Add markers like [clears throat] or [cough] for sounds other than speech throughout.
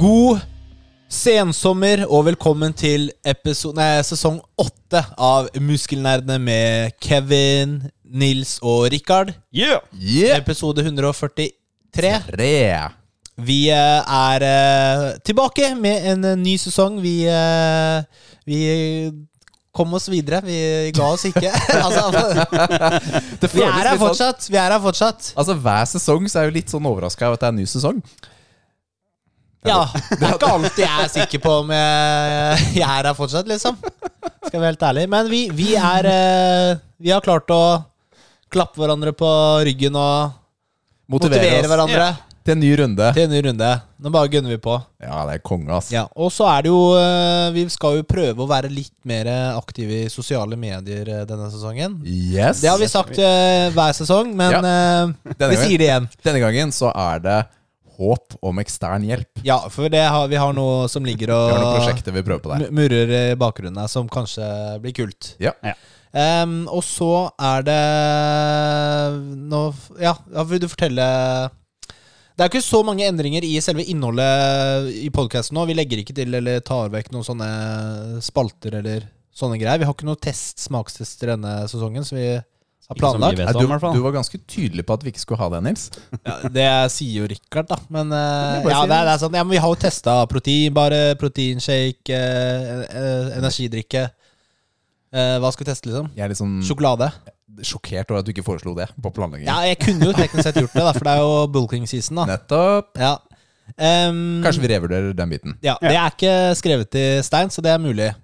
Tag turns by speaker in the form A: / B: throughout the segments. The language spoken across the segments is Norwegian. A: God sensommer og velkommen til episode, nei, sesong åtte av Muskelnerdene med Kevin, Nils og Rikard.
B: Yeah!
C: Yeah!
A: Episode 143.
C: Tre.
A: Vi eh, er eh, tilbake med en eh, ny sesong. Vi, eh, vi kom oss videre. Vi ga oss [laughs] ikke. altså,
C: Det
A: vi er her
C: litt sånn
A: fortsatt. Vi er her fortsatt.
C: Altså Hver sesong så er jeg jo litt sånn overraska over at det er en ny sesong.
A: Ja, det er ikke alltid jeg er sikker på om jeg, jeg er her fortsatt, liksom. Skal være helt ærlig. Men vi, vi er eh, Vi har klart å klappe hverandre på ryggen og
C: Motivere,
A: motivere
C: oss
A: hverandre
C: til en ny runde.
A: til en ny runde. Nå bare gønner vi på.
C: Ja, det er konge, ass.
A: Ja, Og så er det jo eh, Vi skal jo prøve å være litt mer aktive i sosiale medier eh, denne sesongen.
C: Yes.
A: Det har vi sagt eh, hver sesong, men eh,
C: Denne
A: vi
C: gangen.
A: sier det igjen.
C: Denne gangen så er det håp om ekstern hjelp.
A: Ja, for det har, vi har noe som ligger
C: Vi har
A: og
C: noen prosjekter vi prøver på der.
A: mu- murrer i bakgrunnen her, som kanskje blir kult.
C: Ja.
A: Ehm, og så er det Nå f- Ja, ja, vil du fortelle Det er ikke så mange endringer i selve innholdet i podkasten nå. Vi legger ikke til eller tar vekk noen sånne spalter eller sånne greier. Vi har ikke noen test, smakstester denne sesongen, så vi har
B: Ikke som vi
A: planlagt.
B: vet
C: Nei,
B: om, i hvert
C: du,
B: fall.
C: du var ganske tydelig på at vi ikke skulle ha det, Nils.
A: Ja, det sier jo Richard, da. Men, eh,
C: Det er bare å
A: ja,
C: si
A: det er, det er sånn, ja, men vi har jo testa protein, bare proteinshake, eh, eh, energidrikke. Eh, hva skal vi teste, liksom?
C: Jeg er litt sånn
B: Mm.
A: Sjokolade.
C: sjokkert over at du ikke foreslo det på planleggingen.
A: Ja, jeg kunne jo teknisk sett gjort det, da, for det er jo bulking season. da
C: Nettopp.
A: ja. Ehm,
C: Kanskje vi revurderer den biten.
A: ja, Det er ikke skrevet i stein, så det er mulig.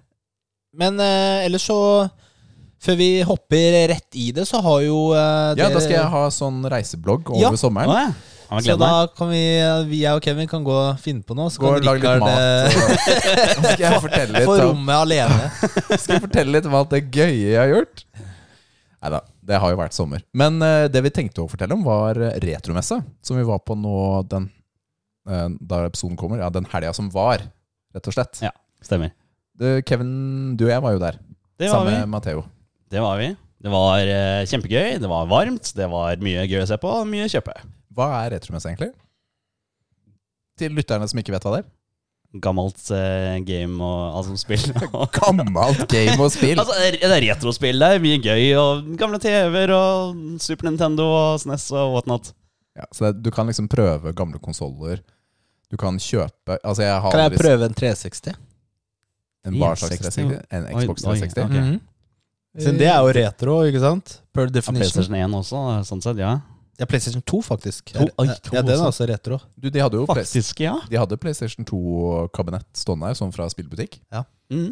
A: Men eh, ellers så Før vi hopper rett i det, så har jo eh,
C: Ja,
A: det-
C: Da skal jeg ha sånn reiseblogg
A: Ja.
C: over sommeren.
B: Å, ja. Ja, men
A: Så
B: gleder
A: da
B: meg.
A: kan vi, eh, vi jeg og Kevin kan gå og finne på noe. Så
C: Gå
A: kan
C: og lag litt
A: Rikard,
C: mat.
A: eh,
C: [laughs] Så skal jeg fortelle
A: [laughs]
C: litt
A: Få
C: om
A: rommet
C: [laughs]
A: alene.
C: Skal jeg fortelle litt om alt det gøye jeg har gjort? Nei da, det har jo vært sommer. Men eh, det vi tenkte å fortelle om, var eh, retromessa. Som vi var på nå den eh, Da episoden kommer. Ja, den helga som var, rett og slett.
B: Ja. Stemmer.
C: Du, Kevin, du og jeg var jo der.
B: Det var,
C: sammen
B: vi.
C: med Matheo.
B: det var vi. Det var eh, kjempegøy, det var varmt, det var mye gøy å se på, og mye å kjøpe.
C: Hva er retromessa, egentlig? Til lytterne som ikke vet hva det er.
B: Gammelt eh, game og alt som spill. altså,
C: Gammelt game og
B: [laughs]
C: spill!
B: det er retrospill, det er mye gøy, og gamle TV-er og Super Nintendo og SNES og whatnot.
C: Ja, så det, du kan liksom prøve gamle konsoller. Du kan kjøpe Altså, jeg har
A: Kan jeg
C: aldri
A: prøve en 360?
C: en hva slags
B: 360?
C: 360? En
B: Oi,
C: Xbox
B: oi,
C: 360.
B: Ok.
A: Mhm. Siden det er jo retro, ikke sant? Per
B: Ja,
A: definition.
B: PlayStation 1 også, sånn sett, ja.
A: Ja, PlayStation 2, faktisk.
B: To- oi, to
A: ja, den er
B: også.
A: også retro.
C: Du, de hadde jo Play-
B: Faktisk, ja.
C: De hadde PlayStation 2-kabinett stående her, sånn fra spillbutikk.
B: Mm.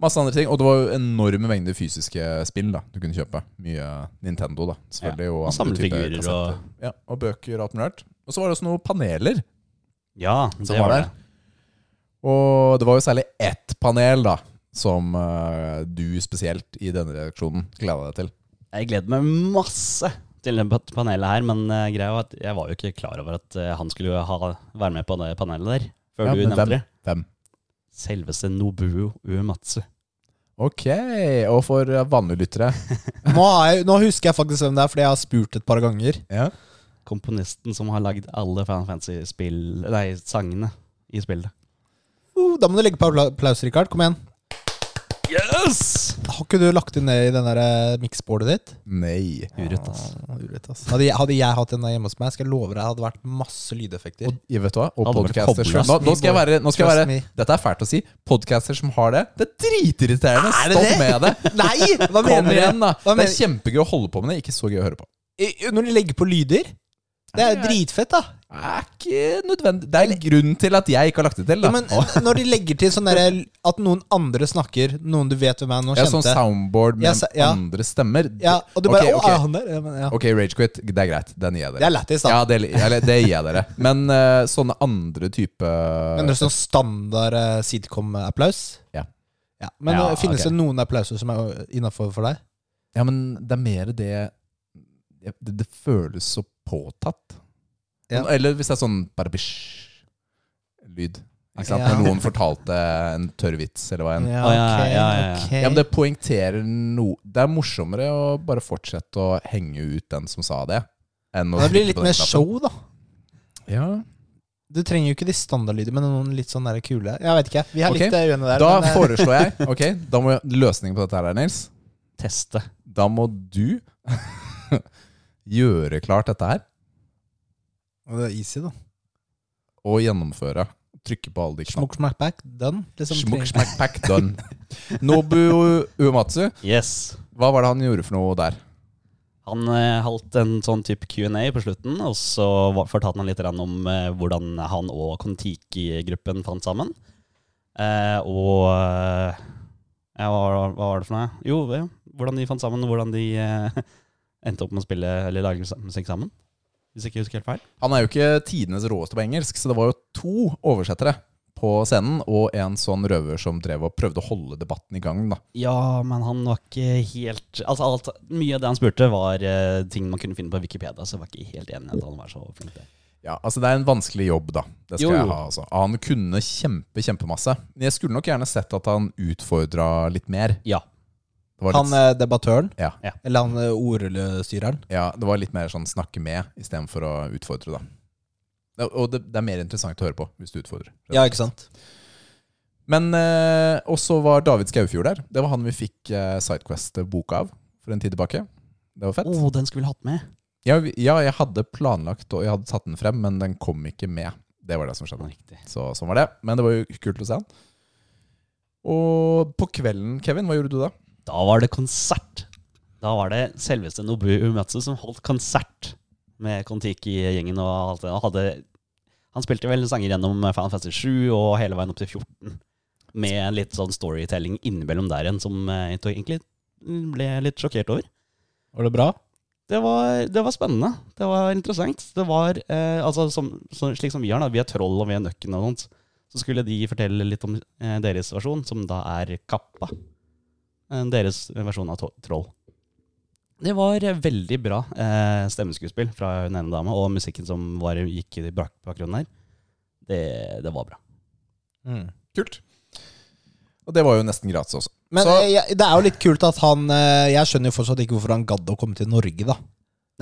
C: Masse andre ting, Og det var jo enorme mengder fysiske spill da du kunne kjøpe. Mye Nintendo, da. selvfølgelig Og,
B: og
C: andre typer
B: samlefigurer og-
C: kassetter. ja, og bøker og alt mulig rart. Og så var det også noen paneler
B: Ja,
C: som
B: det
C: var
B: var det.
C: der. Og det var jo særlig ett panel da som eh, du spesielt i denne reaksjonen gleda deg til.
B: Jeg gleder meg masse til det pat- panelet her, men eh, greia var at jeg var jo ikke klar over at eh, han skulle ha, være med på det panelet der, før
C: Ja,
B: du
C: men
B: nevnte
C: hvem?
B: det.
C: Hvem?
B: Selveste Nobuo Uematsu.
C: Ok, og for eh, vanlige lyttere
A: Nå, har jeg, nå husker jeg faktisk hvem det er, fordi jeg har spurt et par ganger.
C: ja.
B: Komponisten som har lagd alle Final Fantasy-spill... Nei, sangene i spillet.
A: Uh, da må du legge på appla- applaus, Rikard. Kom igjen.
B: Yes!
A: Har ikke du lagt det ned i den der eh, mixboardet ditt?
C: Nei.
B: Urett, ass.
A: Ah, urett, ass. Hadde, jeg, hadde jeg hatt den der hjemme hos meg, skal jeg love deg det hadde vært masse lydeffekter.
C: Og, jeg vet hva, og
B: Hadde vært
C: podcaster
B: koblet.
C: som- nå, nå skal jeg være, nå skal jeg
A: Trust
C: være
A: me.
C: Dette er fælt å si. Podcaster som har det, det er dritirriterende.
A: Er det
C: Stopp
A: det?
C: med det.
A: [laughs] Nei! Hva
C: Kom igjen, da.
A: Hva
C: Det er kjempegøy å holde på med det, ikke så gøy å høre på.
A: I- Når de legger på lyder Det er jo dritfett, da.
C: er ikke nødvendig Det er en grunn til at jeg ikke har lagt det til.
A: Ja,
C: da
A: men når de legger til sånn derre at noen andre snakker, noen du vet hvem er, noen
C: Jeg har sånn
A: kjente
C: soundboard med
A: Ja, sa- ja.
C: andre stemmer.
A: ja, Og du
C: Ok,
A: bare Å,
C: ok.
A: er han der? Ja, men, ja.
C: Ok, Ragequit, det er greit. Den gir jeg
A: Det
C: dere.
A: er lættis, da.
C: Ja, det, eller, det gir jeg dere. Men eh, sånne andre type
A: Men det er sånn standard eh, sitcom-applaus?
C: Ja.
A: Ja, Men
B: Ja,
A: eh, finnes
B: ok.
A: det noen applauser som er innafor for deg?
C: Ja, men det er mer det Det, det føles så påtatt.
A: Ja.
C: Eller hvis det er sånn barbish-lyd. Ikke sant?
A: Ja.
C: Når noen fortalte en tørr vits, eller hva enn. Ja.
A: Ja,
B: Å, ja, ja, ja, ja.
A: ok, ok.
C: men det poengterer noe Det er morsommere å bare fortsette å henge ut den som sa det. Enn å
A: Men det blir
C: trykke på
A: litt
C: den
A: mer
C: knappen.
A: show, da.
C: Ja.
A: Du trenger jo ikke de standardlydene, men noen litt sånn der kule. Jeg vet ikke. Vi er
C: Ok.
A: litt eh, uenige der.
C: Da
A: men, eh,
C: foreslår
A: [laughs]
C: jeg Ok, da må jeg, løsningen på dette her, Nils
B: Teste.
C: Da må du [laughs] gjøre klart dette her
A: det er easy, da.
C: og gjennomføre. Trykke på alle de knappene.
A: Smokk, smack, back, done. Liksom,
C: Smukk,
A: trenger-
C: smakk, pack, done. Nobu Uematsu,
B: Yes.
C: hva var det han gjorde for noe der?
B: Han eh, holdt en sånn type Q&A på slutten, og så var- fortalte han litt grann om eh, hvordan han og Kon-Tiki-gruppen fant sammen. Eh, og eh, ja, hva, var- hva var det for noe? Jo, ja, hvordan de fant sammen, og hvordan de eh, endte opp med å spille eller lage sam- musikk sammen. Hvis jeg ikke husker helt feil.
C: Han er jo ikke tidenes råeste på engelsk, så det var jo to oversettere på scenen, og en sånn røver som drev og prøvde å holde debatten i gang, da.
B: Ja, men han var ikke helt Altså, alt, mye av det han spurte, var eh, ting man kunne finne på Wikipedia, så jeg var ikke helt enig i at han var så flink der.
C: Ja, altså Det er en vanskelig jobb, da. Det skal
B: Jo, jo.
C: jeg ha. altså. Han kunne kjempe, kjempemasse. Men jeg skulle nok gjerne sett at han utfordra litt mer.
B: Ja.
C: Det var litt,
A: Han eh, debattøren,
C: Ja.
B: Ja.
A: eller han eh, ordstyreren.
B: eh,
C: Ja, det var litt mer sånn snakke med istedenfor å utfordre, da. Det- Og det, det er mer interessant å høre på hvis du utfordrer.
A: Ja, ikke sant?
C: Men eh, også var David Skaufjord der. Det var han vi fikk eh, Sidequest-boka av for en tid tilbake. Det var fett.
B: Å, den skulle vi hatt med.
C: Ja, vi- ja, jeg hadde planlagt og jeg hadde tatt den frem, men den kom ikke med. Det var det som skjedde.
B: Riktig.
C: Så sånn var det. Men det var jo kult å se han. Og på kvelden, Kevin, hva gjorde du da?
B: Da var det konsert. Da var det selveste Nobu Umetsu som holdt konsert med Kon-Tiki-gjengen og alt det. Han, hadde, han spilte vel sanger gjennom Final Fantasy 7 og hele veien opp til 14. Med en litt sånn storytelling innimellom der igjen som jeg tog- egentlig ble litt sjokkert over.
A: Var det bra?
B: Det var, det var spennende. Det var interessant. Det var, eh, altså, som, så, slik som vi er, da, vi er troll og vi er nøkken og sånt, så skulle de fortelle litt om eh, deres versjon, som da er kappa. Eh, deres versjon av to- troll. Det var eh, veldig bra eh, stemmeskuespill fra hun ene dama, og musikken som var, gikk i bak bakgrunnen her. Det, det var bra. Mm.
C: Kult. Og det var jo nesten gratis også.
A: Men
C: Så-
A: eh, jeg, det er jo litt kult at han eh, Jeg skjønner jo fortsatt ikke hvorfor han gadd å komme til Norge, da.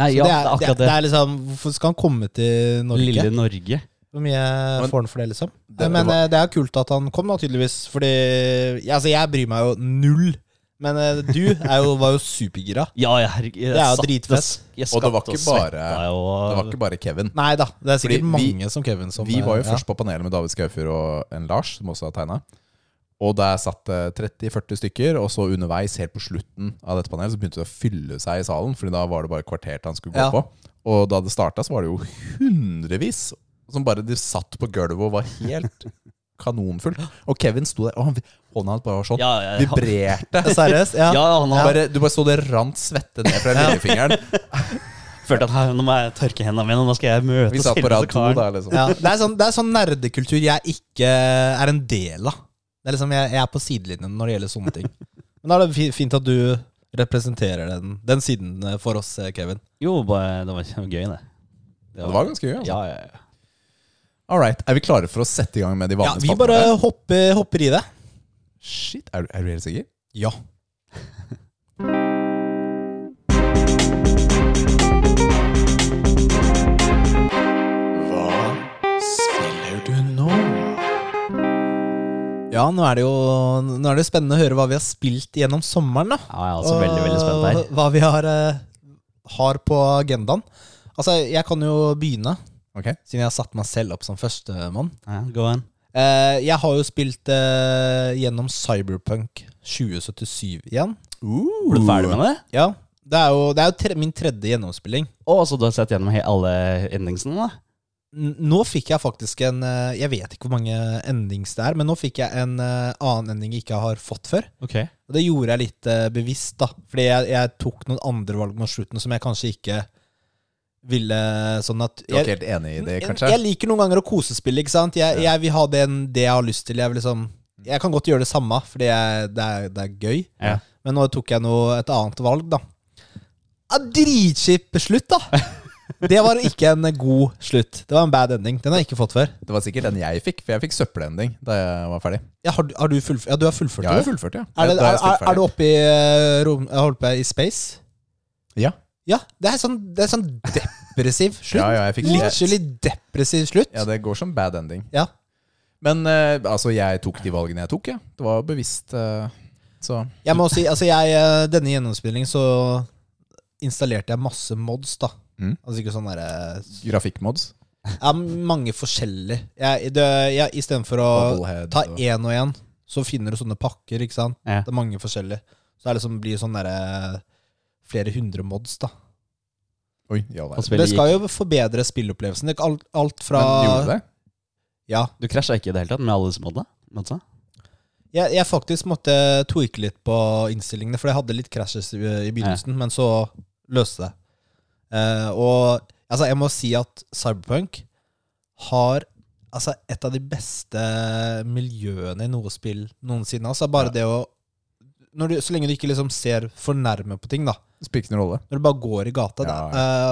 B: Nei,
A: Så det,
B: ja, det er
A: er, det,
B: akkurat det.
A: det er liksom Hvorfor skal han komme til Norge?
B: Lille Norge.
A: Hvor mye
C: Men-
A: får han for det, liksom?
C: Det-
A: men
C: det var-
A: eh, det er kult at han kom, da, tydeligvis. Fordi ja, altså, jeg bryr meg jo null. Men eh, du er jo, var jo supergira.
B: Ja, jeg, jeg,
A: Det er jo
B: satt-
A: dritfett.
B: Jeg
C: Og det var
B: skatt og
C: ikke bare-
B: svetta jo,
C: Det var ikke bare Kevin.
A: Nei da, det er sikkert
C: Fordi vi-
A: mange som Kevin som
C: Vi var jo
A: eh,
C: først på panelet med David Skaufjord og en Lars, som også har tegna. Og der satt det 30-40 stykker, og så underveis, helt på slutten av dette panelet, så begynte det å fylle seg i salen, Fordi da var det bare et kvarter til han skulle gå
A: Ja.
C: på. Og da det starta, så var det jo hundrevis som bare de satt på gulvet og var
A: [laughs]
C: helt kanonfullt. Og Kevin sto der, og han, hånda hans bare var sånn.
B: Ja, ja, ja.
C: Vibrerte.
A: Ja. Seriøst?
C: [laughs]
A: Ja.
B: Ja, han har
C: Bare, du bare så det rant svette ned fra lillefingeren.
A: [laughs]
B: Følte at her, nå må jeg tørke hendene mine, nå skal jeg møte
C: Vi satt på rad
B: selveste
C: to
B: karen.
C: da, liksom.
A: Ja, det, er sånn, det er sånn nerdekultur jeg ikke er en del av. Det er liksom, jeg, jeg er på sidelinjen når det gjelder sånne ting. Men da er det fi- fint at du representerer den, den siden eh, for oss, eh, Kevin.
B: Jo, bare, det var det var gøy, det.
C: Det var ganske gøy. Altså.
B: Ja, ja, ja.
C: All right, Er vi klare for å sette i gang med de
A: Ja,
C: vanlige
A: vi
C: spaltene?
A: bare hopper, hopper i det.
C: Shit, er du, er du helt sikker?
A: Ja.
C: Hva spiller du nå?
A: Ja, nå er det jo nå er det jo spennende å høre hva vi har spilt gjennom sommeren. da.
B: ja jeg er også Altså, veldig, veldig spent her.
A: Og Hva vi har, eh, har på agendaen. Altså, jeg kan jo begynne,
C: Ok,
A: siden jeg har satt meg selv opp som førstemann.
B: Ah. Ja, go on.
A: Eh, jeg har jo spilt eh, gjennom Cyberpunk 2077 igjen. Uh.
B: Ble du ferdig med det?
A: Ja, Det er jo, det er jo tre, min tredje gjennomspilling.
B: Å, så du har sett gjennom he- alle endingsene, da?
A: N- Nå fikk jeg faktisk en eh, Jeg vet ikke hvor mange endings det er, men nå fikk jeg en eh, annen ending jeg ikke har fått før.
B: Ok.
A: Og det gjorde jeg litt eh, bevisst, da. Fordi jeg, jeg tok noen andre valg mot slutten som jeg kanskje ikke ville sånn at
C: Du er ikke helt enig i det,
A: jeg,
C: kanskje?
A: jeg liker noen ganger å kosespille, ikke sant? Jeg, jeg vil ha den, det jeg har lyst til. Jeg, vil liksom, jeg kan godt gjøre det samme, fordi jeg, det, er, det er gøy.
B: Ja.
A: Men nå tok jeg noe, et annet valg, da. Ja, Dritkjipt slutt, da! Det var ikke en god slutt. Det var en bad ending. Den har jeg ikke fått før.
C: Det var sikkert den jeg fikk, for jeg fikk søppelending da jeg var ferdig.
A: Ja, har, du- har du fullført? Ja, du har fullført
C: Jeg har
A: det.
C: jo fullført, ja.
A: Er, det,
C: Da
A: er,
C: jeg spilt
A: er, er du
C: ferdig.
A: oppe i eh, rom, jeg holdt på å si, i space?
C: Ja.
A: Ja, det er sånn, det er sånn depressiv slutt.
C: [laughs] Ja, ja, jeg fikk
A: Literally depressiv slutt.
C: Ja, det går som bad ending.
A: Ja.
C: Men eh, altså, jeg tok de valgene jeg tok, ja. Det var bevisst. eh, så
A: Jeg må også si, altså jeg, eh, denne gjennomspillingen så installerte jeg masse mods, da.
C: Mm.
A: Altså ikke sånn derre
C: grafikkmods.
A: ja, Mange forskjellige. Jeg, det, jeg, Istedenfor å
C: Bubblehead
A: ta
C: og-
A: én og én, så finner du sånne pakker, ikke sant.
B: Ja.
A: Det er mange forskjellige. Så det er liksom, blir sånn derre flere hundre mods, da.
C: Oi, ja vel.
B: Og
A: Det
B: spillet gikk.
A: skal jo forbedre spilleopplevelsen. Det er ikke Alt, alt fra
C: Men gjorde det?
A: Ja.
B: Du krasja ikke i det hele tatt med alle disse modene? Matsa?
A: Jeg, jeg faktisk måtte tweake litt på innstillingene, for jeg hadde litt crashes i i begynnelsen, men så løste det. Eh, og altså, jeg må si at Cyberpunk har altså, et av de beste miljøene i noe spill noensinne. Altså, bare det å når du, Så lenge du ikke liksom ser for nærme på ting, da.
C: Det Spiller ikke noen rolle.
A: Når du bare går i gata, da,
C: Ja,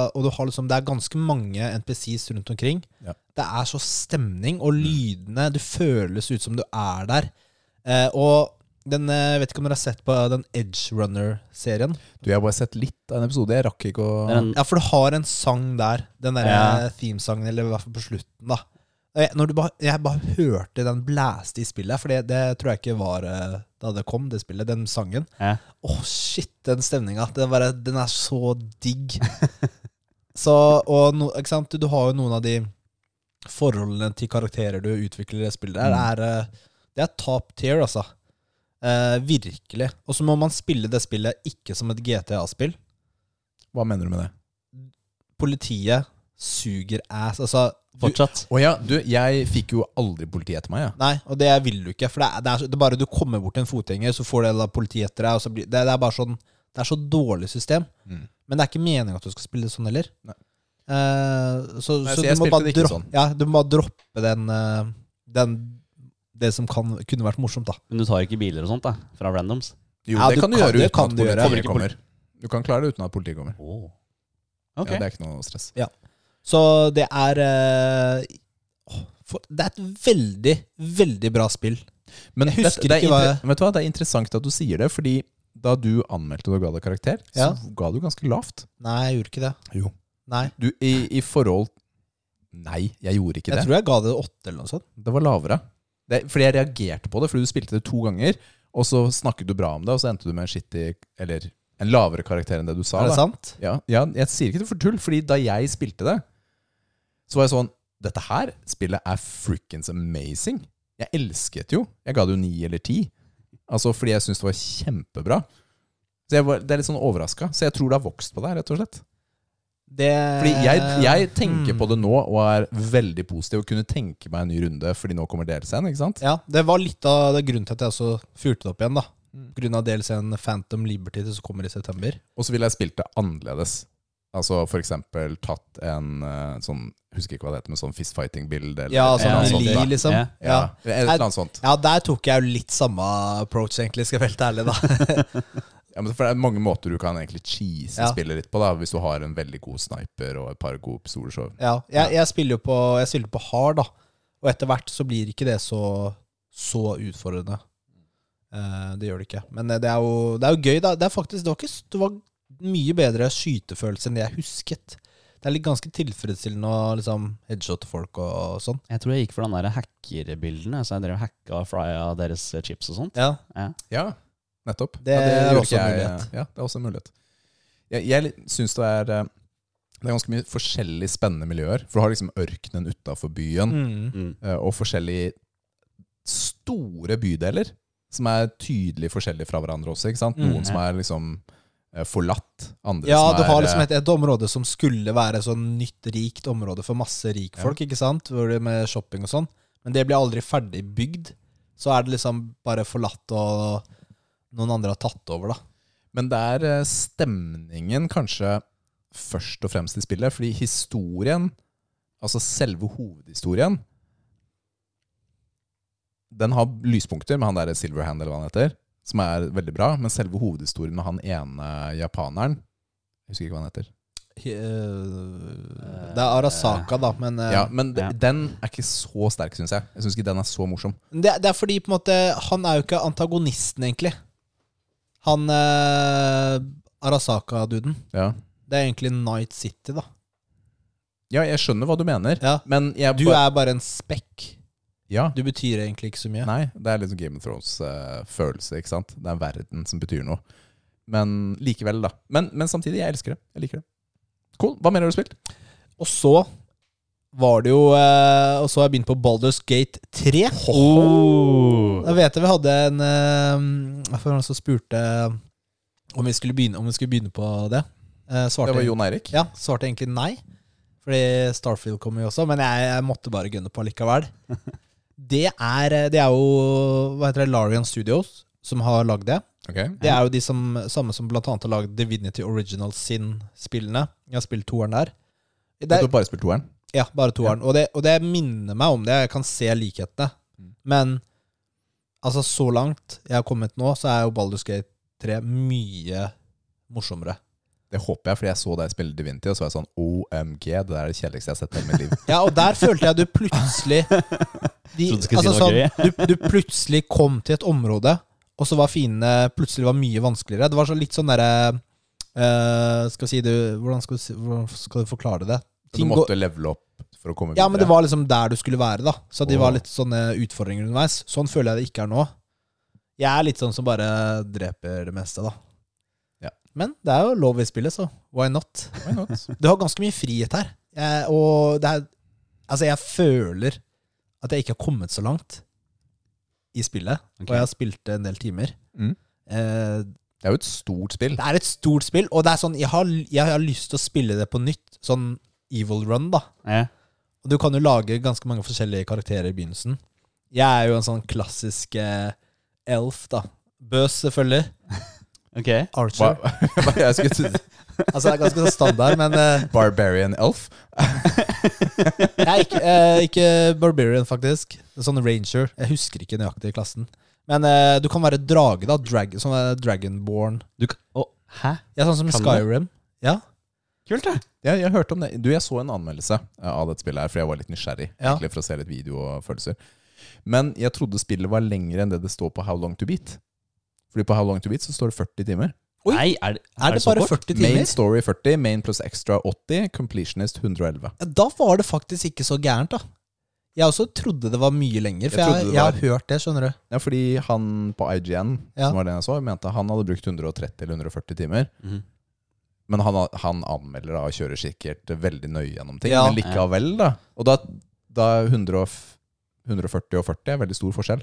A: eh, og du har liksom, det er ganske mange NPCs rundt omkring.
C: Ja. Mm.
A: Det er så stemning, og lydene Du føles ut som du er der. Eh, og den, eh, jeg vet ikke om dere har sett på den Edge Runner-serien?
C: Du, jeg har bare sett litt av en episode. Jeg rakk ikke å
B: Det er en
A: Ja, for du har en sang der. Den derre
B: Ja.
A: themesangen, eller i hvert fall på slutten, da. Og Jeg, når du bare, jeg bare hørte den blæste i spillet, for det, det tror jeg ikke var eh, da det kom, det spillet, den sangen.
B: Ja.
A: Åh, shit, den stemninga. Den, bare- den er så digg. så, og no, ikke sant, du har jo noen av de forholdene til karakterer du utvikler i det spillet. der, er, eh, det er top tier, altså. Eh, virkelig. Og så må man spille det spillet ikke som et GTA-spill
C: Hva mener du med det?
A: politiet suger ass. Altså, du,
B: Fortsatt.
C: Å ja, du, jeg fikk jo aldri politi etter meg, ja.
A: nei, og det vil du ikke. For det er, det er, så- det er bare du kommer bort til en fotgjenger, så får det da politiet etter deg. Og så blir, det, det er bare sånn Det er så dårlig system.
C: Mm.
A: Men det er ikke meningen at du skal spille sånn heller.
C: Nei.
A: Eh, så
C: Nei,
A: så
C: så jeg
A: du, må
C: spilte
A: bare
C: det ikke
A: dropp-
C: sånn.
A: ja, du må bare droppe den, eh, den Det som kan, kunne vært morsomt, da.
B: Men du tar ikke biler og sånt, da? Fra randoms?
C: Jo,
A: Ja,
C: det
A: du
C: kan du
A: kan-
C: gjøre
A: det
C: uten
A: kan
C: at
A: du gjøre.
C: politiet kommer. Du kan klare det uten at politiet kommer.
B: Ok.
C: Ja, det er ikke noe stress.
A: Så det er eh, åh, for, Det er et veldig, veldig bra spill.
C: Men
A: Jeg husker
C: det, det er
A: ikke hva
C: inter- Vet du hva, det er interessant at du sier det, fordi da du anmeldte og ga det karakter,
A: Ja.
C: så ga du ganske lavt.
A: Nei, jeg gjorde ikke det.
C: Jo.
A: Nei.
C: Du, i, I forhold Nei, jeg gjorde ikke
A: Jeg
C: det.
A: tror jeg ga det åtte eller noe sånt.
C: Det var lavere. Det, fordi jeg reagerte på det, fordi du spilte det to ganger, og så snakket du bra om det, og så endte du med en skittig Eller en lavere karakter enn det du sa.
A: Er
C: da.
A: det sant?
C: Ja, ja, jeg sier ikke det for tull, fordi da jeg spilte det, så var jeg sånn Dette her spillet er frikkens amazing. Jeg elsket jo. Jeg ga det jo ni eller ti. Altså fordi jeg syntes det var kjempebra. Så jeg var, Det er litt sånn overraska. Så jeg tror det har vokst på deg, rett og slett.
A: Det
C: Fordi jeg,
A: Eh,
C: jeg tenker
A: hmm.
C: på det nå og er veldig positiv og kunne tenke meg en ny runde, fordi nå kommer DLC-en, ikke sant?
A: Ja, det var litt av det grunnen til at jeg også fyrte det opp igjen, da. På grunn av DLC-en Phantom Liberty som kommer i september.
C: Og så ville jeg spilt det annerledes. Altså for eksempel tatt en eh, sånn Husker ikke hva det heter, men sånn fistfighting-bilde. eller
A: Ja,
C: et eller
A: sånn
B: Ja,
C: annet
A: med
C: sånt,
A: li,
C: da.
A: liksom.
B: Ja.
A: Ja.
C: Ja, et eller annet sånt.
A: ja, der tok jeg jo litt samme approach, egentlig, skal jeg være helt ærlig, da.
C: Ja, men for det er mange måter du kan egentlig cheese
A: Ja.
C: spillet litt på, da, hvis du har en veldig god sniper og et par gode pistoler. Så.
A: Ja, jeg, jeg spiller jo på, jeg spiller på hard, da. Og etter hvert så blir ikke det så, så utfordrende. Eh, det gjør det ikke. Men eh, det er jo, det er jo gøy, da. Det er faktisk det var, ikke, s- det var mye bedre skytefølelse enn det jeg husket. Det er litt ganske tilfredsstillende å liksom headshotte folk og, og sånn.
B: Jeg tror jeg gikk for den der hackerbildene. Så jeg drev og hacka og flya deres chips og sånt.
A: Ja,
C: Ja, nettopp.
A: Det
C: ja,
A: er
C: gjør
A: også
C: ikke
A: en mulighet.
C: Ja, det er også en mulighet. Jeg, jeg syns det er eh, Det er ganske mye forskjellig spennende miljøer. For du har liksom ørkenen utafor byen,
A: Mm.
B: Mm.
C: eh, og forskjellige store bydeler som er tydelig forskjellige fra hverandre også. ikke sant?
A: Mm.
C: Noen som er liksom eh, forlatt. Andre
A: Ja,
C: som
A: du har
C: er,
A: liksom
C: eh,
A: et, et område som skulle være sånn nytt, rikt område for masse rikfolk, ikke sant? Hvor det Med shopping og sånn. Men det blir aldri ferdig bygd. Så er det liksom bare forlatt, og noen andre har tatt over, da.
C: Men det er eh, stemningen kanskje først og fremst i spillet, fordi historien, altså selve hovedhistorien, den har lyspunkter med han der Silverhand, eller hva han heter, som er veldig bra, men selve hovedhistorien med han ene japaneren, jeg husker ikke hva han heter.
A: He- øh, Det er Arasaka, da, men øh,
C: Ja, men d-
B: Ja.
C: den er ikke så sterk, syns jeg. Jeg syns ikke den er så morsom.
A: det, det er fordi på en måte han er jo ikke antagonisten, egentlig. Han øh, Arasaka-duden.
C: Ja,
A: Det er egentlig Night City, da.
C: ja jeg skjønner hva du mener,
A: Ja.
C: men jeg
A: Eh, Du
C: ba-
A: er bare en spekk.
C: ja.
A: Du betyr egentlig ikke så mye.
C: Nei, det er litt sånn Game of Thrones-følelse, ikke sant? Det er verden som betyr noe. Men likevel, da. Men, men samtidig, jeg elsker det. Jeg liker det. Cool. Hva mer har du spilt?
A: Og så var det jo eh, Og så har jeg begynt på Baldur's Gate 3. Da vet jeg vi hadde en eh, For han som spurte om vi skulle begynne, om vi skulle begynne på det. Eh, svarte,
C: Det var Jon Eirik.
A: ja, svarte egentlig nei. Fordi Starfield kommer jo også, men jeg, jeg måtte bare gunne på
C: [laughs]
A: likevel. Det er, eh, det er jo Hva heter det? Larian Studios som har lagd det.
C: Ok.
A: Det er jo de som, samme som blant annet har lagd Divinity Original Sin-spillene. Jeg har spilt toeren der. Det
C: Du
A: er,
C: har bare spilt toeren.
A: ja, bare toeren. Og, det, og det minner meg om det. Jeg kan se likhetene.
B: Mm.
A: Men altså, så langt jeg har kommet nå, så er jo Baldur's Gate 3 mye morsommere.
C: Det håper jeg, fordi jeg så deg spille Divinity, og så var jeg sånn OMG, det der er det kjedeligste jeg har sett i
A: [laughs]
C: hele mitt liv.
A: Ja, og der følte jeg du
B: [laughs]
A: plutselig de, altså, sånn,
B: Trodde du skulle si
C: Altså,
B: noe
C: sånn-
A: du, du plutselig kom til et område, og så var fiendene plutselig var mye vanskeligere. Det var så litt sånn derre eh, Skal vi si det Hvordan skal du, si- hvordan skal du forklare det?
C: Du
A: Ting går-
C: måtte levele opp for å komme videre.
A: Ja, men det var liksom der du skulle være, da. Så de
C: Åh.
A: var litt sånne utfordringer underveis. Sånn føler jeg det ikke er nå. Jeg er litt sånn som bare dreper det meste, da.
C: Ja.
A: Men det er jo lov i spillet, så why not?
C: Why not?
A: Du har ganske mye frihet her. Jeg, og det er Altså, jeg føler at jeg ikke har kommet så langt i spillet.
B: Ok.
A: Og jeg har spilt det en del timer.
C: Mm.
A: Eh,
C: Det er jo et stort spill.
A: det er et stort spill, og det er sånn Jeg har, jeg har lyst til å spille det på nytt. Sånn Evil Run, da.
B: [laughs] Ja.
A: Og du kan jo lage ganske mange forskjellige karakterer i begynnelsen. Jeg er jo en sånn klassisk eh, elf, da. Bøs, selvfølgelig.
B: Ok.
A: Archer.
C: Hva, [laughs] hva jeg skulle si?
A: Altså, det er ganske sånn standard, men eh,
C: Barbarian Elf?
A: jeg er ikke, eh, ikke barbarian, faktisk. En sånn ranger. Jeg husker ikke nøyaktig klassen. Men eh, du kan være drage, da. Drag, sånn eh, dragonborn.
B: Du kan Å, hæ?
A: Ja, sånn som i
B: Kan du?
A: Skyrim. Ja.
B: Kult, da.
C: Ja, jeg hørte om det. Du, jeg så en anmeldelse eh, av dette spillet her, for jeg var litt nysgjerrig.
A: Ja.
C: Egentlig for å se litt video og følelser. Men jeg trodde spillet var lengre enn det det står på How Long To Beat. Fordi på How Long To Beat så står det 40 timer.
A: Oi.
B: Nei, er det,
A: Er det
B: så
A: bare
B: kort?
A: 40
C: Main
A: timer?
C: story 40, main pluss extra 80, completionist 111.
A: Ja, Da var det faktisk ikke så gærent, da. Jeg også trodde det var mye lenger, for
C: Jeg trodde
A: jeg,
C: det
A: jeg har
C: var-
A: hørt det, skjønner du.
C: Ja, fordi han på IGN,
A: Ja.
C: som var den jeg så, mente han hadde brukt 130 eller 140 timer.
B: Mhm.
C: Men han, han anmelder da og kjører sikkert veldig nøye gjennom ting.
A: Ja.
C: Men likevel, da. Og da, da 100 og f- 140 og 40 er veldig stor forskjell.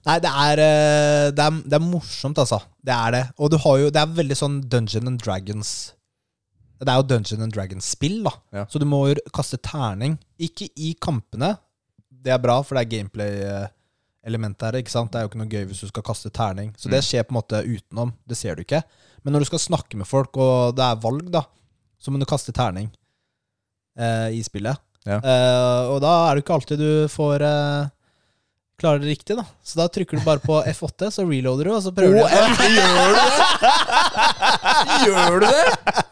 A: Nei, det er, eh, det, er, det er morsomt, altså. Det er det. Og du har jo, det er veldig sånn Dungeon and Dragons Det er jo Dungeon and Dragons-spill, da.
C: Ja.
A: Så du må jo kaste terning. Ikke i kampene. Det er bra, for det er gameplay-elementet her. ikke sant? Det er jo ikke noe gøy hvis du skal kaste terning. Så
C: Mm.
A: det skjer på en måte utenom. Det ser du ikke. Men når du skal snakke med folk, og det er valg, da, så må du kaste terning eh, i spillet.
C: Ja.
A: Eh, og da er det ikke alltid du får eh, klarer det riktig, da. Så da trykker du bare på F8, så reloader du, og så prøver du.
C: gjør du det?! Gjør du det?!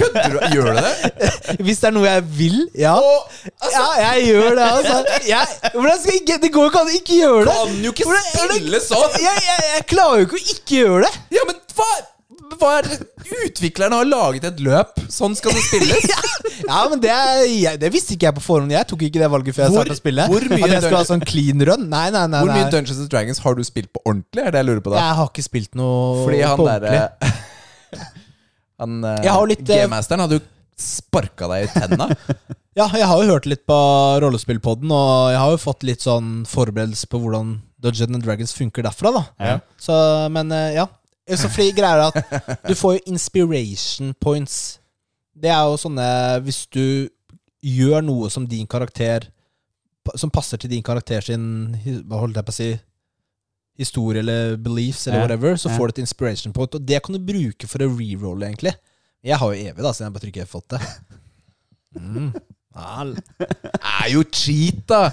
C: Kødder du? Gjør du det?
A: Hvis det er noe jeg vil, altså. ja. ja, jeg gjør det, altså. Jeg, hvordan skal jeg, ikke- det går jo ikke an å ikke gjøre det.
C: Kan jo ikke
A: Hvordan- er det-
C: spille sånn.
A: Jeg, jeg, jeg klarer jo ikke å ikke gjøre det.
C: Ja, men hva, hva er det? Utviklerne har laget et løp. Sånn skal det spilles.
A: [laughs] Ja, men det, er, jeg, det visste ikke jeg på forhånd. Jeg tok ikke det valget før jeg
C: Hvor-
A: startet å spille.
C: hvor mye
A: At jeg skulle ha sånn clean run. Nei, nei, nei.
C: Hvor mye
A: nei.
C: Dungeons and Dragons har du spilt på ordentlig? Er det jeg lurer på da?
A: Jeg har ikke spilt noe
C: Fordi han
A: på
C: derre
A: ordentlig.
C: [laughs] Han
A: Jeg har jo litt, eh,
C: G-masteren hadde jo sparka deg i
A: [laughs]
C: tenna.
A: Ja, jeg har jo hørt litt på rollespillpodden, og jeg har jo fått litt sånn forberedelse på hvordan Dungeons and Dragons funker derfra, da.
B: Ja.
A: Så, men eh, ja. Eh, Så fordi greier er at du får jo inspiration points. Det er jo sånne Hvis du gjør noe som din karakter Som passer til din karakter sin hi- Hva holdt jeg på å si Historie eller beliefs eller
B: Ja,
A: whatever, så
B: ja.
A: får du et inspiration point. Og det kan du bruke for å rerolle, egentlig. Jeg har jo evig, da, siden jeg bare trykker F8.
B: [laughs]
A: Mm. Al.
C: er jo cheat, da!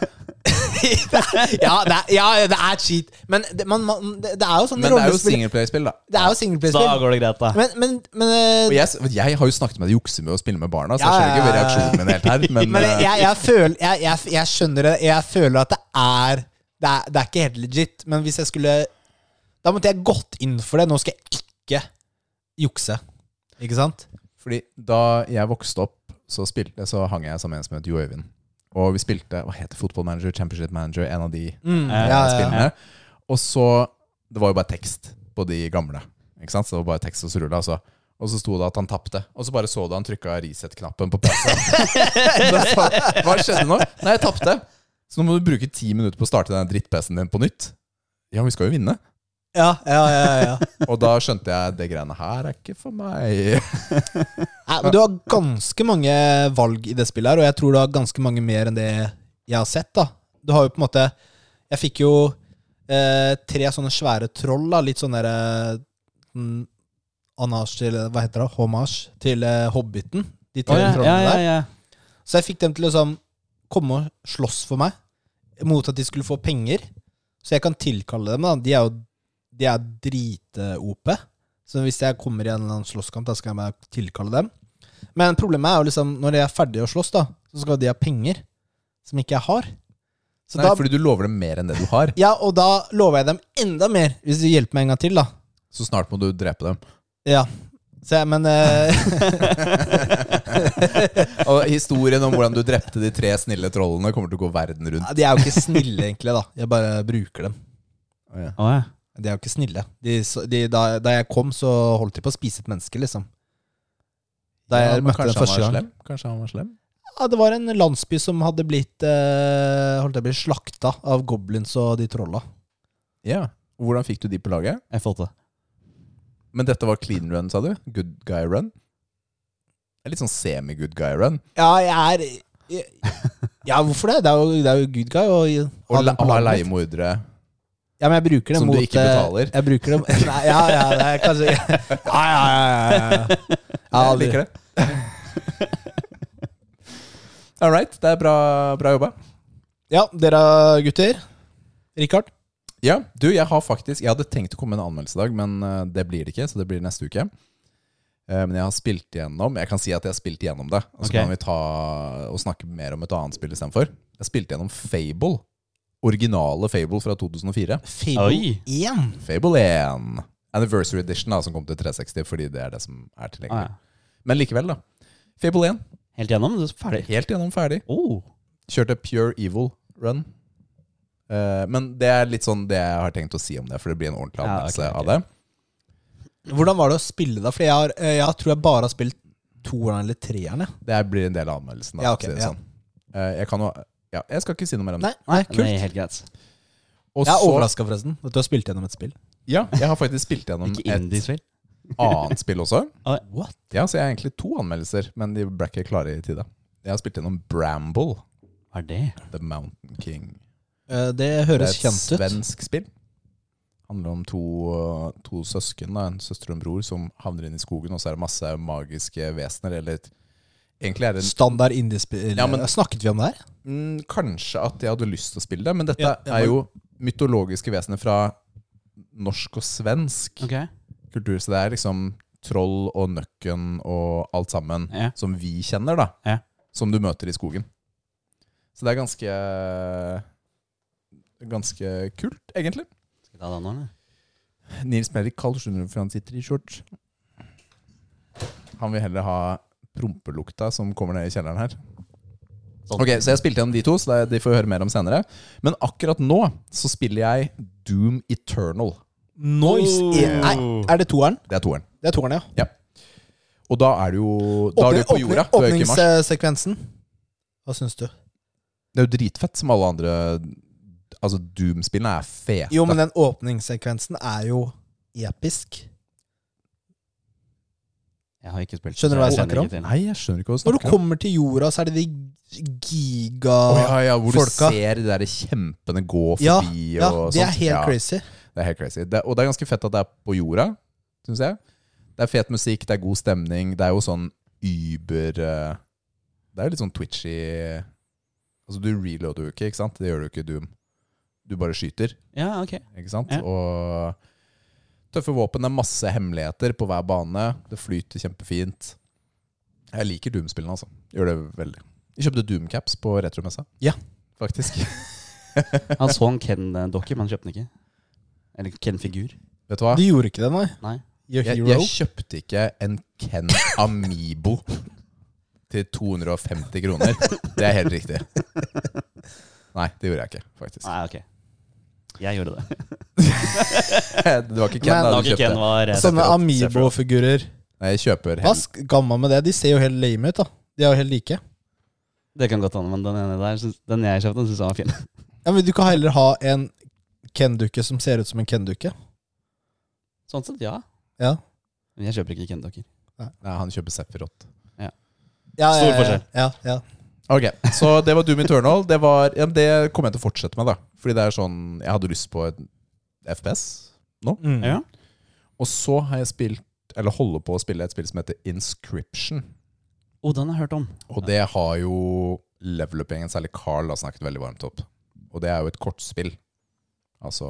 A: [laughs] ja, det er, ja, det er cheat. Men det, man, man, det, det er jo sånn
C: Men det er jo
A: rollespill-
C: singleplay-spill, da.
A: Det er jo
B: Da
A: singleplayerspill.
B: går det greit, da.
A: Men, men, men, eh,
C: Og jeg, jeg har jo snakket med deg, jukser med å spille med barna, så jeg
A: Ja,
C: skjønner
A: ja,
C: ikke
A: ja, ja.
C: reaksjonen min helt her. Men,
A: [laughs] men
C: eh,
A: jeg, jeg, føler, jeg, jeg, jeg skjønner det. Jeg føler at det er, det er Det er ikke helt legit. Men hvis jeg skulle Da måtte jeg gått inn for det. Nå skal jeg ikke jukse. Ikke sant?
C: Fordi da jeg vokste opp, så, spilte, så hang jeg sammen med en som het Jo Øyvind. Og vi spilte hva heter Football Manager, Championship Manager, en av de
A: Mm,
B: Eh,
A: ja, ja, ja.
C: spillene. Og så Det var jo bare tekst på de gamle. Ikke sant? Så det var bare tekst og så rulla, altså. Og så sto det at han tapte. Og så bare så du han trykka reset-knappen på [laughs] PC-en. Da sa jeg, Hva skjedde nå? Nei, jeg tapte. Så nå må du bruke ti minutter på å starte den dritt-PC-en din på nytt. Ja, men vi skal jo vinne.
A: ja, ja, ja, ja.
C: Og da skjønte jeg det greiene her er ikke for meg.
A: Nei, men Du har ganske mange valg i det spillet her, og jeg tror du har ganske mange mer enn det jeg har sett. da Du har jo på en måte Jeg fikk jo eh, tre sånne svære troll, da litt sånn derre mm, Anasj til Hva heter det? Hommage til eh, Hobbiten. De
B: Å,
A: tre
B: ja, ja,
A: trollene
B: ja,
A: der.
B: ja.
A: Så jeg fikk dem til å liksom komme og slåss for meg, mot at de skulle få penger. Så jeg kan tilkalle dem. da De er jo De er drit-OP. Så hvis jeg kommer i en eller annen slåsskamp, da skal jeg bare tilkalle dem. Men problemet er jo liksom når de er ferdige å slåss, da så skal de ha penger som ikke jeg har. Så
C: Nei,
A: da,
C: fordi du lover dem mer enn det du har.
A: ja, og da lover jeg dem enda mer, hvis du hjelper meg en gang til, da.
C: Så snart må du drepe dem.
A: Ja. Så jeg, men eh, [laughs]
C: Og historien om hvordan du drepte de tre snille trollene, kommer til å gå verden rundt.
A: de er jo ikke snille, egentlig, da. Jeg bare bruker dem.
B: Å, ja.
A: De er jo ikke snille. De, så- de, da, da jeg kom, så holdt de på å spise et menneske, liksom. Da jeg
C: Ja, men
A: møtte dem
C: kanskje han
A: første
C: var
A: gang.
C: slem? Kanskje han var slem?
A: Ja, det var en landsby som hadde blitt eh, Holdt jeg på å bli slakta av goblins og de trolla.
C: Ja. Hvordan fikk du de på laget?
B: Jeg falt det.
C: Men dette var clean run, sa du? Good guy run? Det er litt sånn semi-good guy run.
A: Ja, jeg er jeg, Ja, hvorfor det? Det er jo, det er jo good guy. Og,
C: Og le-
A: laget
C: ha
A: mitt.
C: leiemordere.
A: Ja, men jeg bruker det
C: Som du
A: mot
C: ikke betaler.
A: eh, Jeg bruker det [laughs] Nei, ja, ja, det er kanskje [laughs] Ja, ja, ja. ja, ja.
C: Jeg liker det. [laughs] All right. Det er bra, bra jobba.
A: Ja, dere gutter. Richard?
C: Ja, du, jeg har faktisk Jeg hadde tenkt å komme med en anmeldelse i dag, men eh, det blir det ikke. Så det blir neste uke. Eh, Men jeg har spilt igjennom Jeg kan si at jeg har spilt igjennom det. Og så
B: Ok.
C: kan vi ta og snakke mer om et annet spill istedenfor. Jeg spilte gjennom Fable. Originale Fable fra 2004.
A: Fable
B: Oi.
A: 1.
C: Fable 1. Anniversary Edition, da, som kom til 360, fordi det er det som er
B: Å,
C: tilgjengelig.
B: Ah, ja.
C: Men likevel, da. Fable 1.
B: Helt gjennom? Du er ferdig.
C: Helt gjennom ferdig.
B: Oh.
C: Kjørte Pure Evil Run. Eh, men det er litt sånn det jeg har tenkt å si om det, for det blir en ordentlig
B: Ja, ok,
C: anmeldelse
B: ok.
C: av det.
A: Hvordan var det å spille da? For jeg, har, eh, jeg tror jeg bare har spilt toeren eller treeren. jeg.
C: Det her blir en del av anmeldelsen. Da,
A: Ja,
C: for å
A: ok,
C: si det
A: ja.
C: sånn. Eh, jeg, kan jo, ja, jeg skal ikke si noe mer om det.
A: Nei, nei, kult.
B: Nei, helt greit.
C: Og
A: Jeg er
C: så-
A: overraska, forresten. At du har spilt gjennom et spill.
C: Ja, jeg har faktisk spilt gjennom
B: Ikke
C: et
B: indiespill.
C: [laughs] annet spill også.
A: What?
C: Ja, Så jeg har egentlig to anmeldelser, men de ble ikke klare i tide. Jeg har spilt gjennom Bramble,
B: Hva er det?
C: The Mountain King.
A: Eh, Det
C: Det er
A: høres
C: et
A: kjent ut.
C: svensk spill. Handler om to, to søsken, da, en søster og en bror, som havner inn i skogen, og så er det masse magiske vesener, eller Egentlig er det en
A: Standard indiespill.
C: Ja, men-
A: Snakket vi om det her?
C: Mm, kanskje at jeg hadde lyst til å spille det, men dette
A: Ja, ja,
C: er
A: men-
C: jo mytologiske vesener fra norsk og svensk
B: Ok.
C: kultur. Så det er liksom troll og nøkken og alt sammen
B: Ja.
C: som vi kjenner, da.
B: Ja.
C: Som du møter i skogen. Så det er ganske Ganske kult, egentlig.
B: Skal vi ta den nå, eller?
C: Nils Merrik Karl skjønner du, for han sitter i shorts. Han vil heller ha prompelukta som kommer ned i kjelleren her.
B: Sånn.
C: Ok, så jeg spilte gjennom de to, så det- de får høre mer om senere. Men akkurat nå så spiller jeg Doom Eternal.
A: Noise!
B: Oh.
A: i- Nei, er det toeren?
C: Det er toeren.
A: Det er toeren, ja.
C: Og da er du jo Da er du jo på
A: Åpning-
C: jorda. Du er jo ikke i Mars.
A: Åpningssekvensen. Hva syns du?
C: Det er jo dritfett, som alle andre Altså, Doom-spillene er fete.
A: Jo, men den åpningssekvensen er jo episk.
B: Jeg har ikke spilt
A: Skjønner du hva jeg
B: så
A: snakker om?
B: kjenner ikke til.
C: Nei, jeg skjønner ikke hva du
A: Når du
C: snakker om.
A: kommer til jorda, så er det de giga
C: Å, ja, ja, hvor
A: Folka.
C: du ser de der kjempene gå
A: Ja,
C: forbi
A: ja,
C: og
A: det er
C: sånt.
A: helt
C: Ja,
A: crazy.
C: Det er helt crazy. Det, og det er ganske fett at det er på jorda, syns jeg. Det er fet musikk, det er god stemning. Det er jo sånn über eh, Det er jo litt sånn twitchy Altså, du reloader jo ikke, ikke sant? Det gjør du ikke i Doom. Du bare skyter,
B: Ja, ok.
C: ikke sant?
B: Ja.
C: Og tøffe våpen. Det er masse hemmeligheter på hver bane. Det flyter kjempefint. Jeg liker Doom-spillene, altså. Gjør det veldig. Jeg kjøpte Doom-caps på retromessa.
A: Ja.
C: Faktisk. [laughs]
B: Han så en Ken-dokke, men han kjøpte den ikke. Eller Ken-figur.
C: Vet du hva?
A: De gjorde ikke det, nei.
B: Nei.
A: Your
C: Jeg,
A: hero.
C: jeg kjøpte ikke en Ken Amibo til 250 kroner. Det er helt riktig. Nei, det gjorde jeg ikke, faktisk.
B: Nei, ok. Jeg gjorde det.
C: [laughs] Det var ikke Ken
A: Men-
C: da
B: Da
C: du
B: ikke Ken
C: kjøpte.
B: var eh,
A: Sånne
C: separat, separat.
A: Amibo-figurer.
C: Nei, jeg kjøper
A: Hva
C: helt
A: gamma med det? De ser jo helt lame ut, da. De er jo helt like.
B: Det kan godt hende, men den ene der, syns- den jeg kjøpte, den syns jeg var fin. [laughs]
A: Ja, men Du kan heller ha en Ken-dukke som ser ut som en Ken-dukke.
B: Sånn sett, ja.
A: Ja.
B: Men jeg kjøper ikke Ken-dokker.
C: Nei, han kjøper Sefirot.
A: Ja,
B: Stor forskjell.
A: Ja, ja.
C: Ok, Så det var Doom Eternal. Det, var, ja, det kommer jeg til å fortsette med, da. Fordi det er sånn Jeg hadde lyst på et FPS.
A: Mm.
B: Ja.
C: Og så har jeg spilt, eller holder på å spille, et spill som heter Inscription.
B: Å, den har jeg hørt om.
C: Og det har jo level-up-gjengen, særlig Carl, har snakket veldig varmt opp. Og det er jo et kortspill. Altså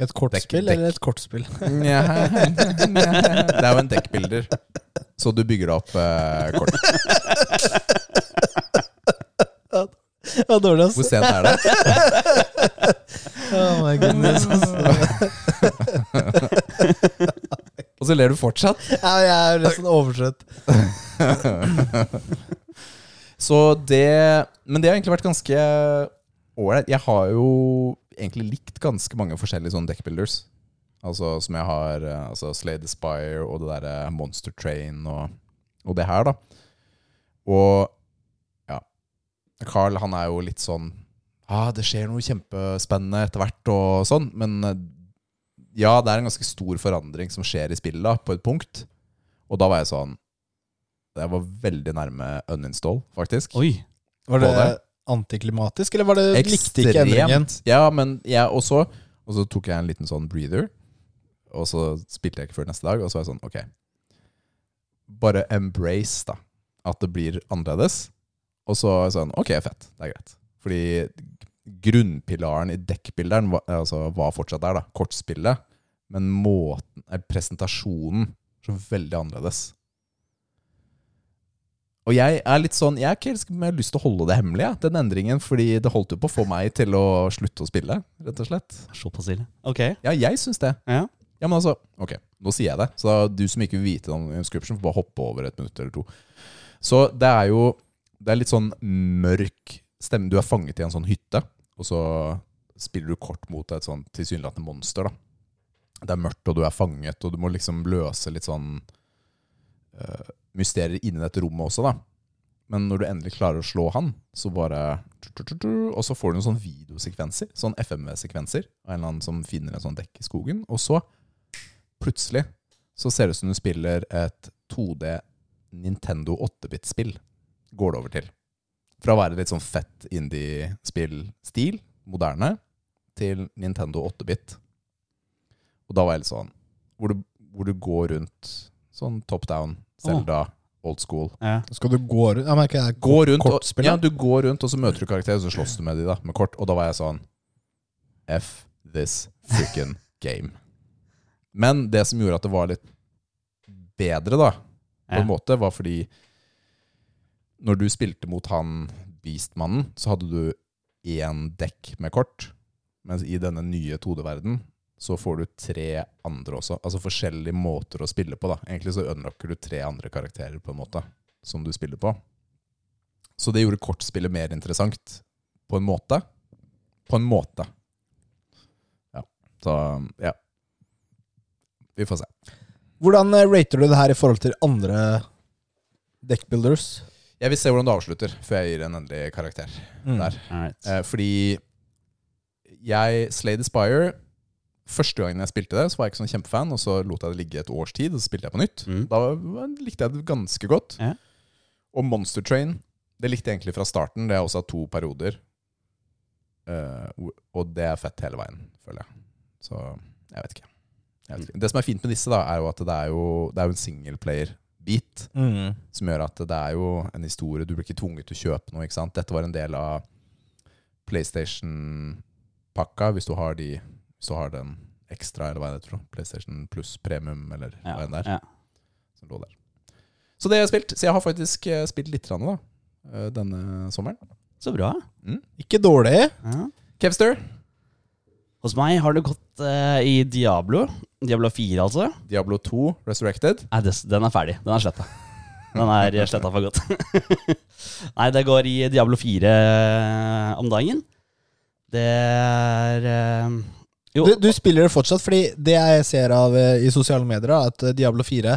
A: Et kortspill
C: Dekk- dekk.
A: eller et kortspill? [laughs]
C: Det [laughs] er jo en dekkbilder. Så du bygger deg opp eh, kort.
A: Ja, dårlig, ass.
C: Hvor sent er det?
A: Oh my goodness.
C: Og så ler du [laughs] fortsatt.
A: Ja, jeg er sånn nesten oversett.
C: Så det Men det har egentlig vært ganske ålreit. Jeg har jo egentlig likt ganske mange forskjellige sånne dekkbuilders. Altså som jeg har eh, altså Slay the Spire og det derre Monster Train og, og det her, da. Og ja Carl, han er jo litt sånn ah, Det skjer noe kjempespennende etter hvert og sånn, men eh, ja, det er en ganske stor forandring som skjer i spillet da, på et punkt. Og da var jeg sånn Jeg var veldig nærme uninstall, faktisk.
B: Oi.
A: Var det
C: Både.
A: antiklimatisk, eller var det likte ikke endringen?
C: Ja, men jeg også Og så tok jeg en liten sånn breather, og så spilte jeg ikke før neste dag, og så var jeg sånn, ok Bare embrace, da. At det blir annerledes. Og så var jeg sånn, ok, fett. Det er greit. Fordi grunnpilaren i dekkbilderen var, altså, var fortsatt der, da. Kortspillet. Men måten, eller presentasjonen, så veldig annerledes. Og jeg er litt sånn Jeg er ikke helt med lyst til å holde det hemmelig, jeg, den endringen. Fordi det holdt jo på å få meg til å slutte å spille, rett og slett.
B: Såpass ille. Ok.
C: Ja, jeg syns det.
B: Ja.
C: Ja, men altså Ok, nå sier jeg det. Så du som ikke vil vite om inscription, får bare hoppe over et minutt eller to. Så det er jo Det er litt sånn mørk stemme. Du er fanget i en sånn hytte, og så spiller du kort mot et sånn tilsynelatende monster, da. Det er mørkt, og du er fanget, og du må liksom løse litt sånn eh, mysterier inni dette rommet også, da. Men når du endelig klarer å slå han, så bare Og så får du noen sånne videosekvenser, sånn FMV-sekvenser, av en eller annen som finner en sånn dekk i skogen. Og så, plutselig, så ser det ut som du spiller et 2D Nintendo 8-bit-spill. Går det over til. Fra å være litt sånn fett indie-spill-stil, moderne, til Nintendo 8-bit. Og da var jeg litt sånn Hvor du, hvor du går rundt sånn top down, Zelda, old school.
B: Ja.
A: Skal du gå rundt Jeg merker jeg
C: Gå rundt, og,
A: kortspill,
C: ja,
A: ja.
C: du går rundt, og så møter du karakterer, og så slåss du med de da, med kort. Og da var jeg sånn F this frikken game. Men det som gjorde at det var litt bedre, da, på
B: Ja.
C: en måte, var fordi når du spilte mot han Beastmannen, så hadde du én dekk med kort. Mens i denne nye 2D-verden så får du tre andre også. Altså forskjellige måter å spille på, da. Egentlig så unlocker du tre andre karakterer, på en måte, som du spiller på. Så det gjorde kortspillet mer interessant. På en måte. På en måte. Ja. Så ja. Vi får se.
A: Hvordan eh, rater du det her i forhold til andre deckbuilders?
C: Jeg vil se hvordan det avslutter, før jeg gir en endelig karakter.
A: Mm.
C: Der.
B: Alright.
C: Eh, fordi jeg Slay the Spire Første gangen jeg spilte det, så var jeg ikke sånn kjempefan, og så lot jeg det ligge et års tid, og så spilte jeg på nytt.
B: Mm.
C: Da var- likte jeg det ganske godt.
B: Ja.
C: Og Monster Train, det likte jeg egentlig fra starten. Det har jeg også hatt to perioder. Eh, hvor- og det er fett hele veien, føler jeg. Så jeg vet ikke. Jeg vet ikke. Det som er fint med disse, da, er jo at det er jo, det er jo en singleplayer-bit
A: Mm.
C: som gjør at det er jo en historie. Du blir ikke tvunget til å kjøpe noe. ikke sant? Dette var en del av PlayStation-pakka, hvis du har, de, hvis du har den ekstra, eller hva er det tror PlayStation pluss premium, eller
B: Ja,
C: hva enn det er.
B: ja.
C: Som lå der. Så det har jeg spilt. Så jeg har faktisk eh, spilt litt grann, da, eh, denne sommeren.
B: Så bra.
C: Mm.
A: Ikke dårlig.
B: Ja.
C: Kevster,
B: Hos meg har det gått eh, i Diablo. Diablo 4, altså.
C: Diablo 2 Resurrected.
B: Nei, det, den er ferdig. Den er sletta. Den er sletta for godt. [laughs] Nei, det går i Diablo 4 om dagen. Det er eh, Jo,
A: Du, du spiller det fortsatt, fordi det jeg ser av eh, i sosiale medier, er at eh, Diablo 4
B: Å,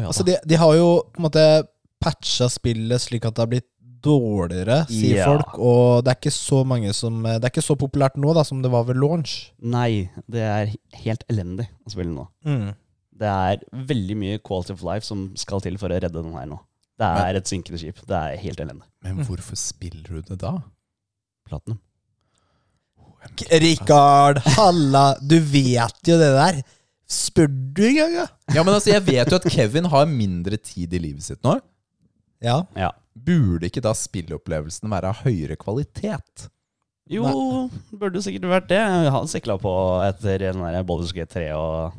B: ja da.
A: Altså, de, de har jo på en måte patcha spillet slik at det har blitt dårligere, sier
B: Ja.
A: folk. Og det er ikke så mange som eh, Det er ikke så populært nå da som det var ved launch.
B: Nei, det er helt elendig å spille nå.
C: Mm.
B: Det er veldig mye quality of life som skal til for å redde den her nå. Det er et synkende skip. Det er helt elendig.
C: Men hvorfor spiller du det da?
B: Platinum.
A: Rikard, halla, du vet jo det der. Spør du engang, ja?
C: Ja, men altså, Jeg vet jo at Kevin har mindre tid i livet sitt nå.
A: Ja.
B: Ja.
C: Burde ikke da spilleopplevelsen være av høyere kvalitet?
B: Jo, burde jo sikkert vært det. Han sikla på etter den der Baldur's Gate 3 og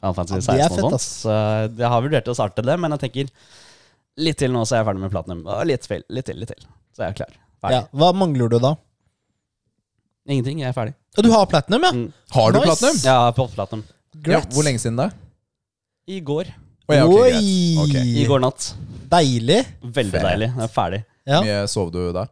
B: Final Fantasy
A: Ja, det er
B: 16 og
A: fett,
B: sånt. Så jeg har vurdert å starte det, men jeg tenker litt til nå, så er jeg ferdig med Platinum. Og litt til, litt til, litt til. Så er jeg klar. Ferdig.
A: ja. Hva mangler du da?
B: Ingenting, jeg er ferdig.
A: Ja, Du har platinum, ja?
B: Mm.
C: Har du
A: Nice.
C: platinum?
B: Ja, på Platinum.
C: Ja,
A: Grats.
C: hvor lenge siden da?
B: I går.
C: Å, ja, ok, greit.
A: Oi!
C: Ok.
B: I går natt.
A: Deilig.
B: Veldig
C: Fett.
B: deilig. Jeg er ferdig.
A: Ja.
C: Mye sov du da?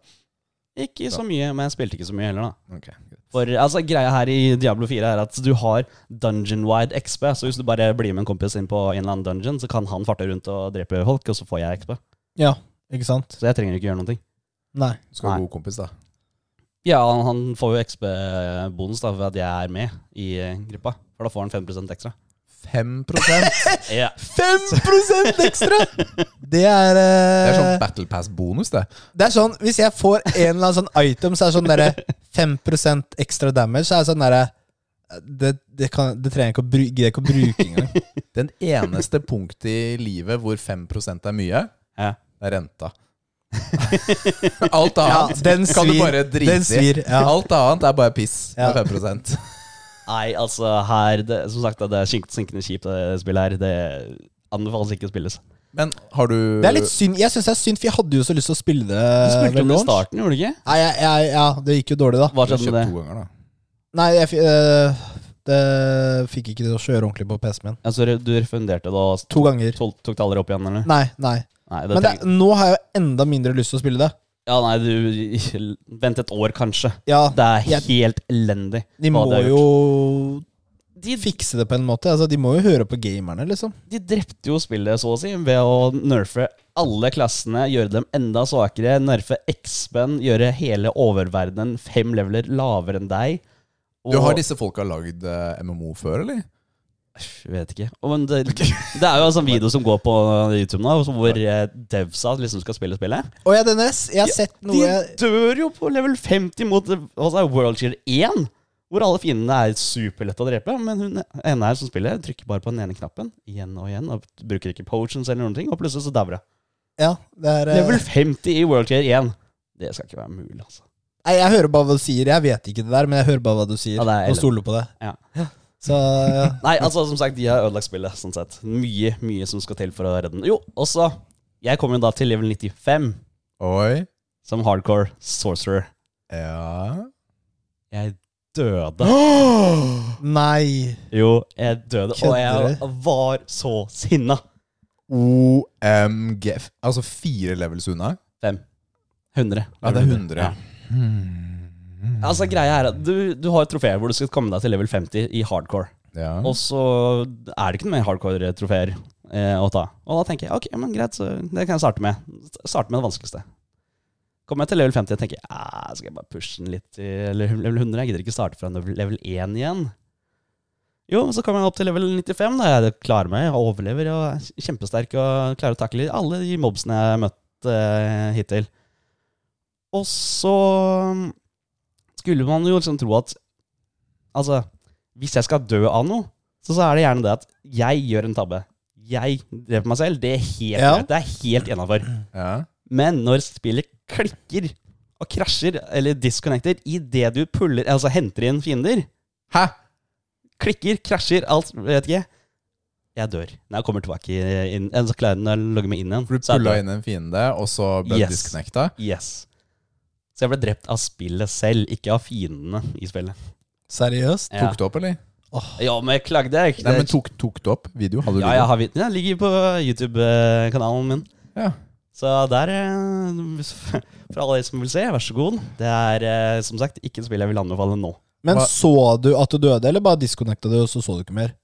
B: Ikke så mye, men jeg spilte ikke så mye heller, da.
C: Ok.
B: For altså, greia her i Diablo 4 er at du har dungeon-wide XP. Så hvis du bare blir med en kompis inn på en eller annen dungeon, så kan han farte rundt og drepe folk, og så får jeg XP.
A: Ja, ikke sant?
B: Så jeg trenger ikke gjøre noen ting.
A: Nei.
C: Du skal ha
B: Nei.
C: god kompis, da.
B: Ja, han, han får jo XP-bonus da ved at jeg er med i eh, gruppa. For da får han 5 ekstra.
C: 5
B: Ja.
A: 5 ekstra! Det er eh,
C: Det er [laughs] sånn Battle Pass-bonus, det.
A: Det er sånn, Hvis jeg får en eller annen sånn item, så er det sånn derre 5 ekstra damage, så er det sånn derre det, det, kan, det trenger jeg ikke å, bru, gidder jeg ikke å bruke engang.
C: Den eneste punktet i livet hvor 5 er mye,
B: Ja.
C: det er renta. [laughs] Alt
A: Ja,
C: annet
A: den
C: kan du
A: svir.
C: bare drite
A: Den svir,
C: i.
A: ja.
C: Alt annet er bare piss
A: Ja.
C: med 5
B: Nei, altså her det, Som sagt, det er sink- sinkende kjipt, det spillet her. Det anbefales ikke å spilles.
C: Men har du
A: Det
B: [laughs]
A: er litt synd, Jeg syns det er synd, for jeg hadde jo så lyst til å spille det.
B: Du
A: Eh,
B: spilte
A: ved
B: om det i
A: launch.
B: starten, gjorde du ikke?
A: Nei, jeg, jeg, ja, det gikk jo dårlig, da.
B: Hva
C: du har
B: skjedde med
C: kjøpt
B: det?
C: to ganger, da?
A: Nei, jeg fi- øh, det fikk ikke til å kjøre ordentlig på PC-en min.
B: Altså, du refunderte det og
A: To ganger.
B: tol- tok det aldri opp igjen, eller?
A: Nei, nei.
B: Nei, det
A: Men det,
B: treng-
A: nå har jeg jo enda mindre lyst til å spille det.
B: Ja, nei, du Vent et år, kanskje.
A: Ja,
B: Det er
A: Jeg-
B: helt elendig.
A: De må
B: hva det har
A: jo
B: De,
A: fikse det på en måte. Altså, de må jo høre på gamerne, liksom.
B: de drepte jo spillet, så å si, ved å nerfe alle klassene, gjøre dem enda svakere, nerfe X-Ben, gjøre hele oververdenen fem leveler lavere enn deg.
C: Du har disse folka lagd eh, MMO før, eller?
B: Jeg vet ikke. Å, Men det, det er jo en sånn video som går på YouTube nå, hvor eh, devsa liksom skal spille spillet.
A: Å ja, DNS. Jeg har sett noe
B: De
A: jeg
B: dør jo på level 50 mot altså, World Cheer 1, hvor alle fiendene er superlette å drepe. Men hun ene her som spiller, trykker bare på den ene knappen igjen og igjen, og bruker ikke potions eller noen ting, og plutselig så dauer hun.
A: Ja, det er eh,
B: Level 50 i World Cheer 1. Det skal ikke være mulig, altså.
A: Nei, jeg hører bare hva du sier. Jeg vet ikke det der, men jeg hører bare hva du sier.
B: Ja, det er
A: og stoler på det.
B: Ja.
A: Så ja.
B: [laughs] Nei, altså som sagt, de har ødelagt spillet, sånn sett. Mye, mye som skal til for å redde den. Jo, også, jeg kommer jo da til level 95
C: Oi.
B: som hardcore sorcerer.
C: Ja
B: Jeg døde.
A: Nei.
B: Jo, jeg døde, og
A: Kødder
B: jeg var så sinna.
C: OMG. Altså fire levels unna?
B: 100.
C: Ja, det er Hmm. 100.
B: Ja. Altså, greia er at du, du har et trofé hvor du skal komme deg til level 50 i hardcore.
C: Ja.
B: Og så er det ikke noen mer hardcore-trofeer eh, å ta. Og da tenker jeg ok, men greit, så det kan jeg starte med. Starte med det vanskeligste. Kommer jeg til level 50 og tenker jeg, ah, skal jeg bare pushe den litt til level 100? Jeg gidder ikke starte fra level 1 igjen. Jo, men så kommer han opp til level 95. Da. Jeg klarer meg, jeg overlever og er kjempesterk og klarer å takle alle de mobsene jeg har møtt eh, hittil. Og så um, skulle man jo liksom tro at Altså, hvis jeg skal dø av noe, så, så er det gjerne det at jeg gjør en tabbe. Jeg dreper meg selv. Det er helt
A: Ja.
B: greit. Det er helt innafor.
C: Ja.
B: Men når spillet klikker og krasjer, eller disconnecter, idet du puller, altså henter inn fiender
C: Hæ?
B: klikker, krasjer, alt, vet ikke. Jeg dør. Når jeg kommer tilbake inn, eller så klarer jeg når jeg logger meg inn igjen.
C: For du
B: så er jeg
C: pulla
B: død.
C: inn en fiende, og så ble
B: Yes.
C: du disconnecta?
B: Yes. Så jeg ble drept av spillet selv, ikke av fiendene i spillet.
A: Seriøst?
B: Ja,
C: Tok du opp, eller?
B: ja men jeg klagde. Jeg,
C: Nei, men tok, tok du opp video? Hadde du
B: ja, jeg har vit- ja, ligger på YouTube-kanalen min.
C: Ja.
B: Så der, eh, [laughs] for alle dere som vil se, vær så god. Det er eh, som sagt ikke et spill jeg vil anbefale nå.
A: Men
C: Hva-
A: så du at du døde, eller bare disconnecta du, og så så du ikke mer?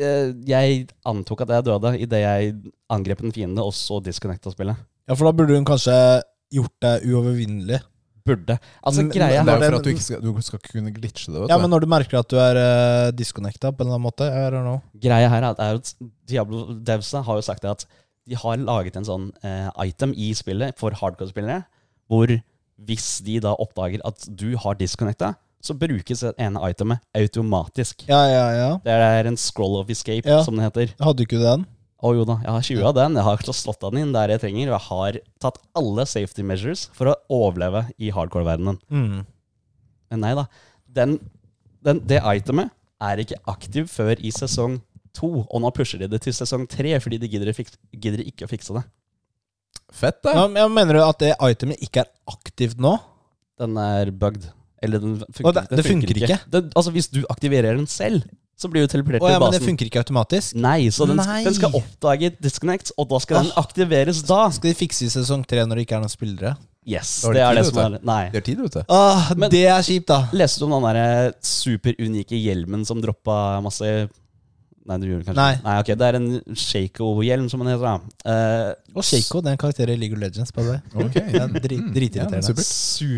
B: Eh, Jeg antok at jeg døde idet jeg angrep en fiende, og så disconnecta spillet.
A: Ja, for da burde hun kanskje gjort deg uovervinnelig.
B: Burde. Altså,
A: Men-
C: Det
B: greia
C: er jo
A: Når
C: for
A: det-
C: at du ikke skal, du skal ikke kunne glitche det. Vet
A: Ja,
C: du.
A: men når du merker at du er uh, disconnecta på en eller annen måte, I don't know.
B: greia her er at- er at Diablo Devsa har jo sagt det at de har laget en sånn eh, item i spillet for hardcore-spillere, hvor hvis de da oppdager at du har disconnecta, så brukes det ene itemet automatisk.
A: Ja, ja, ja.
B: Det er en scroll of escape,
A: Ja.
B: som det heter.
A: Hadde du ikke den?
B: Å jo da, jeg har 20 av den. Jeg har slå- slått av den inn der jeg trenger. Og jeg har tatt alle safety measures for å overleve i hardcore-verdenen.
A: Mm.
B: Men nei da. Den, den, det itemet er ikke aktiv før i sesong to. Og nå pusher de det til sesong tre, fordi de gidder, å fiks- gidder ikke å fikse det.
C: Fett, da.
A: Ja, men jeg mener du at det itemet ikke er aktivt nå?
B: Den er bugged. Eller den funker,
A: Å, det-
B: den
A: det funker ikke?
B: Den, altså, hvis du aktiverer den selv, så blir du teleportert
A: Å ja,
B: til
A: men det
B: basen.
A: funker ikke automatisk?
B: Nei, så den,
A: Nei.
B: den skal oppdage disconnect, og da skal den aktiveres da.
A: Skal de fikse i sesong tre når det ikke er noen spillere?
B: Yes,
C: Da har
B: det
C: de
B: er det
C: tid,
B: som er Nei.
C: De har tid, vet du.
A: Ah,
B: Men-
A: det er kjipt, da.
B: Leste du om den der eh, superunike hjelmen som droppa masse Nei, du gjorde det kanskje
A: Nei.
B: ikke. Nei, ok, Det er en Shaco-hjelm, som den heter. da. Eh,
A: Og Shaco, den karakteren i League of Legends, by the way.
C: Ok.
A: Det er dri-
C: Mm. Ja, men
A: dritirriterende.
C: supert.
B: super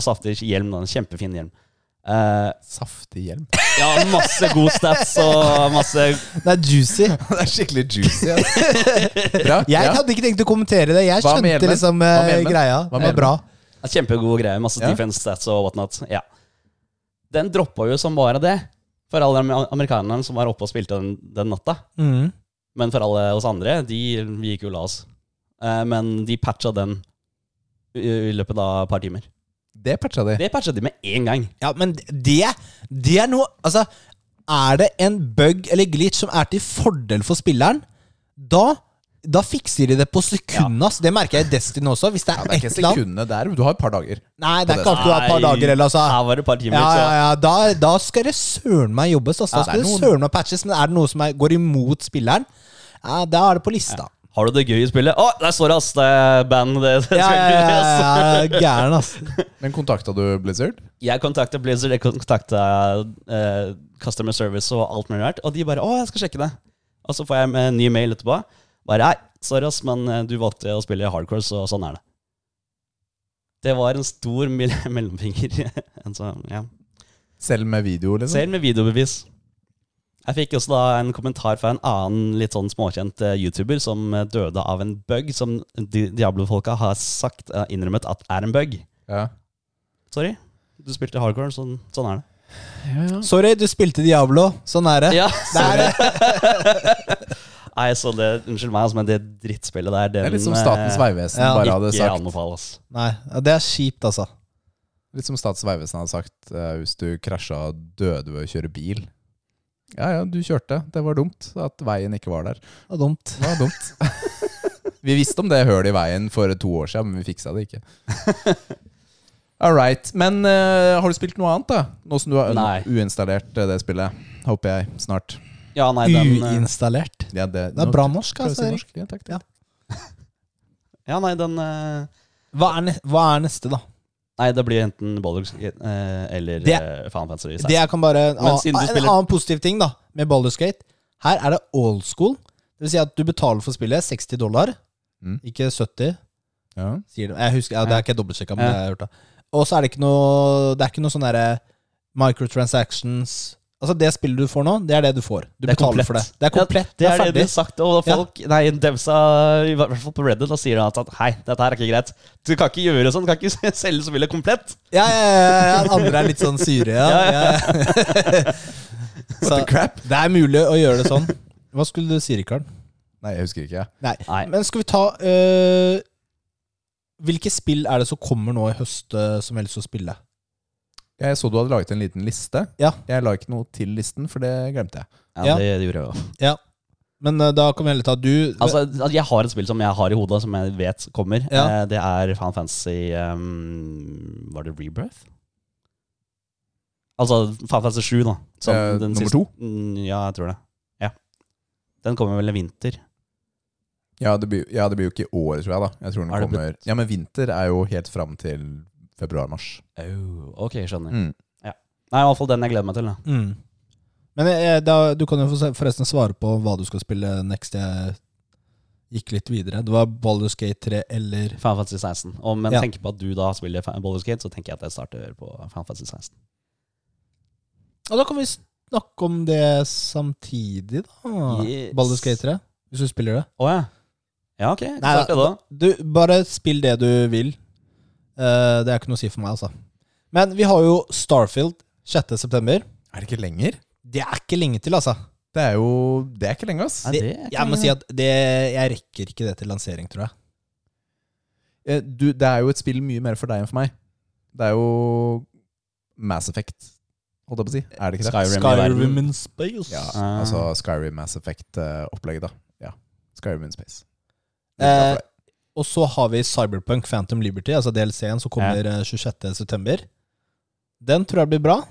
B: saftig hjelm. Da. En kjempefin hjelm. Eh,
C: Saftig hjelm. [laughs]
B: ja, masse god stats og masse
A: det er juicy.
C: det er skikkelig juicy. Altså. Bra.
A: [laughs] Jeg
C: ja.
A: hadde ikke tenkt å kommentere det. Jeg
C: Hva med
A: skjønte
C: hjelmen?
A: liksom
C: Hva med
A: eh,
C: hjelmen?
A: greia.
C: Hva
A: Det var
C: med
A: bra.
B: kjempegode greier. Masse
C: Ja.
B: defense stats og whatnot. Ja. Den droppa jo som bare det for alle de amerikanerne som var oppe og spilte den, den natta.
A: Mm.
B: Men for alle oss andre, de, vi gikk jo og la oss. Eh, men de patcha den i, i løpet av et par timer.
C: Det patcha de.
B: Det patcha de med én gang.
A: Ja, men det, det er noe Altså, er det en bug eller glitch som er til fordel for spilleren, da, da fikser de det på sekundet. ass. Det merker jeg i Destiny også. Hvis det er,
C: Ja, det er ikke
A: et eller annet
C: sekundene der. Du har et par dager.
A: Nei, det er ikke
C: på
A: alltid
C: det.
A: du har et par dager eller altså.
B: Her var det et par timer.
A: Ja, ja,
B: så-
A: ja. Da, da skal det søren meg jobbes. ass. Da
C: Ja,
A: skal
C: det er
A: det
C: noen-
A: søren meg patches, men er det noe som er, går imot spilleren, ja, da er det på lista.
B: Har du det gøy i spillet? Å, der står det, ass! Det er band. Det, det
A: Ja,
B: skal
A: ja,
B: ikke
A: ja,
B: gjøres.
A: ja, ja gæren, ass.
C: Men kontakta du Blizzard?
B: Jeg kontakta Blizzard, jeg kontakta eh, Customer Service og alt mulig rart. Og de bare 'Å, jeg skal sjekke det'. Og så får jeg med en eh, ny mail etterpå. Bare 'Nei, sorry, ass, men eh, du valgte å spille i hardcore, så sånn er det'. Det var en stor mil- [laughs] mellomfinger. En sånn, ja.
C: Selv med video, liksom?
B: Selv med videobevis. Jeg fikk også da en kommentar fra en annen litt sånn småkjent eh, YouTuber som eh, døde av en bug som Di- Diablo-folka har sagt, eh, innrømmet at er en bug.
C: Ja.
B: Sorry, du spilte hardcore, sånn, sånn er det.
A: Sorry, du spilte Diablo. Sånn er det.
B: [laughs] Ja,
A: er det.
B: [laughs] Nei, så det, unnskyld meg, altså, men det drittspillet der den, eh,
C: Det er litt som Statens vegvesen
A: eh, ja,
C: bare hadde
B: Ikke
C: sagt.
B: anbefales.
A: Nei, ja, det er kjipt, altså.
C: Litt som Statens vegvesen hadde sagt eh, hvis du krasja og døde ved å kjøre bil. Ja ja, du kjørte. Det var dumt at veien ikke var der.
A: Det er dumt.
C: Det var dumt. vi visste om det hølet i veien for to år siden, men vi fiksa det ikke. All right. Men eh, har du spilt noe annet, da? Nå som du har un-
B: Nei.
C: uinstallert eh, det spillet. Håper jeg. Snart.
B: Ja, nei, den, eh,
A: Uinstallert.
C: Ja, det,
A: Det er bra norsk,
C: Prøv å si
A: altså. Erik.
C: norsk. Ja, takk, takk.
A: Ja.
B: ja, nei, den eh,
A: Hva er, ne- hva er neste, da?
B: Nei, det blir enten Baldur's Gate eh, eller
A: Det-
B: eh, Final Fantasy 16.
A: Det jeg kan bare En,
B: Men siden du
A: annen- en
B: spiller-
A: annen positiv ting, da, med Baldur's Gate. Her er det old school. Det vil si at du betaler for spillet 60 dollar,
C: Mm.
A: ikke 70.
C: Ja.
A: Sier de. Jeg husker, ja, Det er ikke jeg dobbeltsjekka, men
B: Ja.
A: jeg har hørt det. Og så er det ikke noe Det er ikke noe sånn derre microtransactions, Altså Det spillet du får nå, det er det du får. Du
B: Det er
A: betaler
B: komplett.
A: for det. Det er komplett.
B: Det er det
A: ferdig.
B: de har sagt, og folk, nei, devsa, i hvert fall på Reddit, da sier de at hei, dette her er ikke greit. Du kan ikke gjøre sånn, du kan ikke [laughs] selge spillet komplett.
A: Ja, ja, ja, ja. Andre er litt sånn syre,
B: [laughs]
A: ja. ja, Så
C: crap?
A: det er mulig å gjøre det sånn. Hva skulle du si, Rikard?
C: Nei, jeg husker ikke. jeg.
A: Nei.
B: Nei.
A: Men skal vi ta øh, Hvilke spill er det som kommer nå i høst øh, som helst å spille?
C: Jeg så du hadde laget en liten liste.
A: Ja.
C: Jeg la ikke noe til listen, for det glemte jeg.
A: Ja.
B: Ja, Det, det gjorde jeg også.
A: Men øh, da kan vi heller ta du.
B: Altså, at jeg har et spill som jeg har i hodet, som jeg vet kommer.
A: Ja.
B: Eh, Det er Final Fantasy ehm, Var det Rebirth? Altså Final Fantasy 7, da. Som
C: Eh,
B: den
C: nummer
B: siste-
C: to?
B: Mm, Ja, jeg tror det. Ja. Den kommer vel i vinter.
C: Ja det, blir, ja, det blir jo ikke i år, tror jeg. da Jeg tror den
B: Er det
C: kommer Ja, Men vinter er jo helt fram til februar-mars.
B: Oh, ok, skjønner.
C: Mm.
B: Nei, i hvert fall den jeg gleder meg til. Da.
A: Mm. Men jeg, da, du kan jo for- forresten svare på hva du skal spille next. Jeg gikk litt videre. Det var Baldur's Gate 3 eller
B: Final Fantasy 16. Og, men
A: Ja.
B: tenker på at du da spiller Fa- Baldur's Gate, så tenker jeg at jeg starter på Final Fantasy 16.
A: Ja, da kan vi snakke om det samtidig, da.
B: Yes.
A: Baldur's Gate 3, hvis du spiller det.
B: Å ja. Ja, ok. Jeg kan
A: Nei,
B: starte det da.
A: Du, bare spill det du vil. Eh, det er ikke noe å si for meg, altså. Men vi har jo Starfield 6. september.
C: Er det ikke lenger?
A: Det er ikke lenge til, altså.
C: Det er jo Det er ikke lenge, ass.
B: Nei,
A: Det,
B: det er ikke
A: jeg må
B: lenge.
A: si at det, jeg rekker ikke det til lansering, tror jeg.
C: Eh, Du, det er jo et spill mye mer for deg enn for meg. Det er jo Mass Effect, holdt jeg på å si. Er det ikke det?
B: Skyrim i verden.
A: in space.
C: Ja,
B: Ah.
C: altså Skyrim Mass Effect-opplegget, da. Ja. Skyrim in space.
A: Eh, Og så har vi Cyberpunk Phantom Liberty, altså DLC-en som kommer
B: Ja.
A: eh, 26. september Den tror jeg blir bra,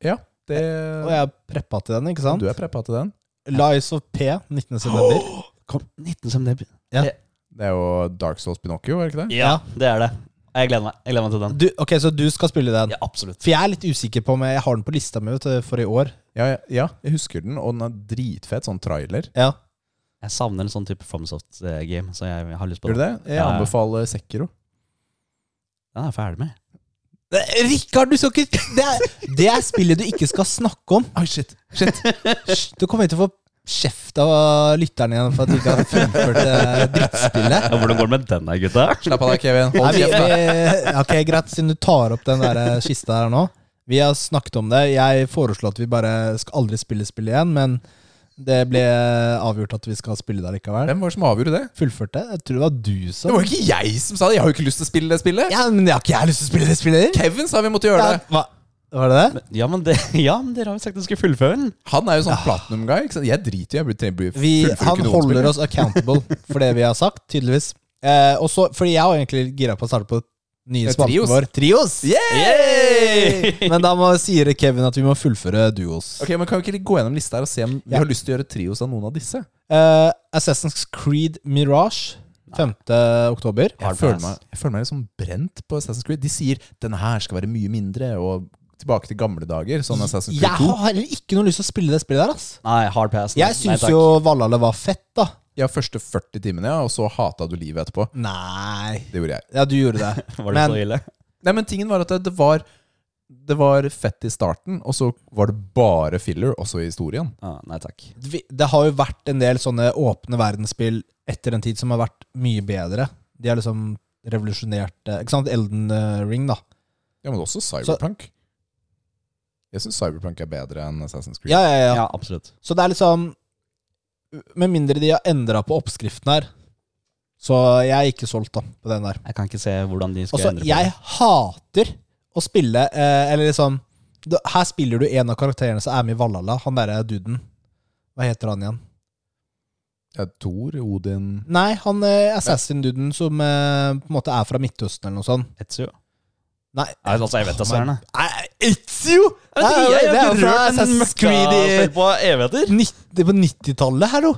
C: det, Eh,
A: og jeg er preppa til den, ikke eh, sant?
C: du er preppa til den?
A: Lies of P 19. september.
B: Kom, 19 september.
C: Det er jo Dark Souls Pinocchio, er det ikke det?
B: Ja, det er det. Jeg gleder meg Jeg gleder meg til den.
A: Du, ok, så du skal spille den?
B: Ja, absolutt.
A: For jeg er litt usikker på om jeg jeg har den på lista mi vet du, for i år.
C: Ja, ja, ja, jeg husker den, og den er dritfet. Sånn trailer.
A: Ja.
B: Jeg savner en sånn type FromSoft-game, så jeg har lyst på
C: Gjør du
B: den.
C: det? Jeg
B: Ja.
C: anbefaler Sekiro.
B: Den er jeg ferdig med.
A: Rikard, du skal ikke det er, det er spillet du ikke skal snakke om.
C: Oi, shit. shit.
A: Hysj, Du kommer til å få kjeft av lytterne igjen for at du ikke har fremført eh, drittspillet.
B: Ja, hvordan går det med den der, gutta? [laughs]
C: Slapp av deg, Kevin.
A: Nei,
C: Hold
A: vi,
C: kjeft. da.
A: [laughs] vi, ok, greit, siden du tar opp den der eh, kista her nå. Vi har snakket om det. Jeg foreslo at vi bare skal aldri spille spill igjen, men det ble avgjort at vi skal spille det likevel.
C: Hvem var det som avgjorde det?
A: Fullførte. Jeg tror det var du
C: Det
A: som
C: var jo ikke jeg som sa det! Jeg har jo ikke lyst til å spille det spillet.
A: Ja, men jeg har ikke jeg lyst til å spille det spillet.
C: Kevin sa vi måtte gjøre
A: Ja,
C: det.
A: hva? Var det det?
B: Ja, men, det, [laughs] ja, men dere har jo sagt dere skulle fullføre den.
C: Han er jo sånn platinum guy. Ikke sant? Jeg driter jo i å bli
A: Vi, han holder oss accountable for det vi har sagt, tydeligvis. Eh, og så, fordi jeg var egentlig gira på å starte på nye
C: Ja,
A: spalten
C: trios.
A: vår, Trios.
B: Yay!
A: Men da må sier Kevin at vi må fullføre duos.
C: Ok, men Kan vi ikke gå gjennom lista her og se om vi
A: Ja.
C: har lyst til å gjøre trios av noen av disse?
A: Eh, Assassin's Creed Mirage 5. oktober.
B: Hard
C: Jeg føler,
B: pass.
C: meg, jeg føler meg litt sånn brent på Assassin's Creed. De sier 'den her skal være mye mindre', og tilbake til gamle dager. Sånn Assassin's
A: Jeg
C: Creed 2.
A: har heller ikke noe lyst til å spille det spillet der. ass
B: Nei, hard pass.
A: Jeg
B: Nei,
A: syns
B: takk.
A: jo Valhalla var fett, da.
C: Ja, første 40 timene, ja, og så hata du livet etterpå.
A: Nei
C: Det gjorde jeg.
A: Ja, du gjorde det.
B: [laughs] [laughs] Var det
A: men-
B: så ille?
C: Nei, men tingen var at det, det var det var fett i starten, og så var det bare filler også i historien.
B: Ah, nei takk.
A: Vi- Det har jo vært en del sånne åpne verdensspill etter en tid som har vært mye bedre. De har liksom revolusjonert eh, Ikke sant? Elden eh, Ring, da.
C: Ja, Men også Cyberpunk. Jeg syns Cyberpunk er bedre enn Assassin's Creed.
A: Ja, ja, ja.
B: Ja, absolutt.
A: Så det er liksom Med mindre de har endra på oppskriften her, så jeg er ikke solgt, da, på den der.
B: Jeg kan ikke se hvordan de skal
A: Altså,
B: endre på
A: jeg hater å spille eh, Eller liksom da- Her spiller du en av karakterene som er med i Valhalla. Han derre duden. Hva heter han igjen?
C: Ja, Thor, Odin
A: Nei, han eh, assassin-duden som eh, på en måte er fra Midtøsten eller noe sånt.
B: det. Ezio.
A: Nei,
B: Nei, altså, jeg vet da søren. jeg.
A: Nei, Ezio!
B: Jeg vet ikke,
A: Nei,
B: jeg
A: det er
B: har ikke
A: fra
B: rørt en
A: Assassin's Creed i-
B: møkkaspill på evigheter.
A: Nitti- på 90-tallet her, jo.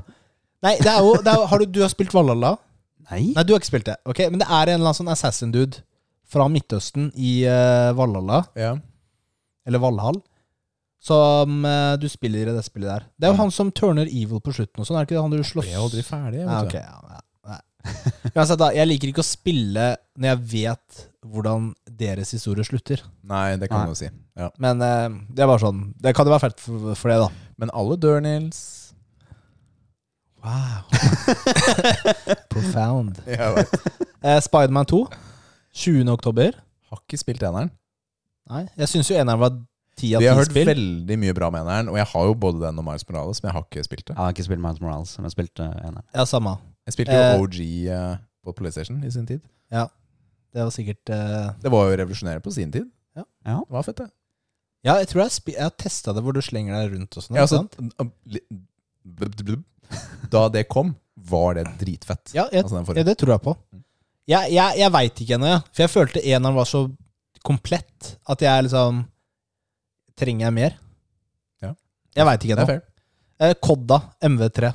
A: Nei, det er jo, det er, jo- har du, du har spilt Valhalla?
B: [laughs] Nei.
A: Nei, du har ikke spilt det. Ok, Men det er en eller annen sånn assassin-dude fra Midtøsten i eh, Valhalla.
C: Ja.
A: eller Valhall, som eh, du spiller i det spillet der. Det er jo han som turner evil på slutten og sånn, er det ikke det han du slåss
C: Jeg er aldri ferdig. Jeg,
A: Nei, ok,
C: vet du.
A: ja, nei, [laughs] nei. Uansett, da. Jeg liker ikke å spille når jeg vet hvordan deres historie slutter.
C: Nei, det kan
B: Nei.
C: du si. Ja.
A: Men eh, det er bare sånn. Det kan jo være fælt for, for det, da.
C: Men alle dør, Nils.
A: [laughs] Wow. [laughs] Profound.
C: Jeg vet.
A: Eh, Spiderman 2. 20. oktober.
C: Har ikke spilt eneren.
A: Nei, jeg syns jo eneren var ti av
C: Vi har
A: ti
C: hørt
A: spill.
C: veldig mye bra om eneren, og jeg har jo både den og Miles Morales, men jeg har ikke spilt det.
B: Jeg har ikke spilt Miles Morales, men jeg spilte eneren.
A: Ja, samme.
C: Jeg spilte jo
A: Eh.
C: OG eh, på PlayStation i sin tid.
A: Det var sikkert eh,
C: Det var jo revolusjonerende på sin tid.
A: Ja.
B: Ja.
C: Det var fett, det.
A: Ja, jeg tror jeg, spi- jeg har testa det hvor du slenger deg rundt og sånn.
C: Ja,
A: ikke
C: altså,
A: sant?
C: li- blub, blub, blub. da det kom, var det dritfett.
A: ja, jeg,
C: Altså den
A: ja,
C: forrige.
A: det tror jeg på. Jeg, jeg, jeg veit ikke ennå, jeg. For jeg følte eneren var så komplett at jeg liksom Trenger jeg mer?
C: Ja.
A: Jeg veit ikke
C: Det er
A: ennå.
C: fair.
A: Eh, Kodda MV3.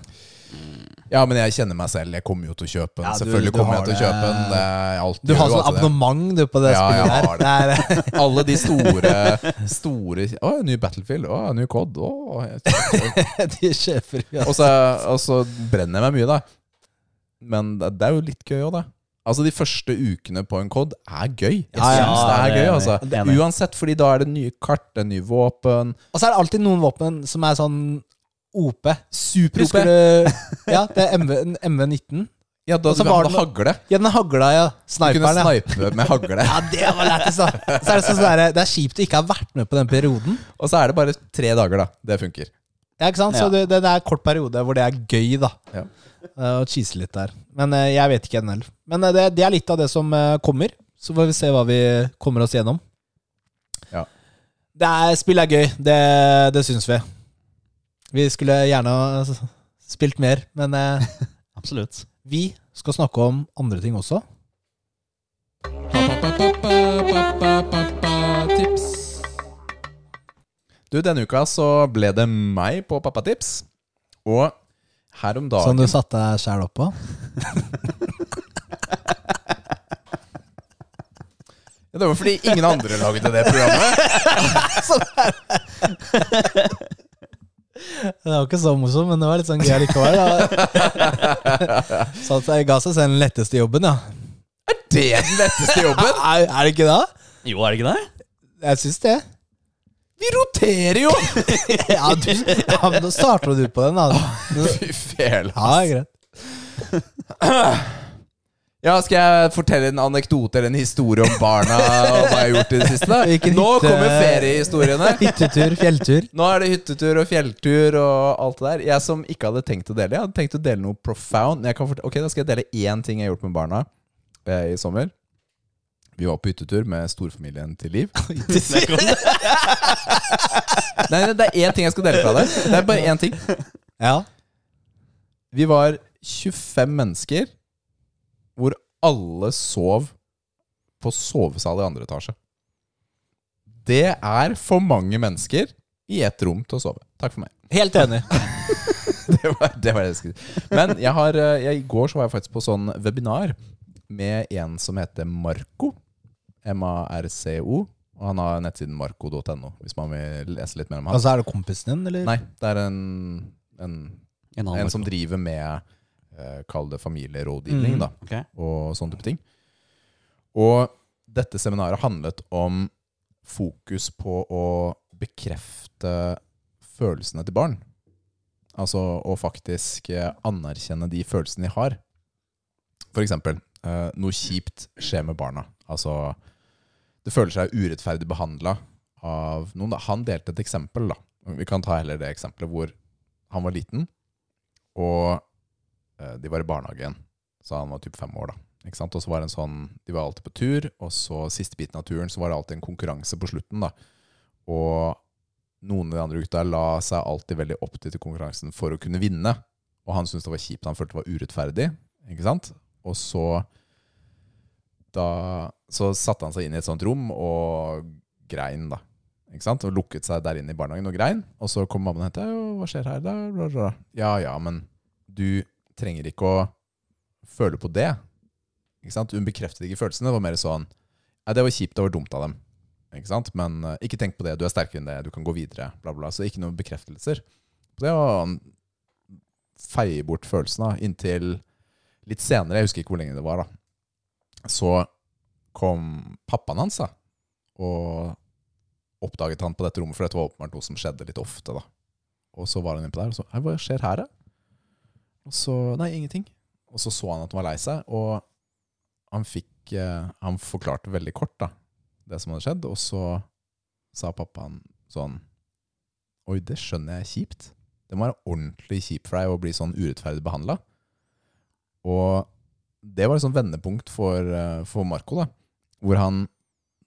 C: Ja, men jeg kjenner meg selv. Jeg kommer jo til å kjøpe den.
A: Ja, du-
C: Selvfølgelig
A: du
C: kommer
A: har
C: jeg til å
A: det.
C: kjøpe den. Det er alt
A: Du har
C: gjør jo
A: sånn
C: alltid det.
A: abonnement du, på det
C: Ja, jeg
A: spillet her.
C: har det.
A: [laughs] Det er, eh,
C: Alle de store, store Å, ny Battlefield. Å, ny Cod. Å, jeg-
A: de sjefer vi altså.
C: og, så, og så brenner jeg meg mye, da. Men det, det er jo litt gøy òg, da. Altså, de første ukene på en Cod er gøy. Jeg
A: Ja, ja,
C: synes det er
B: det er
C: gøy,
B: enig.
C: altså.
B: Det er enig.
C: Uansett, fordi da er det nye kart, det er nye våpen.
A: Og så er det alltid noen våpen som er sånn OP.
C: Super
A: Husker du Ja, det er MV, en MV19.
C: Ja, da
A: Og så
C: du kan
A: var
C: ha
A: det noe-
C: hagle.
A: Ja, den hagla, ja.
C: Du kunne
A: Sniperen, ja.
C: snipe med
A: [laughs]
C: hagle.
A: Ja, det var lættis, da. Så er det, sånn sånn der, det er kjipt du ikke har vært med på den perioden.
C: Og så er det bare tre dager, da. Det funker.
A: Ja, ikke sant?
B: Ja.
A: Så det, det, det er en kort periode hvor det er gøy, da.
C: Ja.
A: Eh, Å cheese litt der. Men eh, jeg vet ikke ennå. heller. Men eh, det, det er litt av det som eh, kommer. Så får vi se hva vi kommer oss gjennom.
C: Ja.
A: Det er, spill er gøy. Det, det syns vi. Vi skulle gjerne ha eh, spilt mer, men eh,
C: [laughs]
B: Absolutt.
A: vi skal snakke om andre ting også.
C: Tips. Du, denne uka så ble det meg på Pappatips. Og her om
A: Som
C: dagen
A: du satte deg sjæl opp på.
C: Det var fordi ingen andre lagde det programmet.
A: Det var ikke så morsomt, men det var litt sånn gøy likevel. Da.
C: [laughs]
A: Så at jeg ga seg selv den letteste jobben, ja.
C: Det er den letteste jobben.
A: Er, er det ikke det?
B: Jo, er det ikke [laughs] det?
A: Jeg syns det.
C: Vi roterer jo!
A: Ja, du, ja, men da starter du på den, da.
C: Fy fela.
A: Ja, greit.
C: Ja, skal jeg fortelle en anekdote eller en historie om barna og hva jeg har gjort i det siste? da?
A: Hvilken
C: Nå
A: hytte-
C: kommer feriehistoriene.
A: Hyttetur, fjelltur.
C: Nå er det hyttetur og fjelltur og alt det der. Jeg som ikke hadde tenkt å dele, jeg hadde tenkt å dele noe profound. Jeg kan fort- ok, Da skal jeg dele én ting jeg har gjort med barna eh, i sommer. Vi var på hyttetur med storfamilien til Liv.
B: [laughs]
C: Nei, nei, det er én ting jeg skal dele fra deg. Det er bare én ting.
A: Ja.
C: Vi var 25 mennesker, hvor alle sov på sovesal i andre etasje. Det er for mange mennesker i ett rom til å sove. Takk for meg. [laughs]
A: Helt enig.
C: det var det, var det jeg skulle si. Men jeg har, eh, jeg, i går så var jeg faktisk på sånn webinar med en som heter Marco. M-A-R-C-O. Og han har nettsiden marco.no, hvis man vil lese litt mer om han.
A: Altså, er det kompisen din, eller?
C: Nei, det er en, en,
B: En annen
C: en som
B: Marco.
C: driver med eh, Kall det familierådgivning,
A: Mhm.
C: da
B: Ok.
C: og sånne type ting. Og dette seminaret handlet om fokus på å bekrefte følelsene til barn. Altså å faktisk eh, anerkjenne de følelsene de har. For eksempel, eh, noe kjipt skjer med barna. Altså, det føler seg urettferdig behandla av noen. Da. Han delte et eksempel, da. Vi kan ta heller det eksempelet hvor han var liten, og eh, de var i barnehagen. Så han var typ fem år da ikke sant? Og så var det en sånn, de var alltid på tur Og så siste biten av turen så var det alltid en konkurranse på slutten da Og noen av de andre gutta la seg alltid veldig opp til til konkurransen For å kunne vinne Og han syntes det var kjipt, han følte det var urettferdig Ikke sant? Og så Da Så satte han seg inn i et sånt rom Og grein da ikke sant? Og lukket seg der inne i barnehagen og grein Og så kom mamma og hentet Hva skjer her da? Bla, bla, bla. Ja, ja, men du trenger ikke å føle på det. Ikke sant? Hun bekreftet ikke følelsene. Det var mer sånn Nei, det var kjipt, det var dumt av dem. Ikke sant? Men eh, ikke tenk på det, du er sterkere enn det, du kan gå videre. Bla, bla. bla. Så ikke noen bekreftelser. Så Det var han feier bort følelsene da, inntil Litt senere, jeg husker ikke hvor lenge det var, da, så kom pappaen hans da, og oppdaget han på dette rommet, for dette var åpenbart noe som skjedde litt ofte. da. Og så var han inne på der og så Hei, hva skjer her, da? Og så Nei, ingenting. Og så så han at han var lei seg, og han fikk eh, Han forklarte veldig kort, da, det som hadde skjedd, og så sa pappaen sånn Oi, det skjønner jeg er kjipt. Det må være ordentlig kjipt for deg å bli sånn urettferdig behandla. Og det var et sånt vendepunkt for, eh, for Marco, da. Hvor han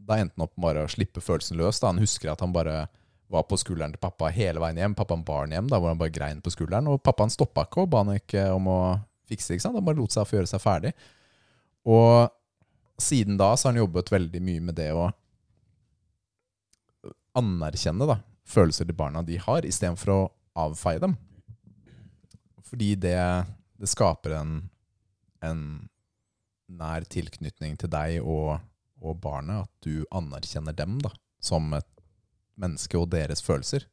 C: da endte han opp med bare å slippe følelsen løs. da. Han husker at han bare var på skulderen til pappa hele veien hjem. Pappaen bar han hjem, da, hvor han bare grein på skulderen. Og pappaen stoppa ikke og ba han ikke om å fikse det. ikke sant? Han bare lot seg få gjøre seg ferdig. Og siden da så har han jobbet veldig mye med det å anerkjenne da, følelser til barna de har, istedenfor å avfeie dem. Fordi det, det skaper en, en nær tilknytning til deg og, og barnet, at du anerkjenner dem da, som et menneske og deres følelser.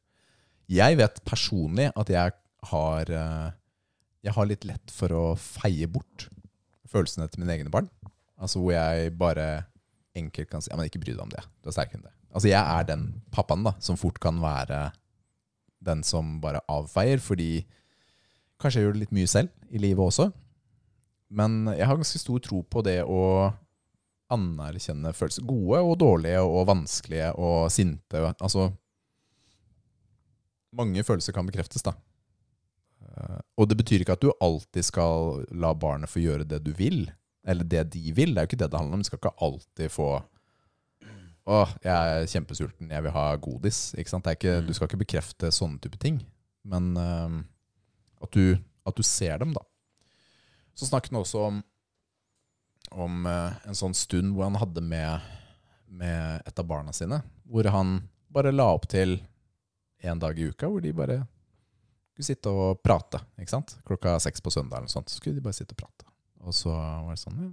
C: Jeg vet personlig at jeg har, eh, jeg har litt lett for å feie bort følelsene til mine egne barn. Altså hvor jeg bare enkelt kan si Ja, men ikke bry deg om det. Du er sterkere enn det. Altså jeg er den pappaen da, som fort kan være den som bare avfeier, fordi kanskje jeg gjør det litt mye selv i livet også. Men jeg har ganske stor tro på det å anerkjenne følelser. Gode og dårlige og vanskelige og sinte. Altså Mange følelser kan bekreftes, da. Eh, Og det betyr ikke at du alltid skal la barnet få gjøre det du vil eller det de vil. Det er jo ikke det det handler om. Du skal ikke alltid få Åh, jeg er kjempesulten, jeg vil ha godis. Ikke sant? Det er ikke, Du skal ikke bekrefte sånne type ting. Men øhm, at, du, at du ser dem, da. Så snakket han også om, om eh, en sånn stund hvor han hadde med, med et av barna sine. Hvor han bare la opp til én dag i uka hvor de bare skulle sitte og prate. Ikke sant? Klokka seks på søndag eller noe sånt. Så skulle de bare sitte og prate. Og så var det sånn ja.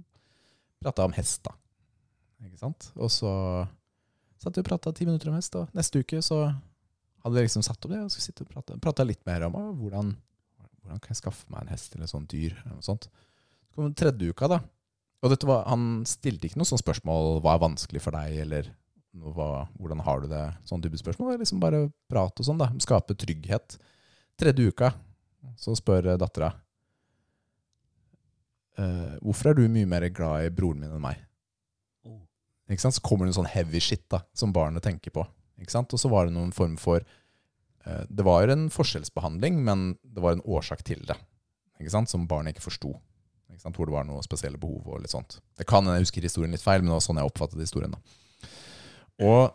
C: Prata om hest, da. Ikke sant? Og så satt vi og prata ti minutter om hest, og neste uke så hadde vi liksom satt opp det og skulle sitte og prate Prata litt mer om «Å, hvordan, hvordan kan jeg skaffe meg en hest eller et sånt dyr, eller noe sånt. Så kom den tredje uka, da. Og dette var, han stilte ikke noe sånt spørsmål hva er vanskelig for deg, eller noe, hva, hvordan har du det, sånn type spørsmål. Det er liksom bare prat og sånn, da. Skape trygghet. Tredje uka så spør dattera Eh, hvorfor er du mye mer glad i broren min enn meg?
B: Oh.
C: Ikke sant? Så kommer det en sånn heavy shit da, som barnet tenker på. Ikke sant? Og så var det noen form for eh, Det var en forskjellsbehandling, men det var en årsak til det. Ikke sant? Som barnet ikke forsto. Ikke sant? Hvor det var noen spesielle behov og litt sånt. Det kan hende jeg husker historien litt feil, men det var sånn jeg oppfattet historien. da. Og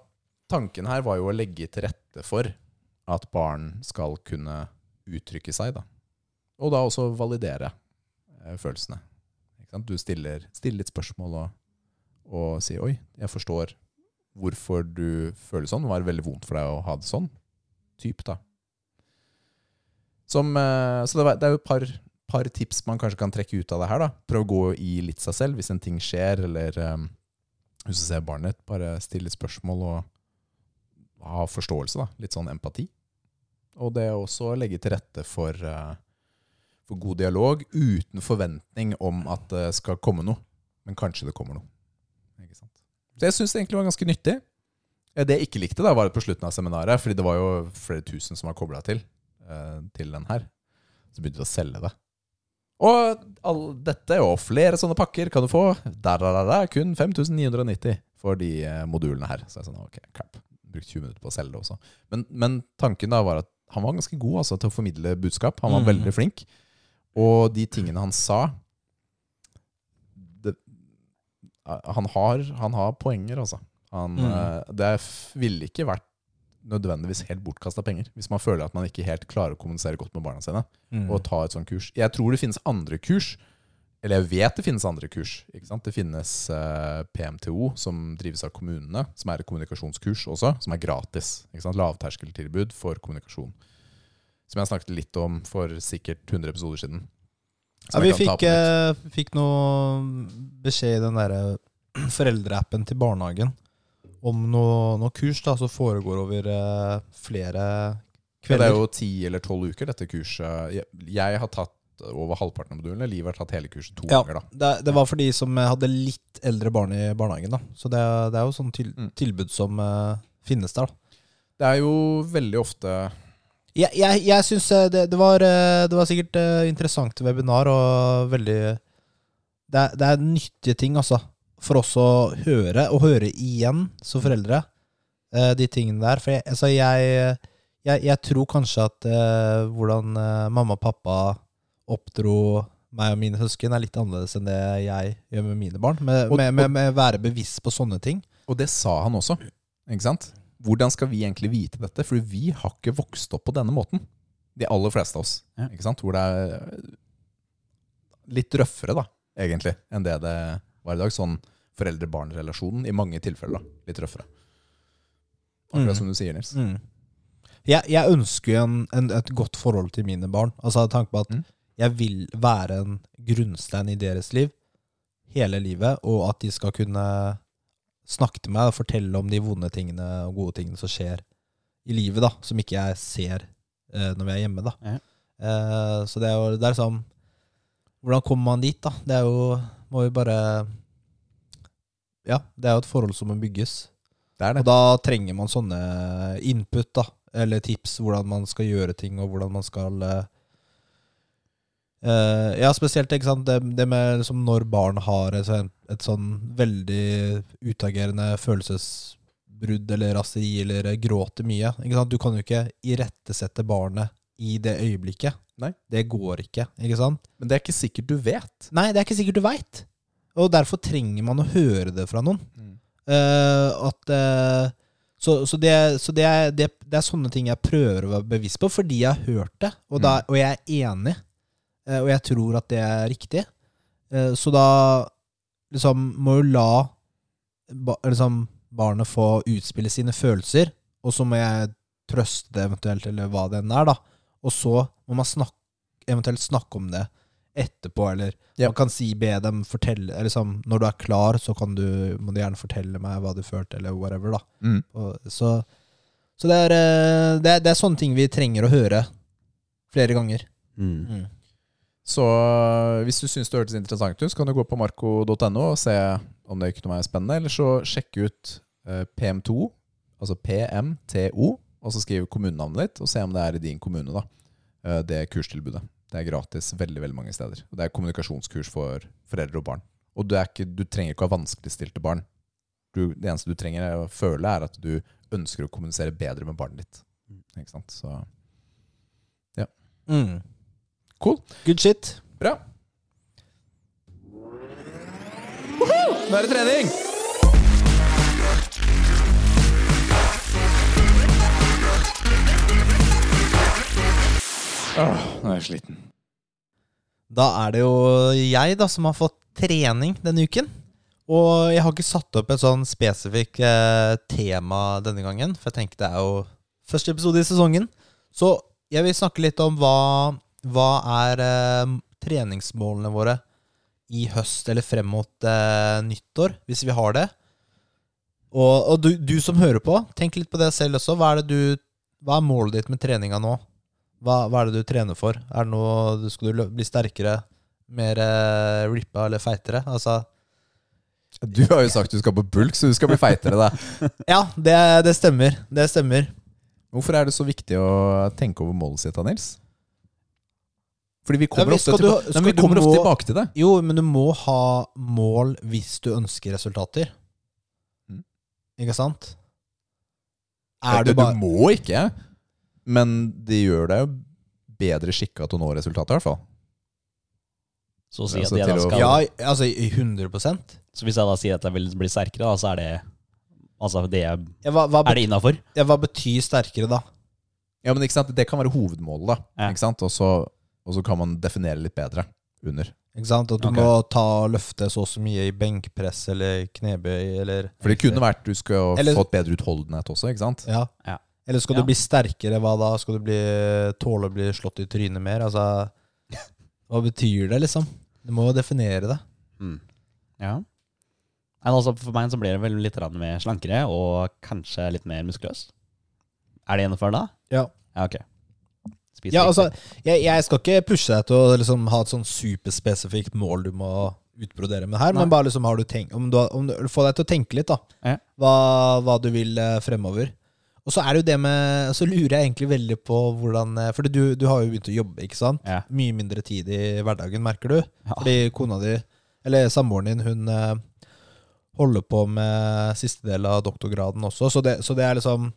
C: tanken her var jo å legge til rette for at barn skal kunne uttrykke seg, da. Og da også validere eh, følelsene. Ikke sant? Du stiller, stiller litt spørsmål og, og sier 'oi, jeg forstår hvorfor du føler sånn'. Det var veldig vondt for deg å ha det sånn. Typ, da. Som, eh, så det, var, det er jo et par, par tips man kanskje kan trekke ut av det her. da. Prøv å gå i litt seg selv hvis en ting skjer, eller eh, hvis du ser barnet ditt, bare stille spørsmål og ha forståelse. da. Litt sånn empati. Og det å også legge til rette for eh, for god dialog uten forventning om at det skal komme noe. Men kanskje det kommer noe. Ikke sant? Så jeg syns det egentlig var ganske nyttig. Eh, Det jeg ikke likte, da, var det på slutten av seminaret, fordi det var jo flere tusen som var kobla til, eh, til den her. Så begynte de å selge det. Og all dette og flere sånne pakker kan du få. Der, der, der, der, kun 5990 for de eh, modulene her. Så jeg sånn, ok, crap. Brukt 20 minutter på å selge det også. Men, men tanken da var at han var ganske god altså, til å formidle budskap. Han var
A: Mhm.
C: veldig flink. Og de tingene han sa det, Eh, han, har, han har poenger, altså. Han,
A: Mm.
C: eh, Det er f- ville ikke vært nødvendigvis helt bortkasta penger hvis man føler at man ikke helt klarer å kommunisere godt med barna sine
A: Mm.
C: å ta et sånt kurs. Jeg tror det finnes andre kurs. Eller jeg vet det finnes andre kurs. Ikke sant? Det finnes eh, PMTO, som drives av kommunene, som er et kommunikasjonskurs også, som er gratis. Ikke sant? Lavterskeltilbud for kommunikasjon. Som jeg snakket litt om for sikkert 100 episoder siden.
A: Ja,
C: Som
A: vi
C: jeg kan ta
A: fikk,
C: på nytt.
A: eh, fikk noe beskjed i den derre [clears throat] foreldreappen til barnehagen om noe, noe kurs da, som foregår over eh, flere
C: Ja, det er
A: kvelder.
C: jo ti eller tolv uker, dette kurset. Jeg, jeg har tatt tatt over halvparten av modulene. Liv har tatt hele kurset to
A: Ja,
C: ganger, da.
A: det, det var for de som eh, hadde litt eldre barn i barnehagen. da Så det, er- det er jo sånn til,
C: Mm.
A: tilbud som eh, finnes der. da
C: Det er jo veldig ofte
A: Jeg, jeg, jeg syns eh, det, det, var, eh, det var sikkert eh, interessant webinar og veldig Det er, det er nyttige ting, altså. For oss å høre, og høre igjen som foreldre, eh, de tingene der. For jeg, altså, jeg, jeg, jeg tror kanskje at eh, hvordan eh, mamma og pappa oppdro meg og mine søsken, er litt annerledes enn det jeg gjør med mine barn. Med,
C: Og-
A: med, med, med å være bevisst på sånne ting.
C: Og det sa han også. Ikke sant? Hvordan skal vi egentlig vite dette? For vi har ikke vokst opp på denne måten. De aller fleste av oss.
B: Ja.
C: Ikke sant? Hvor det er litt røffere, da, egentlig, enn det det var i dag. Sånn foreldre-barn-relasjonen i mange tilfeller. da. Litt røffere. Akkurat
A: Mm.
C: som du sier, Nils.
A: Mm. Jeg, jeg ønsker jo en, en, et godt forhold til mine barn. Altså tanken på at
C: Mm.
A: jeg vil være en grunnstein i deres liv hele livet, og at de skal kunne snakke til meg og fortelle om de vonde tingene og gode tingene som skjer i livet, da, som ikke jeg ser eh, når vi er hjemme. da.
B: Ja.
A: Eh, så det er jo det er sånn Hvordan kommer man dit, da? Det er jo Må jo bare Ja, det er jo et forhold som må bygges.
C: Det er
A: Og
C: det.
A: da trenger man sånne input, da. Eller tips hvordan man skal gjøre ting, og hvordan man skal eh, eh, Ja, spesielt ikke sant? Det, det med liksom, når barn har et, sånn- et sånn veldig utagerende følelsesbrudd eller raseri eller gråter mye. Ikke sant? Du kan jo ikke irettesette barnet i det øyeblikket.
C: Nei.
A: Det går ikke, ikke sant?
C: Men det er ikke sikkert du vet.
A: Nei, det er ikke sikkert du veit. Og derfor trenger man å høre det fra noen.
C: Mm.
A: Eh, at, eh, så, så, det, så det, er, det, det er sånne ting jeg prøver å være bevisst på, fordi jeg har hørt det, og, da,
C: Mm.
A: og jeg er enig, eh, og jeg tror at det er riktig. Eh, så da liksom, må jo la ba, liksom, barnet få utspille sine følelser, og så må jeg trøste det eventuelt, eller hva det enn er, da. Og så må man snakke, eventuelt snakke om det etterpå, eller
C: Ja.
A: man kan si, be dem fortelle eller liksom, Når du er klar, så kan du, må du gjerne fortelle meg hva du følte, eller whatever, da.
C: Mm.
A: Og, så så det, er, eh, det, er, det er sånne ting vi trenger å høre flere ganger.
B: Mm.
C: Så eh, hvis du syns det hørtes interessant ut, så kan du gå på marco.no og se om det kunne være spennende. Eller så sjekk ut eh, PM2, altså PMTO, og så skriv kommunenavnet ditt, og se om det er i din kommune, da. eh, Det kurstilbudet. Det er gratis veldig veldig mange steder. Og det er kommunikasjonskurs for foreldre og barn. Og du, er ikke, du trenger ikke å ha vanskeligstilte barn. Du, det eneste du trenger er å føle, er at du ønsker å kommunisere bedre med barnet ditt. Ikke sant? Så Cool.
A: Good shit.
C: Bra. Nå er det trening! Åh, nå er jeg sliten.
A: Da er det jo jeg da som har fått trening denne uken. Og jeg har ikke satt opp et sånn spesifikt eh, tema denne gangen, for jeg tenkte det er jo første episode i sesongen. Så jeg vil snakke litt om hva, hva er eh, treningsmålene våre i høst eller frem mot eh, nyttår, hvis vi har det. Og, og du, du som hører på, tenk litt på det selv også. Hva er, det du, hva er målet ditt med treninga nå? Hva, hva er det du trener for? Er det noe du Skal du lø- bli sterkere? Mer eh, rippa eller feitere? Altså
C: Du har jo sagt du skal på bulk, så du skal bli feitere. Da.
A: Ja, det, det stemmer. Det stemmer.
C: Hvorfor er det så viktig å tenke over målet sitt, da, Nils? Fordi vi
A: Ja,
C: kommer,
A: men
C: ofte,
A: skal du-
C: tilba- Nei, men
A: skal
C: vi
A: du
C: kommer ofte
A: må-
C: tilbake til det.
A: Jo, men du må ha mål hvis du ønsker resultater.
C: Mm.
A: Ikke sant?
C: Er
A: Er du
C: du,
A: bare
C: må ikke, men det gjør deg jo bedre skikka til å nå resultatet, i hvert fall.
B: Så, å si
C: Ja,
B: at
C: så
B: jeg da
C: til å-
B: skal,
A: Ja, altså i- i 100
B: så hvis jeg da sier at jeg vil bli sterkere, da, så er det Altså, det er,
A: ja, hva, hva,
B: er det innafor?
A: ja, hva betyr sterkere, da?
C: Ja, men ikke sant? Det kan være hovedmålet, da.
B: Ja.
C: Ikke sant? Og så, og så kan man definere litt bedre under.
A: Ikke sant? At du
B: Ok.
A: må ta løfte så og så mye i benkpress eller knebøy eller
C: For det kunne vært du skulle
A: Eller-
C: fått bedre utholdenhet også, ikke sant?
A: Ja.
B: Ja.
A: Eller skal
B: Ja.
A: du bli sterkere, hva da? Skal du bli, tåle å bli slått i trynet mer? Altså, hva betyr det, liksom? Du må jo definere det.
B: Ja. Nei, altså, for meg så blir det vel litt rann mer slankere og kanskje litt mer muskuløs. Er det innafor da?
A: Ja.
B: Ja, ok. Spis
A: Ja,
B: riktig.
A: altså, jeg, jeg skal ikke pushe deg til å liksom, ha et sånn superspesifikt mål du må utbrodere med her,
B: Nei.
A: men bare liksom, har du tenkt, om du, har- om du, få deg til å tenke litt, da.
B: Ja.
A: Hva, hva du vil eh, fremover. Og så er det jo det med Så lurer jeg egentlig veldig på hvordan eh, For du, du har jo begynt å jobbe, ikke sant?
B: Ja.
A: Mye mindre tid i hverdagen, merker du.
B: Ja.
A: Fordi kona di, eller samboeren din, hun eh, holder på med siste del av doktorgraden også, så det, så det er liksom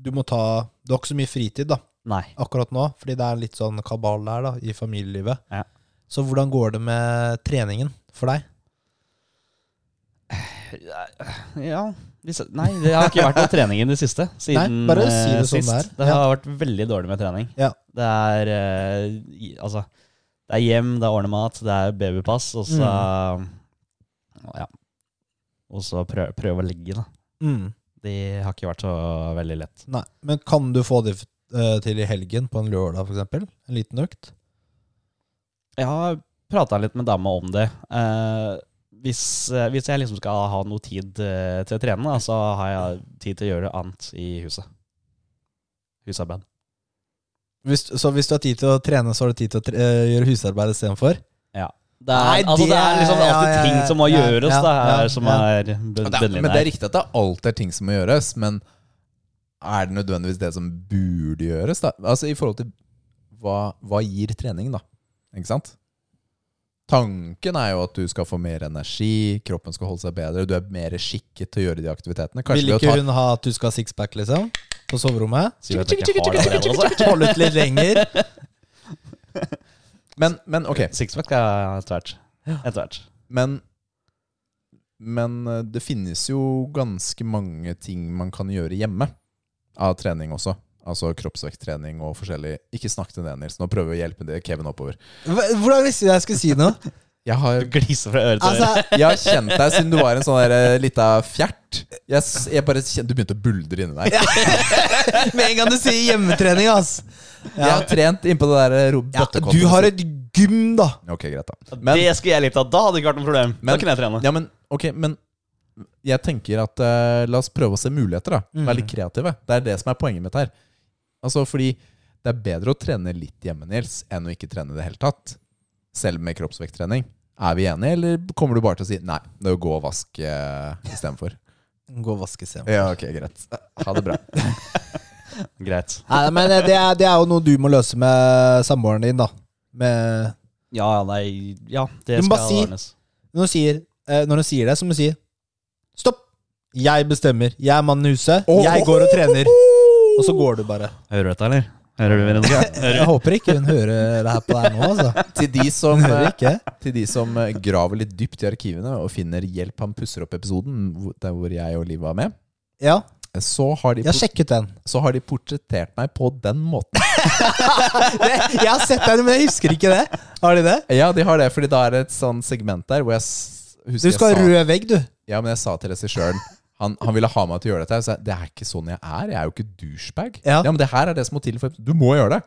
A: Du må ta Du har ikke så mye fritid, da
B: Nei.
A: akkurat nå, fordi det er litt sånn kabal der da, i familielivet.
B: Ja.
A: Så hvordan går det med treningen for deg?
B: Ja hvis, Nei, det har ikke vært noe trening i det siste.
A: [laughs]
B: Siden
A: Nei, bare si det
B: eh,
A: som
B: sist.
A: det er.
B: Det har vært veldig dårlig med trening.
A: Ja.
B: Det er eh, i- Altså, det er hjem, det er ordnemat, det er babypass, og så
A: Mm.
B: Ja. Og så prøve, prøve å ligge, da.
A: Mm.
B: Det har ikke vært så veldig lett.
A: Nei, men kan du få det eh, til i helgen på en lørdag for eksempel? En liten økt?
B: Jeg har prata litt med dama om det. Eh, hvis, eh, hvis jeg liksom skal ha noe tid eh, til å trene, da, så har jeg tid til å gjøre annet i huset. Husarbeid.
A: Hvis, så hvis du har tid til å trene, så har du tid til å tre eh, gjøre husarbeid istedenfor?
B: Det er,
A: Nei,
B: altså,
A: det
B: det er liksom
A: er- ja,
B: alltid
A: ja,
B: ting
A: ja,
B: som må
A: ja,
B: gjøres,
A: ja,
B: da, her,
A: ja,
B: som
A: ja.
B: er
C: Men det, er, men det er
B: bunnlinja.
C: riktig at det alltid er ting som må gjøres, men er det nødvendigvis det som burde gjøres? Da? Altså I forhold til hva, hva gir trening, da? Ikke sant? Tanken er jo at du skal få mer energi, kroppen skal holde seg bedre, du er mer skikket til å gjøre de aktivitetene. Kanskje
A: Vil
C: ved å
A: ikke
C: ta
A: hun ha at du skal ha sixpack, liksom? På soverommet?
B: Sier at jeg ikke har
A: [laughs]
B: det allerede, altså.
A: Holde ut litt lenger?
C: men, men ok,
B: Sixpack er etter hvert. Etter hvert.
C: men Men eh, det finnes jo ganske mange ting man kan gjøre hjemme av trening også. Altså kroppsvekttrening og forskjellig. Ikke snakk til det, Nils. Nå prøver vi å hjelpe det, Kevin oppover.
A: Hva- Hvordan visste du jeg skulle si noe?
C: Jeg har,
B: Du gliser fra øre til øre.
A: Altså,
C: jeg har kjent deg siden du var en sånn der, eh, lita fjert. Jeg, s- jeg bare kjente, Du begynte å buldre inni deg.
A: [laughs] med en gang du sier hjemmetrening, ass.
C: Jeg har trent innpå det der eh, ro-
A: Ja,
C: bøttekottet.
A: du har et gym, da.
C: Ok, greit, da. Men,
B: Det skulle jeg likt av. Da hadde det ikke vært noe problem.
C: Men-
B: da kunne jeg trene.
C: ja, men, ok, men jeg tenker at eh, la oss prøve å se muligheter, da.
A: Mm.
C: Være litt kreative. Det er det som er poenget mitt her. Altså, fordi det er bedre å trene litt hjemme, Nils, enn å ikke trene i det hele tatt. Selv med kroppsvekttrening. Er vi enige, eller kommer du bare til å si nei, det er å gå og vaske eh,
A: [laughs]
C: istedenfor?
A: Gå og vaske seg.
C: Ja, ok, greit. Ha det bra. [laughs]
B: Greit.
A: Nei, men det er, det er jo noe du må løse med samboeren din, da. Med,
B: Ja, nei Ja, det
A: Du må
B: skal
A: bare si-
B: ordnes.
A: når, hun sier, eh, når hun sier det, så må hun si stopp. Jeg bestemmer. Jeg er mannen i huset.
C: Oh,
A: Jeg går og trener. Og så går du bare.
B: Hører du dette, eller? Hører du Veronica? Hører du?
A: Jeg håper ikke hun hører det her på deg nå, altså.
C: Til de som eh,
A: Hun [laughs] hører ikke.
C: Til de som eh, graver litt dypt i arkivene og finner Hjelp, han pusser opp episoden, hvor- der hvor jeg og Liv var med, Eh,
A: Ja,
C: så har de,
A: jeg har
C: por-
A: sjekket den.
C: så har de portrettert meg på den måten. [laughs]
A: Det, [laughs] jeg har sett den, men jeg husker ikke det. Har de det?
C: Ja, de har det, fordi da er det et sånn segment der hvor jeg s-
A: Du
C: husker
A: skal ha
C: jeg sa,
A: rød vegg, du.
C: Ja, men jeg sa til regissøren han, han ville ha meg til å gjøre dette. Jeg sa det er ikke sånn jeg er. Jeg er jo ikke douchebag.
A: Ja.
C: men det her er det som må til for Du må gjøre det.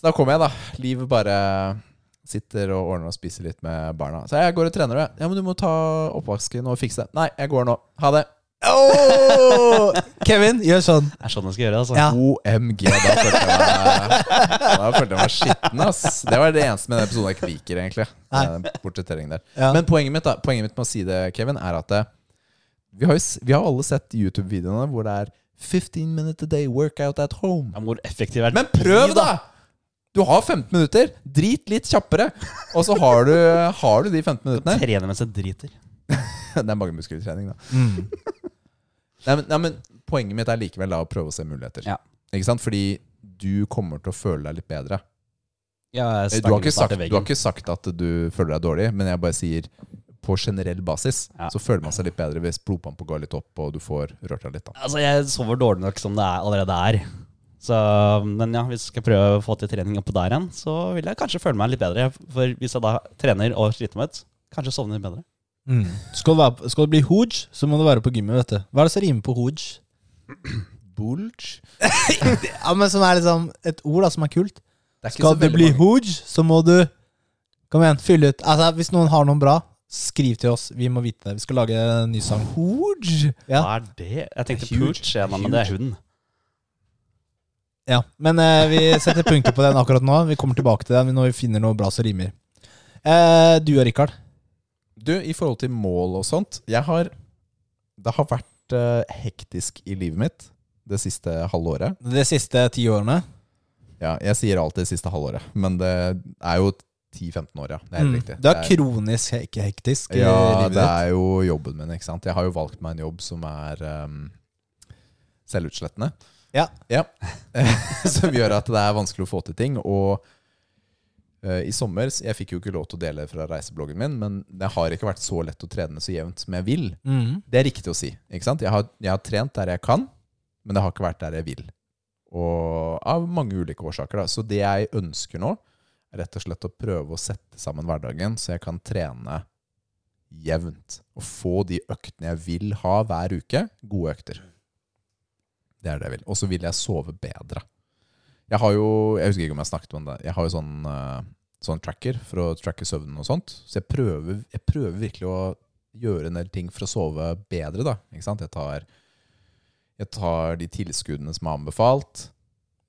C: Så da kommer jeg, da. Liv bare sitter og ordner og spiser litt med barna. Så jeg går og trener, du. Ja, men du må ta oppvasken og fikse det. Nei, jeg går nå. Ha det.
A: Åh! Kevin, gjør sånn.
B: Det er sånn jeg skal gjøre det, altså.
A: Ja.
C: OMG, da følte jeg meg Da følte jeg meg skitten, ass. Det var det eneste med den episoden jeg ikke liker, egentlig.
A: Nei.
C: Den portretteringen der.
A: Ja.
C: Men poenget mitt, da, poenget mitt med å si det, Kevin, er at eh, vi har, jo s- vi har alle sett YouTube-videoene hvor det er 15 minutes a day workout at home.
B: Ja, men Hvor effektiv er
C: Men prøv, da! Du har 15 minutter. Drit litt kjappere. Og så har du, har du de 15 minuttene.
B: Trene mens jeg driter.
C: [laughs] Det er magemuskeltrening, da. [laughs] Nei, men, nei, men poenget mitt er likevel da å prøve å se muligheter.
B: Ja.
C: Ikke sant? Fordi du kommer til å føle deg litt bedre.
B: Ja, jeg
C: Du har,
B: stanger
C: ikke sagt,
B: snart i
C: du har
B: veggen.
C: ikke sagt at du føler deg dårlig, men jeg bare sier på generell basis
B: Ja.
C: så føler man seg litt bedre hvis blodpampa går litt opp og du får rørt deg litt. Da.
B: Altså, jeg sover dårlig nok som det er, allerede er. Så, men ja, hvis jeg skal prøve å få til trening oppå der igjen, så vil jeg kanskje føle meg litt bedre. For hvis jeg da trener og sliter meg ut, kanskje sovner jeg bedre.
A: Mm. Skal, du være, på- skal du bli hooge, så må du være på gymmet, vet du. Hva er det som rimer på hooge?
C: Bulge?
A: Ja, men som er liksom et ord da, som er kult.
C: Det er ikke
A: Skal
C: så
A: du
C: veldig
A: bli
C: mange-
A: hooge, så må du Kom igjen, fyll ut. Altså, hvis noen har noen bra, skriv til oss. Vi må vite det. Vi skal lage en ny sang.
C: Hooge?
A: Ja.
B: Hva er det? Jeg tenkte
C: Huge.
B: pooch, ja, men det er hund.
A: Ja, Men eh, vi setter punkter på den akkurat nå. Vi kommer tilbake til den når vi finner noe bra som rimer. Eh, du og Rikard.
C: Du, i forhold til mål og sånt Jeg har Det har vært eh, hektisk i livet mitt det siste halvåret.
A: De siste ti årene.
C: Ja, jeg sier alltid det siste halvåret, men det er jo 10-15 år, ja. Det er helt
A: Mm.
C: riktig.
A: Du er
C: Det er-
A: kronisk hek hektisk i
C: Ja,
A: livet
C: det
A: ditt.
C: er jo jobben min, ikke sant. Jeg har jo valgt meg en jobb som er ehm, selvutslettende.
A: Ja.
C: [laughs] som gjør at det er vanskelig å få til ting. Og eh, i sommer Jeg fikk jo ikke lov til å dele fra reisebloggen min, men det har ikke vært så lett å trene så jevnt som jeg vil.
A: Mm.
C: Det er riktig å si. ikke sant? Jeg har, jeg har trent der jeg kan, men det har ikke vært der jeg vil. Og Av mange ulike årsaker. da. Så det jeg ønsker nå, er rett og slett å prøve å sette sammen hverdagen, så jeg kan trene jevnt. Og få de øktene jeg vil ha hver uke. Gode økter. Det er det jeg vil. Og så vil jeg sove bedre. Jeg har jo Jeg husker ikke om jeg snakket om det. Jeg har jo sånn, eh, sånn tracker for å tracke søvnen og sånt. Så jeg prøver, jeg prøver virkelig å gjøre en del ting for å sove bedre, da. Ikke sant? Jeg tar, jeg tar de tilskuddene som er anbefalt.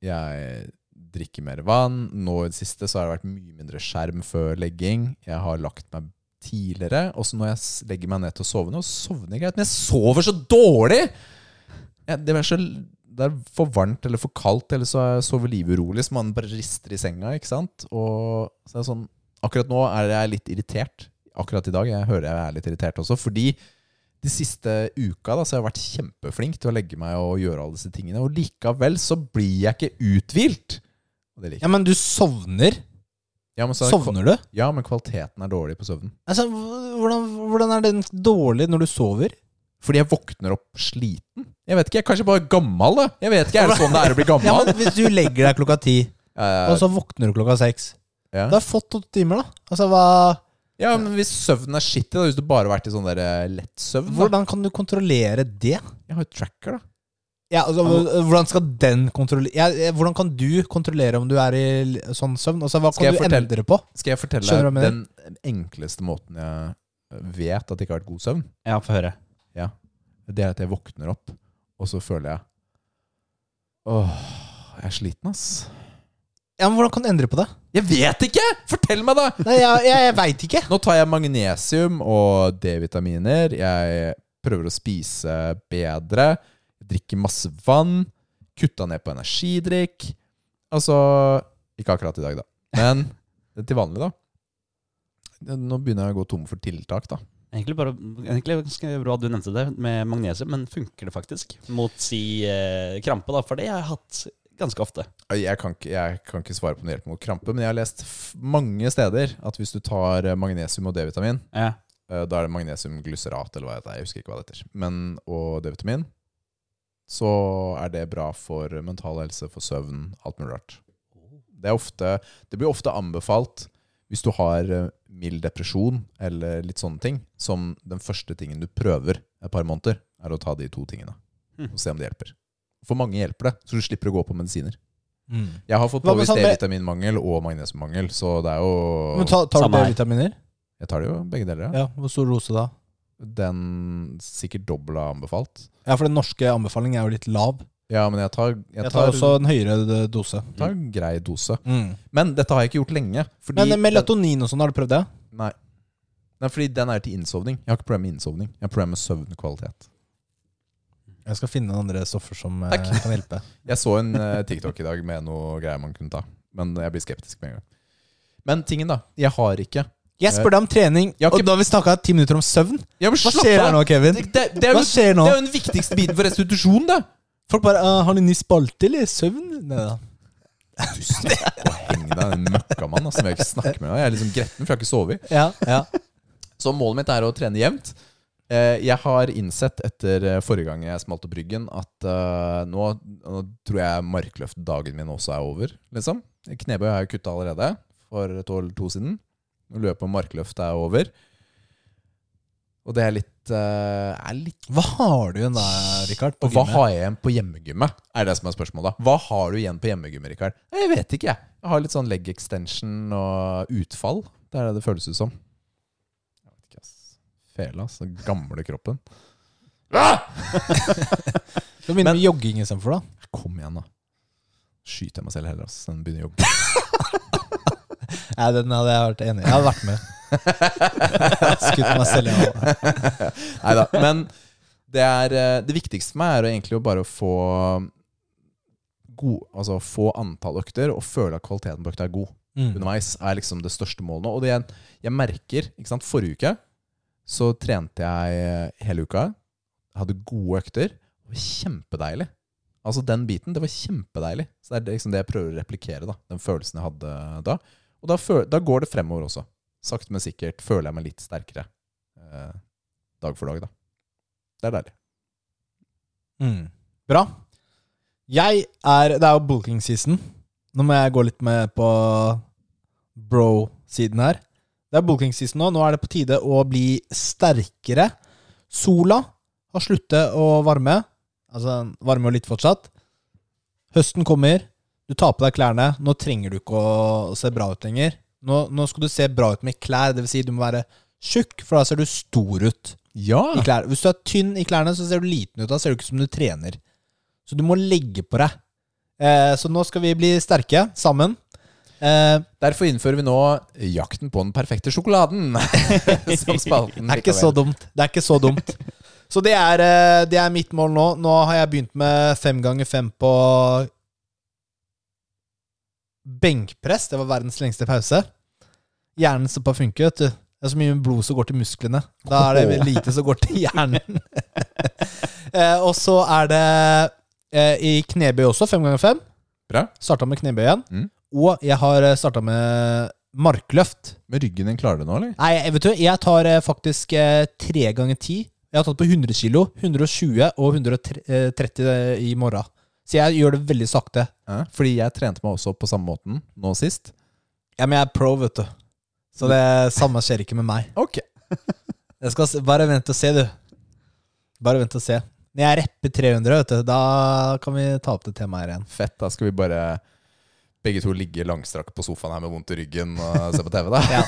C: Jeg drikker mer vann. Nå i det siste så har det vært mye mindre skjerm før legging. Jeg har lagt meg tidligere. Og så når jeg s- legger meg ned til å sove nå, så sovner jeg greit. Men jeg sover så dårlig! Jeg, det, er så, det er for varmt eller for kaldt, eller så sover livet urolig, så man bare rister i senga, ikke sant? Og så er det sånn Akkurat nå er jeg litt irritert. Akkurat i dag jeg hører jeg er litt irritert også. Fordi de siste uka da, så har jeg vært kjempeflink til å legge meg og gjøre alle disse tingene. Og likevel så blir jeg ikke uthvilt. Og det liker jeg.
A: Ja, men du sovner.
C: Ja, men, så er det kva-
A: Sovner du?
C: ja, men kvaliteten er dårlig på søvnen.
A: Altså, hv- hvordan, hvordan er den dårlig når du sover?
C: Fordi jeg våkner opp sliten. Jeg vet ikke, jeg er kanskje bare gammel, da. Jeg vet ikke, Er det sånn det er å bli
A: [laughs] Ja,
C: gammel?
A: men Hvis du legger deg klokka ti, og så våkner du klokka seks
C: ja.
A: Du har fått to timer, da. Altså, hva,
C: ja, men hvis søvnen er skittig, da, hvis du bare har vært i sånn der eh, lett søvn da.
A: hvordan kan du kontrollere det?
C: Jeg har jo tracker, da.
A: Ja, altså, hv- Hvordan skal den kontrollere ja, eh, Hvordan kan du kontrollere om du er i l- sånn søvn? Altså, Hva
C: Skal
A: kan
C: jeg
A: du
C: fortelle-
A: endre på?
C: Skal jeg fortelle
A: Skjønner du
C: deg
A: hva jeg
C: den enkleste måten jeg eh, vet at jeg ikke har vært god søvn?
B: Ja, få høre.
C: Det er at jeg våkner opp, og så føler jeg Åh, jeg er sliten, ass.
A: Ja, men Hvordan kan du endre på det?
C: Jeg vet ikke! Fortell meg, da!
A: Nei, Jeg, jeg, jeg veit ikke.
C: Nå tar jeg magnesium og D-vitaminer. Jeg prøver å spise bedre. Jeg drikker masse vann. Kutta ned på energidrikk. Altså Ikke akkurat i dag, da. Men [laughs] til vanlig, da. Nå begynner jeg å gå tom for tiltak, da.
B: Egentlig, bare, egentlig ganske bra at du nevnte det med magnesium, men funker det faktisk mot si eh, krampe? da, For det har jeg hatt ganske ofte.
C: Jeg kan, ikke, jeg kan ikke svare på om det hjelper mot krampe, men jeg har lest f- mange steder at hvis du tar eh, magnesium og D-vitamin,
B: Ja.
C: Eh, Da er det magnesiumglyserat, eller hva det heter. Jeg husker ikke hva det heter. Men, og D-vitamin. Så er det bra for mental helse, for søvn, alt mulig rart. Det, er ofte, det blir ofte anbefalt hvis du har eh, mild depresjon eller litt sånne ting, som den første tingen du prøver et par måneder, er å ta de to tingene.
B: Hmm.
A: Hm.
C: Og se om det hjelper. For mange hjelper det, så du slipper å gå på medisiner.
A: Mm.
C: Jeg har fått
A: Hva med
C: påvist
A: sånn med-
C: D-vitaminmangel og magnesiummangel, så det er jo
A: Men ta, Tar du
B: Samme her.
A: D-vitaminer?
C: Jeg tar det jo begge deler. ja.
A: Ja, Hvor stor dose da?
C: Den sikkert dobbelt er anbefalt.
A: Ja, For den norske anbefalingen er jo litt lav.
C: Ja, men jeg tar, jeg
A: Jeg
C: tar,
A: tar også en høyere d- dose.
C: jeg tar grei dose.
A: Mm.
C: Men dette har jeg ikke gjort lenge. Fordi
A: Men melatonin og sånn, har du prøvd det?
C: den, nei. nei, fordi den er til innsovning. Jeg har ikke problem med innsovning. Jeg har problem med søvnkvalitet.
A: Jeg skal finne noen andre stoffer som eh,
C: Takk.
A: kan hjelpe.
C: Jeg så en [laughs] eh, TikTok i dag med noe greier man kunne ta. Men jeg blir skeptisk med en gang. Men tingen, da. Jeg har ikke
A: [laughs] Jeg spør deg om trening,
C: Jeg har ikke-
A: og da har vi snakka ti minutter om søvn.
C: Ja, men
A: Hva
C: slapp
A: skjer her
C: av!
A: nå, Kevin?
C: Det, det, det, er
A: Hva
C: jo,
A: skjer nå?
C: det er jo den viktigste biten for restitusjon, da!
A: Folk bare «Ah, 'Har du ny spalte, eller?' Søvn? Neida.
C: Tusen takk. Å, Heng deg, den møkkamann altså, som jeg ikke snakker med. Jeg er liksom gretten, for jeg har ikke sovet.
A: Ja, ja.
C: Så målet mitt er å trene jevnt. Eh, Jeg har innsett etter eh, forrige gang jeg smalt opp ryggen, at eh, nå, nå tror jeg markløftdagen min også er over. Liksom. Knebøy har jeg kutta allerede for et år eller to siden. Nå Løpet om markløft er over. Og det er litt, eh, er litt
A: Hva [laughs] har du igjen da, Rikard?
C: Og hva har jeg igjen på hjemmegymmet? Er det som er spørsmålet. Hva har du igjen på hjemmegymmet, Rikard? Nei, Jeg vet ikke, jeg. Jeg har litt sånn leg extension og utfall. Det er det det føles ut som. Jeg vet ikke, ass. Fela, ass. Den gamle kroppen. Ah!
A: Skal vi begynne med jogging istedenfor, da?
C: Kom igjen, da. skyter jeg meg selv heller, ass. Den begynner å jobbe.
A: Nei, den hadde jeg vært enig i. Jeg hadde [laughs] vært med. Skutt meg selv i [laughs] hodet.
C: Neida, Men det, er, eh, det viktigste for meg er jo egentlig å bare få god, altså få antall økter og føle at kvaliteten på økta er god
A: Mm.
C: underveis, er liksom det største målet nå. Og det jeg, jeg merker ikke sant, Forrige uke så trente jeg eh, hele uka. Hadde gode økter. Det var kjempedeilig. Altså den biten, det var kjempedeilig. Så det er liksom det jeg prøver å replikere, da. Den følelsen jeg hadde eh, da. Og da, føl da går det fremover også. Sakte, men sikkert føler jeg meg litt sterkere eh, dag for dag, da. Det er deilig.
A: Mm. Bra. Jeg er Det er jo bulking season. Nå må jeg gå litt med på bro-siden her. Det er bulking season nå. Nå er det på tide å bli sterkere. Sola har sluttet å varme. Altså, den varmer jo litt fortsatt. Høsten kommer. Du tar på deg klærne. Nå trenger du ikke å se bra ut lenger. Nå, nå skal du se bra ut med klær. Det vil si, du må være tjukk, for da ser du stor ut
C: Ja!
A: i klær. Hvis du er tynn i klærne, så ser du liten ut. Da ser du ikke ut som du trener. Så du må legge på deg. Eh, så nå skal vi bli sterke sammen. Eh,
C: Derfor innfører vi nå Jakten på den perfekte sjokoladen. [laughs] Som spalten.
A: det er ikke så
C: likevel.
A: dumt. Det er ikke så dumt. Så det er, eh, det er mitt mål nå. Nå har jeg begynt med fem ganger fem på benkpress. Det var verdens lengste pause. Hjernen står på å funke, vet du. Det er så mye blod som går til musklene. Da er det lite som går til hjernen. [laughs] eh, og så er det eh, i knebøy også, fem ganger fem.
C: Bra.
A: Starta med knebøy igjen.
C: Mm.
A: Og jeg har starta med markløft.
C: Med ryggen din klarer du nå, eller?
A: Nei, jeg- vet du, jeg tar eh, faktisk eh, tre ganger ti. Jeg har tatt på 100 kilo, 120 og 130 eh, i morgen. Så jeg gjør det veldig sakte.
C: Ja, Fordi jeg trente meg også på samme måten nå sist.
A: Ja, men jeg er pro, vet du. Så det samme skjer ikke med meg.
C: Ok.
A: Jeg skal s- bare vente og se, du. Bare vent og se. Når jeg repper 300, vet du, da kan vi ta opp det temaet her igjen.
C: Fett, da skal vi bare begge to ligge langstrakk på sofaen her med vondt i ryggen og se på TV, da.
A: [laughs] Ja.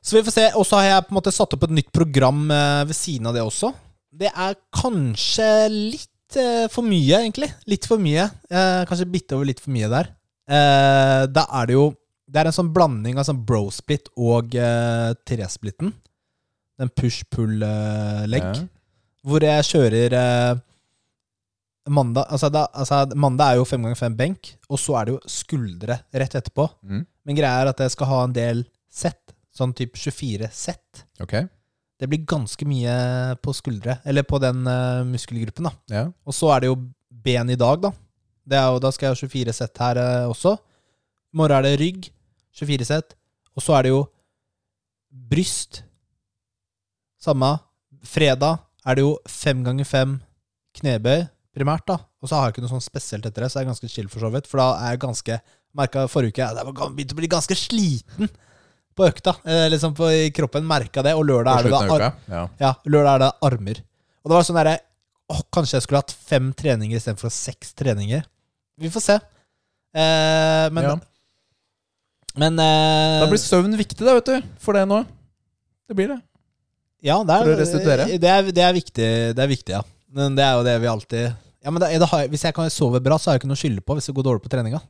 A: Så vi får se. Og så har jeg på en måte satt opp et nytt program eh, ved siden av det også. Det er kanskje litt eh, for mye, egentlig. Litt for mye. Eh, Kanskje bitte over litt for mye der. Eh, Da er det jo Det er en sånn blanding av sånn bro-split og eh, tresplitten. Den push-pull-legg.
C: Ja.
A: Hvor jeg kjører eh, mandag altså, da, altså, mandag er jo fem ganger fem benk, og så er det jo skuldre rett etterpå.
C: Mm.
A: Men greia er at jeg skal ha en del sett. Sånn type 24 sett.
C: Ok.
A: Det blir ganske mye på skuldre, eller på den eh, muskelgruppen. da.
C: Ja.
A: Og så er det jo ben i dag, da. Det er jo, da skal jeg ha 24 sett her eh, også. I morgen er det rygg, 24 sett. Og så er det jo bryst. Samme. Fredag er det jo fem ganger fem knebøy, primært, da. Og så har jeg ikke noe sånn spesielt etter det, så jeg er ganske chill, for så vidt. For da er jeg ganske Merka forrige uke Jeg var- begynte å bli ganske sliten på økta. Eh, liksom på, I kroppen merka det, og
C: På
A: lørdag er det da
C: slutten av uka. Ja.
A: ja, lørdag er det armer. Og det var sånn derre Åh, kanskje jeg skulle hatt fem treninger istedenfor seks treninger. Vi får se. Eh, men
C: ja.
A: men eh,
C: Da blir søvn viktig, da, vet du. For det nå. Det blir det.
A: ja, det er,
C: for å restituere.
A: Det er, det er viktig, det er viktig, ja. Men det er jo det vi alltid Ja, men det, det har, jeg- Hvis jeg kan sove bra, så har jeg ikke noe å skylde på hvis det går dårlig på treninga.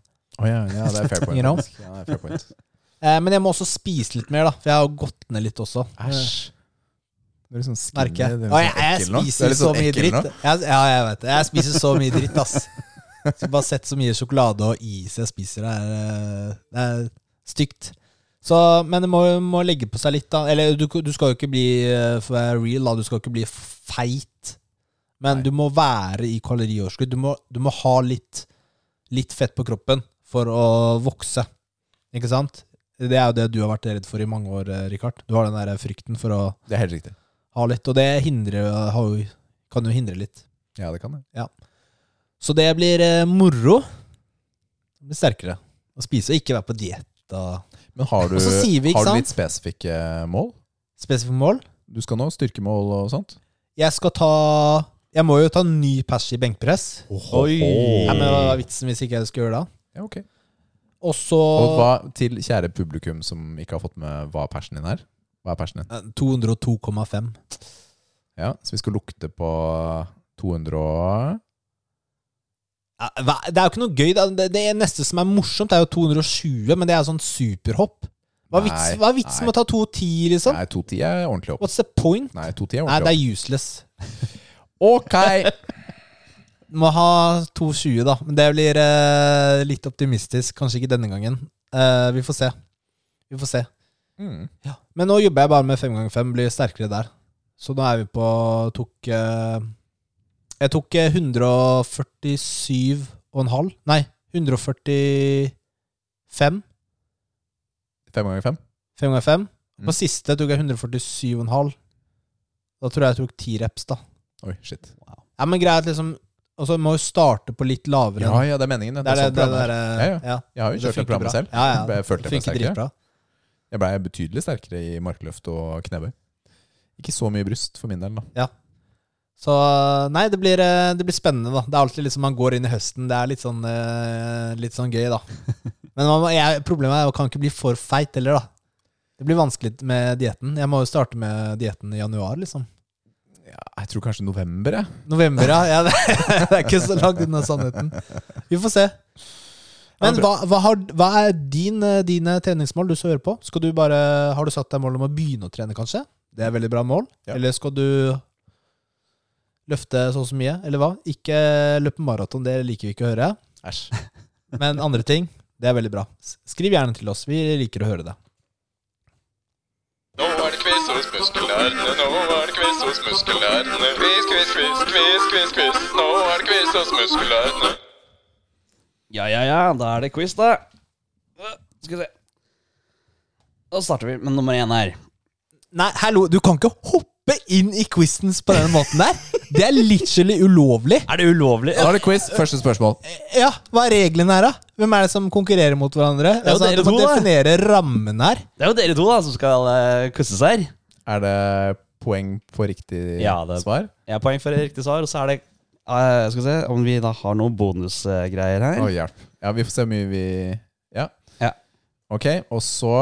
C: Oh, ja, ja, det er fair [laughs] point.
A: You know?
C: faktisk. ja, det er fair point.
A: Eh, men jeg må også spise litt mer, da. For jeg har jo gått ned litt også.
C: Æsj. Du er litt sånn skinny.
A: Merker jeg.
C: du er litt
A: Å, jeg,
C: sånn
A: jeg
C: ekkel nå. Du er
A: spiser
C: litt
A: så
C: sånn
A: mye
C: ekkel
A: dritt.
C: nå.
A: Jeg, ja, jeg vet det. Jeg spiser så mye dritt, ass. Skulle bare sett så mye sjokolade og is jeg spiser. Det er, eh, det er stygt. Så, men det må, må legge på seg litt, da. Eller du, du skal jo ikke bli eh, for å være real, da. Du skal ikke bli feit. Men du må være i kalorioverskudd. Du, må- du må ha litt, litt fett på kroppen for å vokse. Ikke sant? Det er jo det du har vært redd for i mange år, eh, Rikard. Du har den der frykten for å
C: Det er helt riktig.
A: ha litt, og det hindrer, har jo, kan jo hindre litt.
C: Ja, det kan det.
A: Så det blir eh, moro. Det blir sterkere å spise og ikke være på diett og
C: Men har du,
A: Og så sier vi, ikke
C: har du
A: sant?
C: litt spesifikke mål?
A: spesifikke mål.
C: Du skal nå styrkemål og sånt?
A: Jeg skal ta Jeg må jo ta en ny pers i benkpress.
B: Oi.
A: Nei, men Hva er vitsen hvis ikke jeg skulle gjøre det?
C: Ja, ok.
A: Og så
C: Og hva, til kjære publikum som ikke har fått med hva persen din er Hva er persen
A: Eh,
C: din?
A: 202,5.
C: Ja, så vi skal lukte på 200 og
A: Ja, hva- Det er jo ikke noe gøy. da. Det, det neste som er morsomt, er jo 220, men det er sånn superhopp. Hva er
C: Nei,
A: vitsen, hva er vitsen med å ta 210, liksom?
C: Nei, 210 er ordentlig opp.
A: What's the point?
C: Nei, 210 er
A: Nei, det
C: ordentlig opp.
A: er useless.
C: Ok!
A: Må ha 220, da. Men det blir eh, litt optimistisk. Kanskje ikke denne gangen. Eh, vi får se. Vi får se.
C: Mm.
A: Men nå jobber jeg bare med fem ganger fem, blir sterkere der. Så nå er vi på tok eh, Jeg tok eh, 147,5 Nei, 145
C: Fem ganger fem?
A: fem ganger fem.
C: Mm.
A: På siste tok jeg 147,5. Da tror jeg jeg tok ti reps, da.
C: Oi, shit.
A: Ja, men greit, liksom Og så må jo starte på litt lavere.
C: Ja, ja, det er meningen. Det,
A: det er det,
C: sånn
A: det,
C: planen
A: der,
C: er.
A: eh,
C: Ja,
A: ja.
C: Jeg har jo
A: Det
C: kjørt det
A: funker
C: programmet
A: bra.
C: selv.
A: Ja, ja.
C: Jeg følte meg
A: Funker
C: sterkere.
A: dritbra.
C: Jeg blei betydelig sterkere i markløft og knebøy. Ikke så mye bryst for min del, da.
A: Så nei, det blir, eh, det blir spennende, da. Det er alltid liksom man går inn i høsten. Det er litt sånn, eh, litt sånn gøy, da.
C: [laughs]
A: Men man, må- jeg, problemet er at jeg kan ikke bli for feit heller, da. Det blir vanskelig med dietten. Jeg må jo starte med dietten i januar, liksom.
C: Jeg tror kanskje november, jeg.
A: November, ja. ja det, det er [laughs] ikke så langt unna sannheten. Vi får se. Men
C: Ja,
A: hva, hva, har, hva er din, eh, dine treningsmål, du som hører på? Skal du bare, har du satt deg mål om å begynne å trene, kanskje? Det er veldig bra mål.
C: Ja.
A: Eller skal du løfte så og så mye, eller hva? Ikke løpe maraton, det liker vi ikke å høre.
C: Æsj.
A: [laughs] Men andre ting, det er veldig bra. S- Skriv gjerne til oss, vi liker å høre det.
D: Nå er det quiz hos muskelnerdene, nå er det quiz hos muskelnerdene. Quiz, quiz, quiz, quiz, quiz, quiz. Nå er det quiz hos muskelnerdene.
B: Ja, ja, ja, da er det quiz, da. Øh, Skal vi se. Da starter vi med nummer én her.
A: Nei, hallo, du kan ikke hoppe inn i quizens på denne måten der. Det er literally ulovlig.
B: Er det ulovlig?
C: Da er det quiz. Første spørsmål.
A: Ja, hva er reglene her, da? Hvem er det som konkurrerer mot hverandre?
B: er jo
A: Altså,
B: dere
A: du må
B: to, da.
A: definere rammen her.
B: Det er jo dere to da som skal uh, kusses her.
C: Er det poeng på riktig
B: Ja, det-
C: svar?
B: Jeg har poeng for riktig svar, og så er det eh, Skal vi se om vi da har noen bonusgreier her.
C: Å, hjelp. Ja, vi får se hvor mye vi Ja.
B: Ja.
C: Ok, og så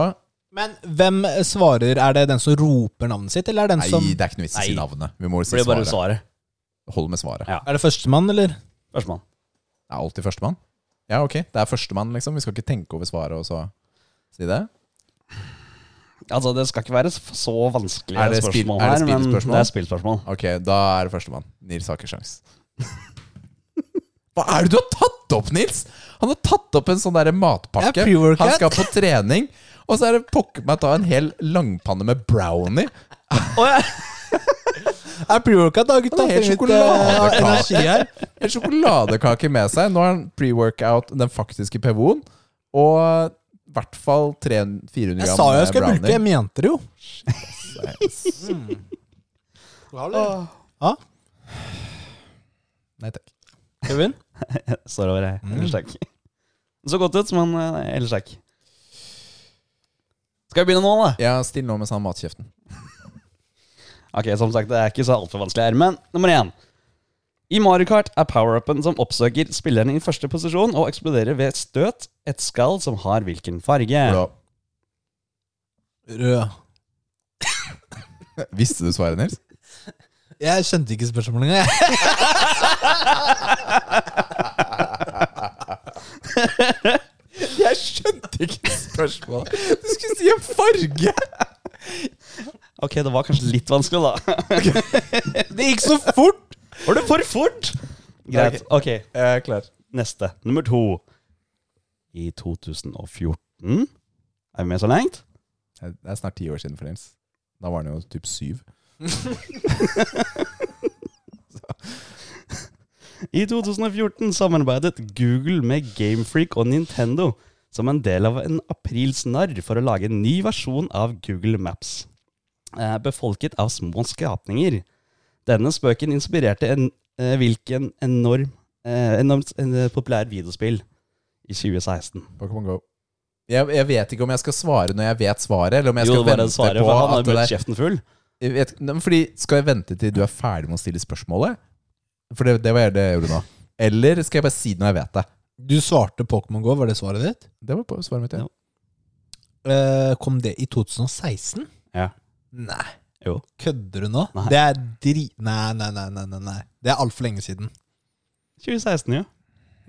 A: Men hvem svarer? Er det den som roper navnet sitt, eller er det den
C: Nei,
A: som
C: det er ikke noe vits i å si
B: Nei.
C: navnet. Vi må jo
B: Det
C: si
B: blir bare
C: svaret.
B: svaret.
C: Hold med svaret.
B: Ja.
A: Er det førstemann, eller?
B: Førstemann.
C: Det er alltid førstemann. Ja, ok. Det er førstemann, liksom. Vi skal ikke tenke over svaret og så si det.
B: Altså, det skal ikke være s- så vanskelig
C: Er det spil-
B: spørsmål
C: er det
B: her, men
C: spillspørsmål?
B: det er spillspørsmål.
C: Ok, da er det førstemann. Nils har ikke
B: [laughs]
C: sjans. Hva er det du har tatt opp, Nils? Han har tatt opp en sånn derre matpakke.
A: Ja, pre-workout.
C: Han skal på trening. Og så er det pokker meg ta en hel langpanne med brownie.
A: Er pre-workout, da, gutta?
C: Det er helt
A: Trenger litt, eh,
C: sjokoladekake.
A: energi her.
C: En sjokoladekake med seg. Nå har han pre-workout, den faktiske PVO-en, og i hvert fall 300-400 gram
A: Jeg sa jo jeg skulle bruke det, jeg mente det jo.
C: brownie.
A: Hmm. Ja,
C: Nei takk.
A: Kevin?
B: [laughs] Står over her. Ellers takk. Så godt ut, men eh, ellers takk. Skal vi begynne nå, da?
C: Ja, still nå mens han har matkjeften.
B: Ok, som sagt, det er ikke så altfor vanskelig her, men nummer én. I Mario Kart er power-upen som oppsøker spilleren i første posisjon og eksploderer ved et støt, et skall som har hvilken farge.
C: Blå.
A: Rød.
C: Visste du svaret, Nils?
A: Jeg skjønte ikke spørsmålet engang. jeg.
C: Jeg skjønte ikke spørsmålet. Du skulle si en farge!
B: [laughs] Ok, det var kanskje litt vanskelig, da. [laughs]
A: Det gikk så fort!
B: Var det for fort? Greit. Ok,
C: Jeg er klar.
B: neste. Nummer to. I 2014 Er vi med så langt?
C: Det er snart ti år siden for Nils. Da var han jo typ syv.
B: I 2014 samarbeidet Google med Gamefreak og Nintendo som en del av en aprilsnarr for å lage en ny versjon av Google Maps, eh, befolket av små skapninger. Denne spøken inspirerte en, eh, hvilken enorm, eh, enormt eh, populær videospill i 2016.
C: Pokémon Go. Jeg, jeg vet ikke om jeg skal svare når jeg vet svaret, eller om jeg
B: Jo, det
C: skal
B: var
C: vente
B: det svaret,
C: på
B: for han
C: at
B: hadde
C: det
B: møtt
C: der
B: kjeften full.
C: jeg vet, Nei, men Fordi Skal jeg vente til du er ferdig med å stille spørsmålet? For det, det var det jeg gjorde nå. Eller skal jeg bare si det når jeg vet det?
A: Du svarte Pokémon Go, var det svaret ditt?
C: Det var på svaret mitt, ja.
B: Ja.
A: Eh, Kom det i 2016?
B: Ja.
A: Nei.
B: Jo.
A: Kødder du nå?
B: Nei.
A: Det er dri... Nei, nei, nei, nei, nei, nei. Det er altfor lenge siden.
B: 2016, ja.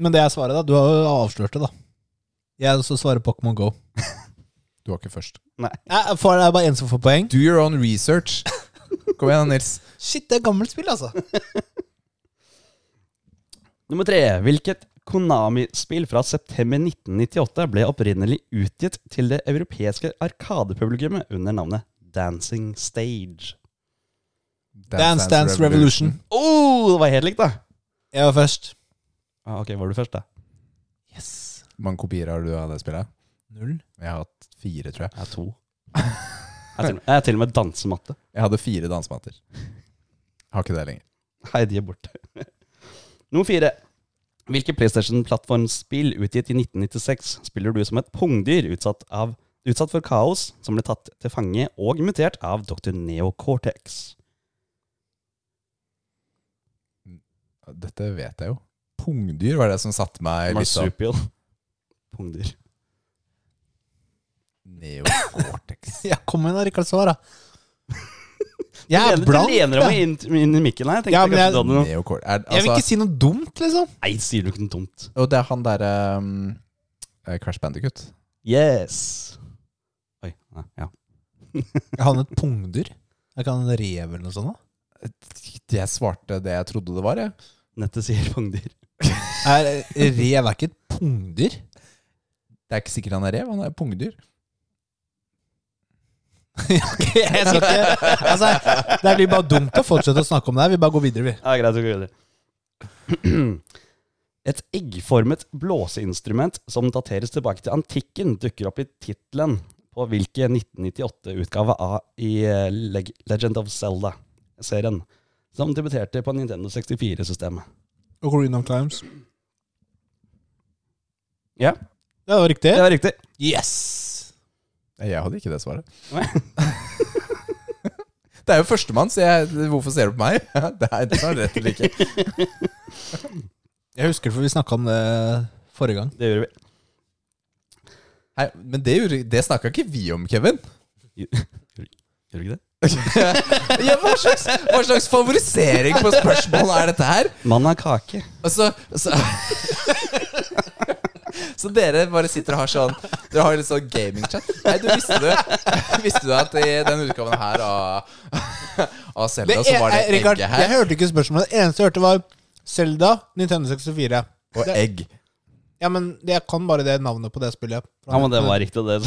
A: Men det er svaret, da. Du har jo avslørt det, da. Jeg også svarer Pokémon Go.
C: Du var ikke først.
A: Nei, for Det er bare én som får poeng.
C: Do your own
A: [laughs]
C: research. Kom igjen, Nils.
A: Shit, det er gammelt spill, altså.
B: Nummer tre. Hvilket Konami-spill fra september 1998 ble opprinnelig utgitt til det europeiske arkadepublikummet under navnet Dancing Stage?
A: Dance Dance Revolution.
B: Å, oh, det var helt likt, da!
A: Jeg var først.
B: Ah, ok, var du først, da?
A: Yes.
C: Hvor mange kopier har du av det spillet?
A: Null.
C: Jeg har hatt fire, tror jeg.
B: Jeg er to. Jeg er til, jeg er til og med dansematte.
C: Jeg hadde fire dansemater. Har ikke det lenger.
B: Nei, de er borte. Nummer fire. Hvilke PlayStation-plattformspill utgitt i 1996 spiller du som et pungdyr utsatt, av, utsatt for kaos, som ble tatt til fange og mutert av Dr. Neo Cortex?
C: Dette vet jeg jo. Pungdyr var det som satte meg litt sånn
B: Marsupial. Pungdyr.
C: Neocortex.
A: [laughs] Ja, kom igjen, da, Rikard. [laughs] Svar, da. Jeg
B: Du
A: er
B: lener-
A: blank.
B: Du lener deg
A: Jeg
B: inn, inn i mikken her. Jeg tenkte
A: Ja, men
B: kanskje
A: jeg-
B: du hadde noe
C: Neocort. Er,
A: Jeg vil
C: altså,
A: ikke si noe dumt, liksom.
B: Nei, sier du ikke noe dumt?
C: Og det er han derre um, eh, Crash Bandicut.
B: Yes. Oi. Nei, ja.
A: Jeg har et pungdyr. Jeg kan ha en rev eller noe sånt. da.
C: Eh, Jeg svarte det jeg trodde det var, jeg.
B: Nettet sier pungdyr.
A: Er, rev er ikke et pungdyr.
C: Det er ikke sikkert han er rev, han er pungdyr.
A: Ok, jeg skal ikke, [laughs] altså, det blir bare dumt å fortsette å snakke om det her. Vi bare går videre, vi.
B: Ja, greit, så går vi videre. [clears throat] Et eggformet blåseinstrument som dateres tilbake til antikken, dukker opp i tittelen på hvilken 1998-utgave av i eh, Leg Legend of Zelda-serien, som debuterte på Nintendo 64-systemet.
A: Ocarina of Times.
B: Ja,
A: Det var riktig.
B: det var riktig.
A: Yes!
C: Jeg hadde ikke det svaret.
B: Nei.
C: [laughs] det er jo førstemann, så jeg, hvorfor ser du på meg? [laughs] det er enten har du rett eller ikke.
A: Jeg husker det, for vi snakka om det forrige gang.
B: Det gjorde vi.
C: Nei, men det, gjorde- det snakka ikke vi om, Kevin. [laughs]
B: Gjorde vi ikke det?
C: Ja, hva, slags, hva slags favorisering på spørsmål er dette her?
B: Mann av kake.
C: Altså, så, så dere bare sitter og har sånn Dere har litt sånn gamingchat. Nei, du visste du Visste du at i den utgaven her av, av Zelda, så var det
A: eh, Rikard,
C: egget her.
A: Jeg hørte ikke spørsmålet. Det eneste jeg hørte, var Selda, Nintendo 64.
C: Og
A: det,
C: egg.
A: ja, men det- jeg kan bare det navnet på det spillet.
B: Ja, men det var riktig, det.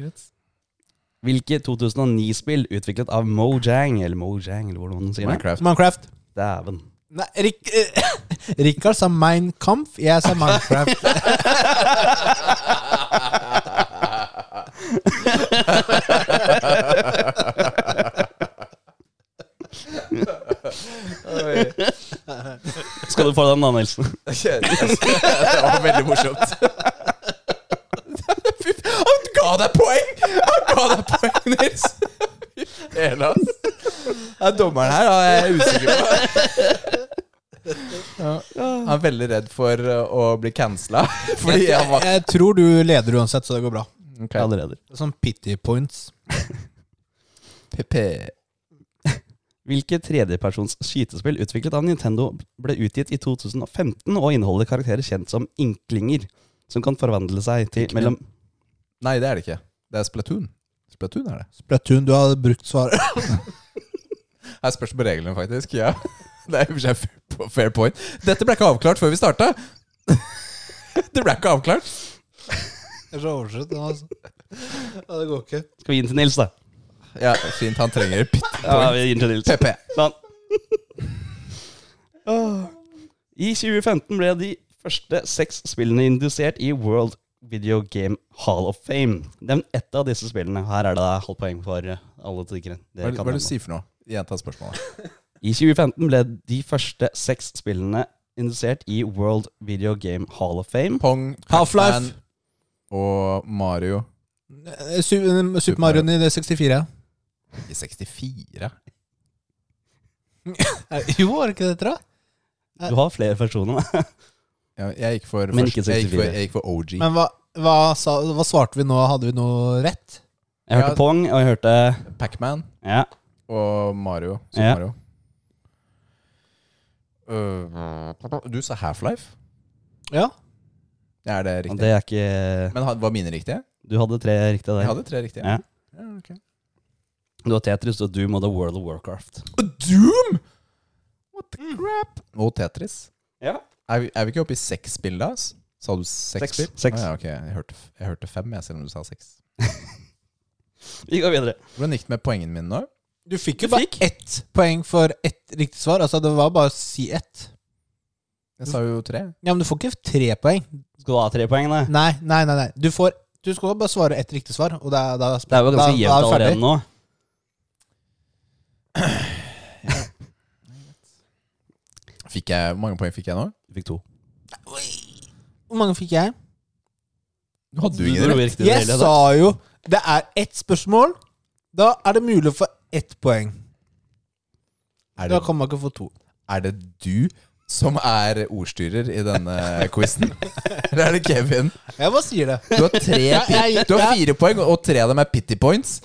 B: [laughs] Hvilke 2009-spill utviklet av Mojang, eller Mojang, eller hvordan man sier det?
C: Minecraft.
A: Minecraft.
B: Dæven.
A: Nei, Rik [laughs] Rikard sa Mein Kampf, jeg sa Minecraft. [laughs]
B: Skal du få den da, Nelson? [laughs]
C: [laughs] Det var veldig morsomt. [laughs] Fy f- Han ga deg poeng! Han ga deg poeng, [laughs] Nils. Hele ass. Ja, dommeren her er jeg usikker på. Ja, han er veldig redd for uh, å bli cancela. [laughs] Fordi han var
A: Jeg tror du leder uansett, så det går bra.
C: okay.
B: Allerede.
A: Det er Sånn pity points.
C: PP.
B: Hvilke tredjepersons skytespill utviklet av Nintendo ble utgitt i 2015 og inneholder karakterer kjent som inklinger, som kan forvandle seg til mellom
C: Nei, det er det ikke. Det er Splatoon. Splatoon er det.
A: Splatoon, du har brukt svar.
C: Her spørs det på reglene, faktisk. Ja. [laughs] Det er i og for seg fair- fair point. Dette ble ikke avklart før vi starta. [laughs] Det ble ikke avklart.
A: Jeg er så oversett nå, [laughs] altså. Ja, det går ikke.
B: Skal vi gi den til Nils, da?
C: Ja, fint. Han trenger et bitte
B: Ja,
C: point.
B: vi gir den [laughs] til Nils.
C: PP.
B: Sånn. Åh. I 2015 ble de første seks spillene indusert i World Video Game Hall of Fame. Nevn ett av disse spillene. Her er det da halvt poeng for eh, alle tiggere.
C: Hva er det hva er det du sier for noe? Gjenta spørsmålet.
B: I 2015 ble de første seks spillene indusert i World Video Game Hall of Fame.
C: Pong,
A: Half-Life.
C: Pac-Man og Mario
A: Eh, Su- eh, Super Mario i 64.
C: i 64.
A: Eh, Jo, var det ikke det, tror jeg?
B: Du har flere versjoner. da.
C: Ja, jeg gikk for,
B: Men
C: først-
B: ikke
C: Jeg gikk for,
B: 64.
C: jeg gikk for OG.
A: Men hva, hva, sa, hva svarte vi nå? Hadde vi noe rett?
B: Jeg hørte
C: Ja.
B: Pong, og jeg hørte
C: Pac-Man
B: Ja.
C: og Mario. Super
B: Ja.
C: Mario. Øh, Du sa Half-Life.
A: Ja.
C: Er det riktig?
B: Det er ikke
C: Men ha- var mine riktige?
B: Du hadde tre riktige der.
C: Jeg hadde tre riktige.
B: Ja.
C: Ja, ok.
B: Du har Tetris og Doom og The World of Warcraft.
C: Og Doom! What the crap? Og Tetris.
B: Ja.
C: Er vi, er vi ikke oppe i seks spill da? ass? Sa du seks,
B: Seks.
C: spill?
B: Seks.
C: Ah, ja, ok. jeg, hørte, jeg hørte fem, jeg, selv om du sa seks.
B: Vi går videre.
C: Hvordan gikk det med poengene mine nå?
A: Du fikk jo
B: Du
A: bare
B: fikk.
A: ett poeng for ett riktig svar. Altså, det var bare å si ett.
C: Jeg sa jo tre.
A: Ja, men du får ikke tre poeng.
B: Skal du ha tre poeng, da?
A: Nei, nei, nei. nei. Du, får, du skal bare svare ett riktig svar, og da, da,
B: Det er jo
A: da- da
B: ganske jevnt
A: vi ferdig.
B: allerede nå.
C: Fikk jeg, hvor mange poeng fikk jeg nå?
B: Du fikk to.
A: Hvor mange fikk jeg?
C: Du hadde
B: Du
C: jo ingen
B: dro
C: rett.
B: riktig
A: Jeg
B: del,
A: sa jo det er ett spørsmål. Da er det mulig å få ett poeng.
C: Er
A: Da
C: det,
A: kan man ikke få to.
C: er det du som er ordstyrer i denne quizen? Eller er det Kevin?
A: Jeg bare sier det.
C: Du har, tre, pi- du har fire poeng, og tre av dem er pity points.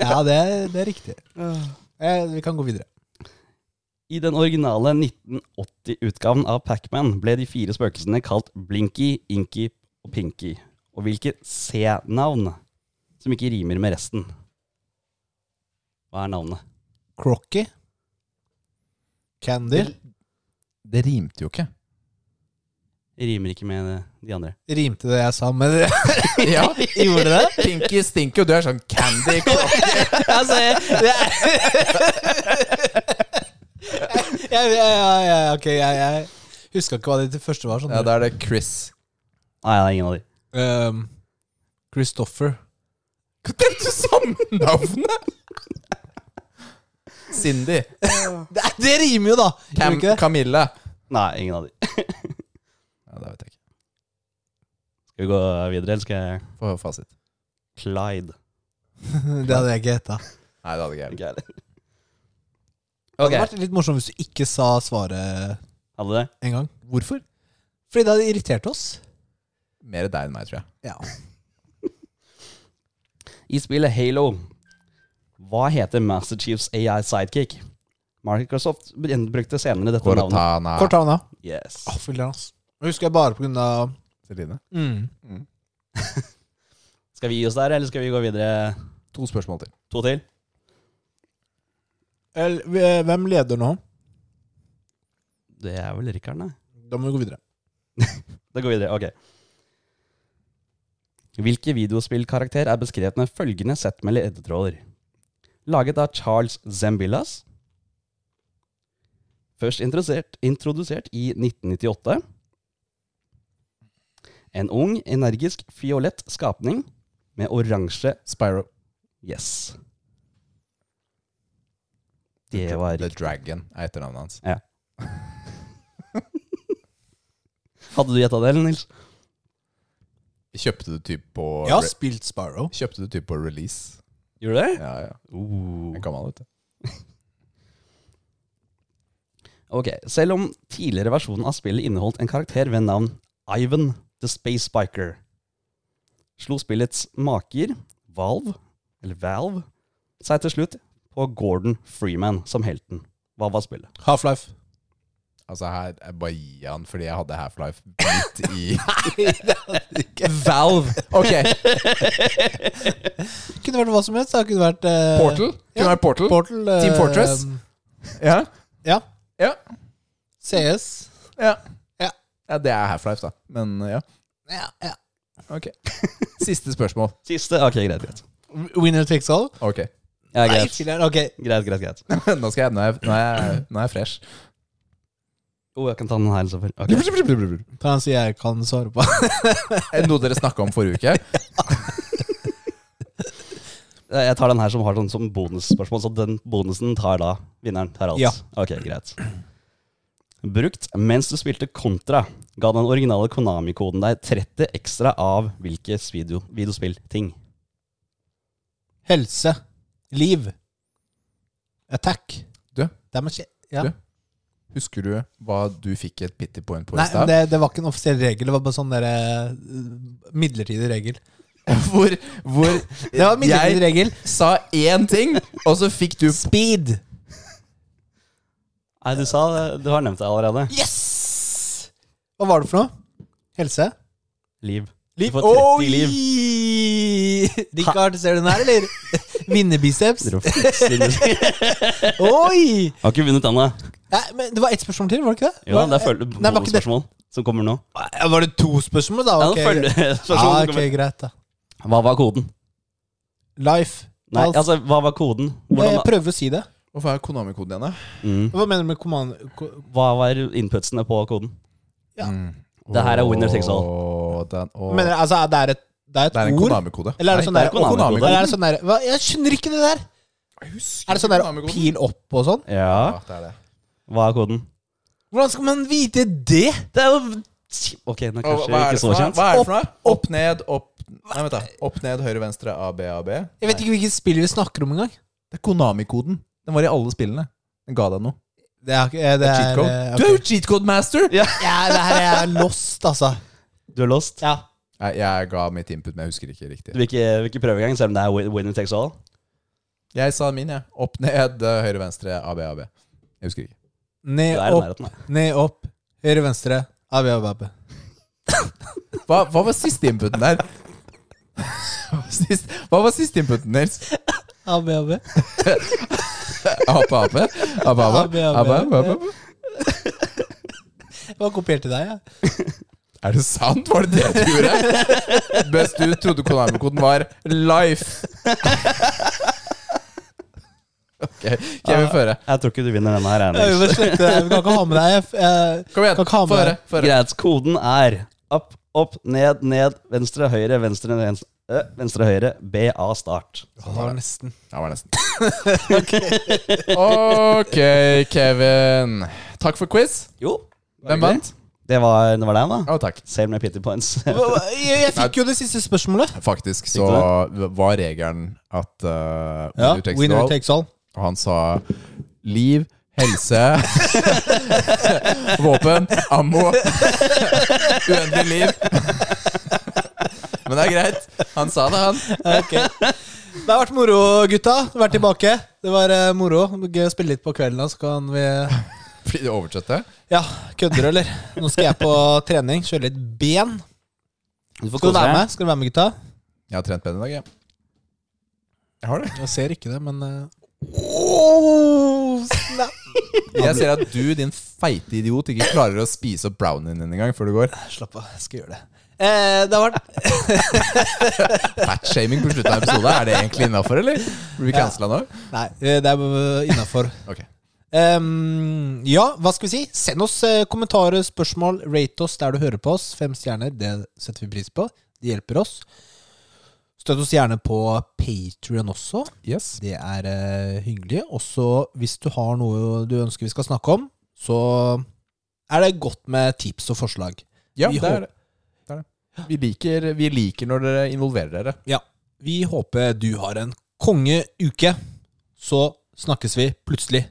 A: Ja, det, er- det er riktig. Eh, vi kan gå videre.
B: I den originale 1980-utgaven av Pac-Man ble de fire spøkelsene kalt Blinky, Inky og Pinky. Og hvilke C-navn som ikke rimer med resten? Hva er navnet?
A: Crocky. Candy.
C: Det rimte jo [laughs] ikke.
B: Det rimer ikke med de andre.
A: Rimte det jeg sa med det?
C: Ja,
A: [laughs] Gjorde det?
C: Pinky stinker, og du er sånn candy clock.
A: altså, jeg, det er ja, ja, ja, ja, ok, jeg, jeg huska ikke hva det til første var. Sånn.
C: Ja, da er det Chris.
B: Nei, det er ingen av de.
A: Ehm, Christopher.
C: Det er jo samme navnet! Cindy.
A: Det, det rimer jo, da! Gjør
C: Cam
A: ikke det?
C: Camilla.
B: Nei, ingen av de.
C: Ja, det vet jeg ikke.
B: Skal vi gå videre, eller skal jeg
C: Få høre fasit.
B: Clyde?
A: Det hadde jeg ikke hetta.
C: Nei, det hadde jeg ikke.
B: Ikke jeg heller.
A: Det hadde
B: Ok,
A: vært litt morsomt hvis du ikke sa svaret
B: hadde du det?
A: en gang.
C: Hvorfor?
A: Fordi det hadde irritert oss.
C: Mer deg enn meg, tror jeg.
A: Ja.
B: I spillet Halo, hva heter Master Chiefs AI sidekick? Microsoft brukte senere dette navnet.
C: Cortana.
A: Kort hånd, da.
B: Yes.
A: Å, filler'n, Ah, ass. Det husker jeg bare på grunn av
C: Celine.
A: mm.
B: Skal vi gi oss der, eller skal vi gå videre
C: To spørsmål til.
B: to til?
A: El- Hvem leder nå?
B: Det er vel Rikard, nei.
A: Da må vi gå videre.
B: Da går vi videre. Ok. Hvilke videospillkarakter er beskrevet med følgende sett med ledetråder? Laget av Charles Zembillas. Først introdusert, introdusert i 1998. En ung, energisk, fiolett skapning med oransje
C: Spyro.
B: Yes. Det var
C: The
B: riktig.
C: Dragon er etternavnet hans.
B: Hadde du gjetta det, eller, Nils?
C: Kjøpte du typ på
A: Jeg har spilt Sparrow.
C: Kjøpte du typ på release?
B: Gjorde du det?
C: Ja, ja.
B: Uh.
C: En gammel, vet du.
B: Ok, Selv om tidligere versjonen av spillet inneholdt en karakter ved navn Ivan the Space Biker, slo spillets maker, Valve, eller Valve, seg til slutt på Gordon Freeman som helten. Hva var spillet?
A: Half-Life.
C: Altså, her jeg bare gi han fordi jeg hadde Half-Life midt i
A: Valve.
C: Ok,
A: [laughs] Kunne vært hva som helst. Det kunne vært eh,
C: Portal. Kunne
A: ja.
C: være Portal.
A: Portal, eh,
C: Team Fortress. Ja.
A: Ja.
C: Ja.
A: CS.
C: Ja.
A: Ja.
C: ja, det er Half-Life, da. Men ja,
A: Ja, ja.
C: ok. Siste spørsmål.
B: Siste? Ok, greit, greit.
A: Winner takes all.
C: Ok. [laughs]
B: Ja,
A: Nei,
B: greit.
A: ikke [laughs] det. Ok.
B: greit, greit, greit.
C: Nå skal jeg Nå er jeg, nå er jeg, nå er jeg fresh.
B: Oh, jeg kan ta den her, selvfølgelig. Ok.
A: Ta en som jeg kan svare på. [laughs]
C: Er det Eh, Noe dere snakka om forrige uke?
B: Eh, Jeg tar den her som har sånn som bonusspørsmål, så den bonusen tar da vinneren. Tar alt.
A: Ja.
B: Ok, greit. Brukt mens du spilte Kontra, ga den originale Konami-koden deg 30 ekstra av hvilke video, videospillting?
A: Helse. Liv. Attack.
C: Du?
A: Det er man ikke ja.
C: Du? Husker du hva du fikk et pity point på
A: Nei, men
C: i stad?
A: det, det var ikke en offisiell regel. Det var bare sånn der, eh, midlertidig regel.
C: [laughs] Hvor, hvor
A: Det var midlertidig
C: jeg
A: regel.
C: sa én ting, og så fikk du
A: Speed.
B: Nei, du sa det. Du har nevnt det allerede.
A: Yes! Hva var det for noe? Helse?
B: Liv.
A: Liv?
B: Du får 30 liv.
A: Richard, ser du den her,
B: [laughs]
A: eller? Vinnerbiceps.
B: Dere fikser-
A: Oi!
B: Har ikke vunnet ennå.
A: Nei, men det var ett spørsmål til, var det ikke det?
B: Jo, det er
A: Var- Nei,
B: føl-
A: var, ikke det?
B: bonusspørsmål som kommer nå.
A: Ja, var det to spørsmål, da?
B: Ja,
A: Ok,
B: det er [laughs] følge-
A: ja,
B: spørsmål som
A: ok,
B: kommer.
A: greit, da.
B: Hva var koden?
A: Life.
B: Nei,
A: Alf.
B: altså, hva var koden?
A: Jeg
B: Hvordan,
A: prøver å si det.
C: Hvorfor er Konami-koden igjen, da?
B: mm.
A: Hva mener du med command... ko-
B: Hva var inputsene på koden?
A: Ja.
B: Det her er winner takes all.
C: Åh, Mm. den- åh.
A: Mener du, altså, det er et, det er et
C: Det er en
A: ord?
C: Konami-kode.
A: Eller er det
B: Nei,
A: sånn
B: det
A: der,
B: er Konami-kode.
A: Eller er det sånn der hva? Jeg skjønner ikke det der! Er det sånn der pil opp og sånn?
B: Ja,
C: Ja, det er det.
B: hva er koden?
A: Hvordan skal man vite det?
B: Det er jo Ok, den er
C: Og
B: kanskje
C: Hva er
B: ikke
C: det
B: så
C: for noe?
B: kjent.
C: Hva er det for noe? Opp, ned, opp Nei, vent da. Opp, ned, høyre, venstre, A, B, A, B.
A: Jeg vet ikke hvilket spill vi snakker om engang.
C: Det er Konami-koden. Den var i alle spillene. Den ga deg noe.
A: Det er, ikke- eh, det er,
C: Cheat code.
A: eh,
C: Du er jo
A: ok.
C: cheat code master!
A: ja, Det her er lost, altså.
B: Du er lost.
A: Ja.
C: Nei, jeg ga mitt input, men jeg husker ikke
B: Du
C: riktig.
B: vil ikke, vil ikke prøve engang, selv om det er win- winner takes all?
C: Jeg sa min, jeg. Opp, ned, eh, høyre, venstre, A, B, A, B. Jeg husker ikke.
B: Du
A: Ned,
B: er i
A: opp,
B: nærheten. da.
A: ned, opp. Høyre, venstre. Abi, abi, abi.
C: Hva, hva var siste inputen der? Sist, hva var siste inputen, Nils?
A: Abi, abi.
C: Ape, ape?
A: Ape,
C: Ape, ape?
A: ape.
C: ape, ape, ape.
A: Jeg var kopiert til deg, jeg. Ja.
C: Er det sant? Var det det du gjorde? Best du trodde Konami-koden var life. Ok, Kevin Føre.
B: Jeg tror ikke du vinner denne her,
A: Jeg vil
B: Ernest.
A: bare slette det. Vi kan ikke ha med deg. Jeg, jeg,
C: Kom igjen,
A: kan ikke ha
C: få
A: med
C: høre.
A: deg.
C: få høre.
B: Greit, koden er opp, opp, ned, ned, venstre, høyre, venstre, venstre, øh, venstre høyre, BA start.
A: Det var nesten.
C: Ja, det var nesten. Ok, Kevin. Takk for quiz.
B: Jo.
C: Hvem vant?
B: Det var, det var deg, da.
C: Å, takk.
B: Same med pity points.
A: Jeg, jeg fikk jo det siste spørsmålet.
C: Faktisk så var regelen at uh,
A: Ja,
C: winner takes
A: Winner
C: all.
A: takes all.
C: Og han sa liv, helse, våpen, ammo, uendelig liv. Men det er greit. Han sa det, han.
A: Ok. Det har vært moro, gutta. Vært tilbake. Det var eh, moro. Gøy å spille litt på kvelden, da, så kan vi
C: Blir det overkjøttet?
A: Ja, kødder du, eller? Nå skal jeg på trening. Kjøre litt ben.
B: Du får
A: Skal du
B: kose
A: være
B: deg.
A: med, Skal du være med, gutta?
C: Jeg har trent bedre i dag, jeg. Jeg har det.
A: Jeg ser ikke det, men eh, Oh,
C: Jeg ser at du, din feite idiot, ikke klarer å spise opp brownien din engang før du går.
A: Slapp av, jeg skal gjøre det. Eh, det har vært
C: Fatshaming på slutten av episoden. Er det egentlig innafor, eller? Blir vi cancela nå?
A: [laughs] Nei, eh, det er innafor.
C: Ok.
A: Ehm, ja, hva skal vi si? Send oss eh, kommentarer, spørsmål. Rate oss der du hører på oss. Fem stjerner, det setter vi pris på. Det hjelper oss. Støtt oss gjerne på Patrion også.
C: Yes.
A: Det er eh, hyggelig. Også hvis du har noe du ønsker vi skal snakke om, så er det godt med tips og forslag.
C: Ja,
A: Vi
C: det er det. det, er det. Vi, liker, vi liker når dere involverer dere.
A: Ja, vi håper du har en kongeuke. Så snakkes vi plutselig.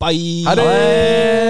A: Bye!
C: Ha det!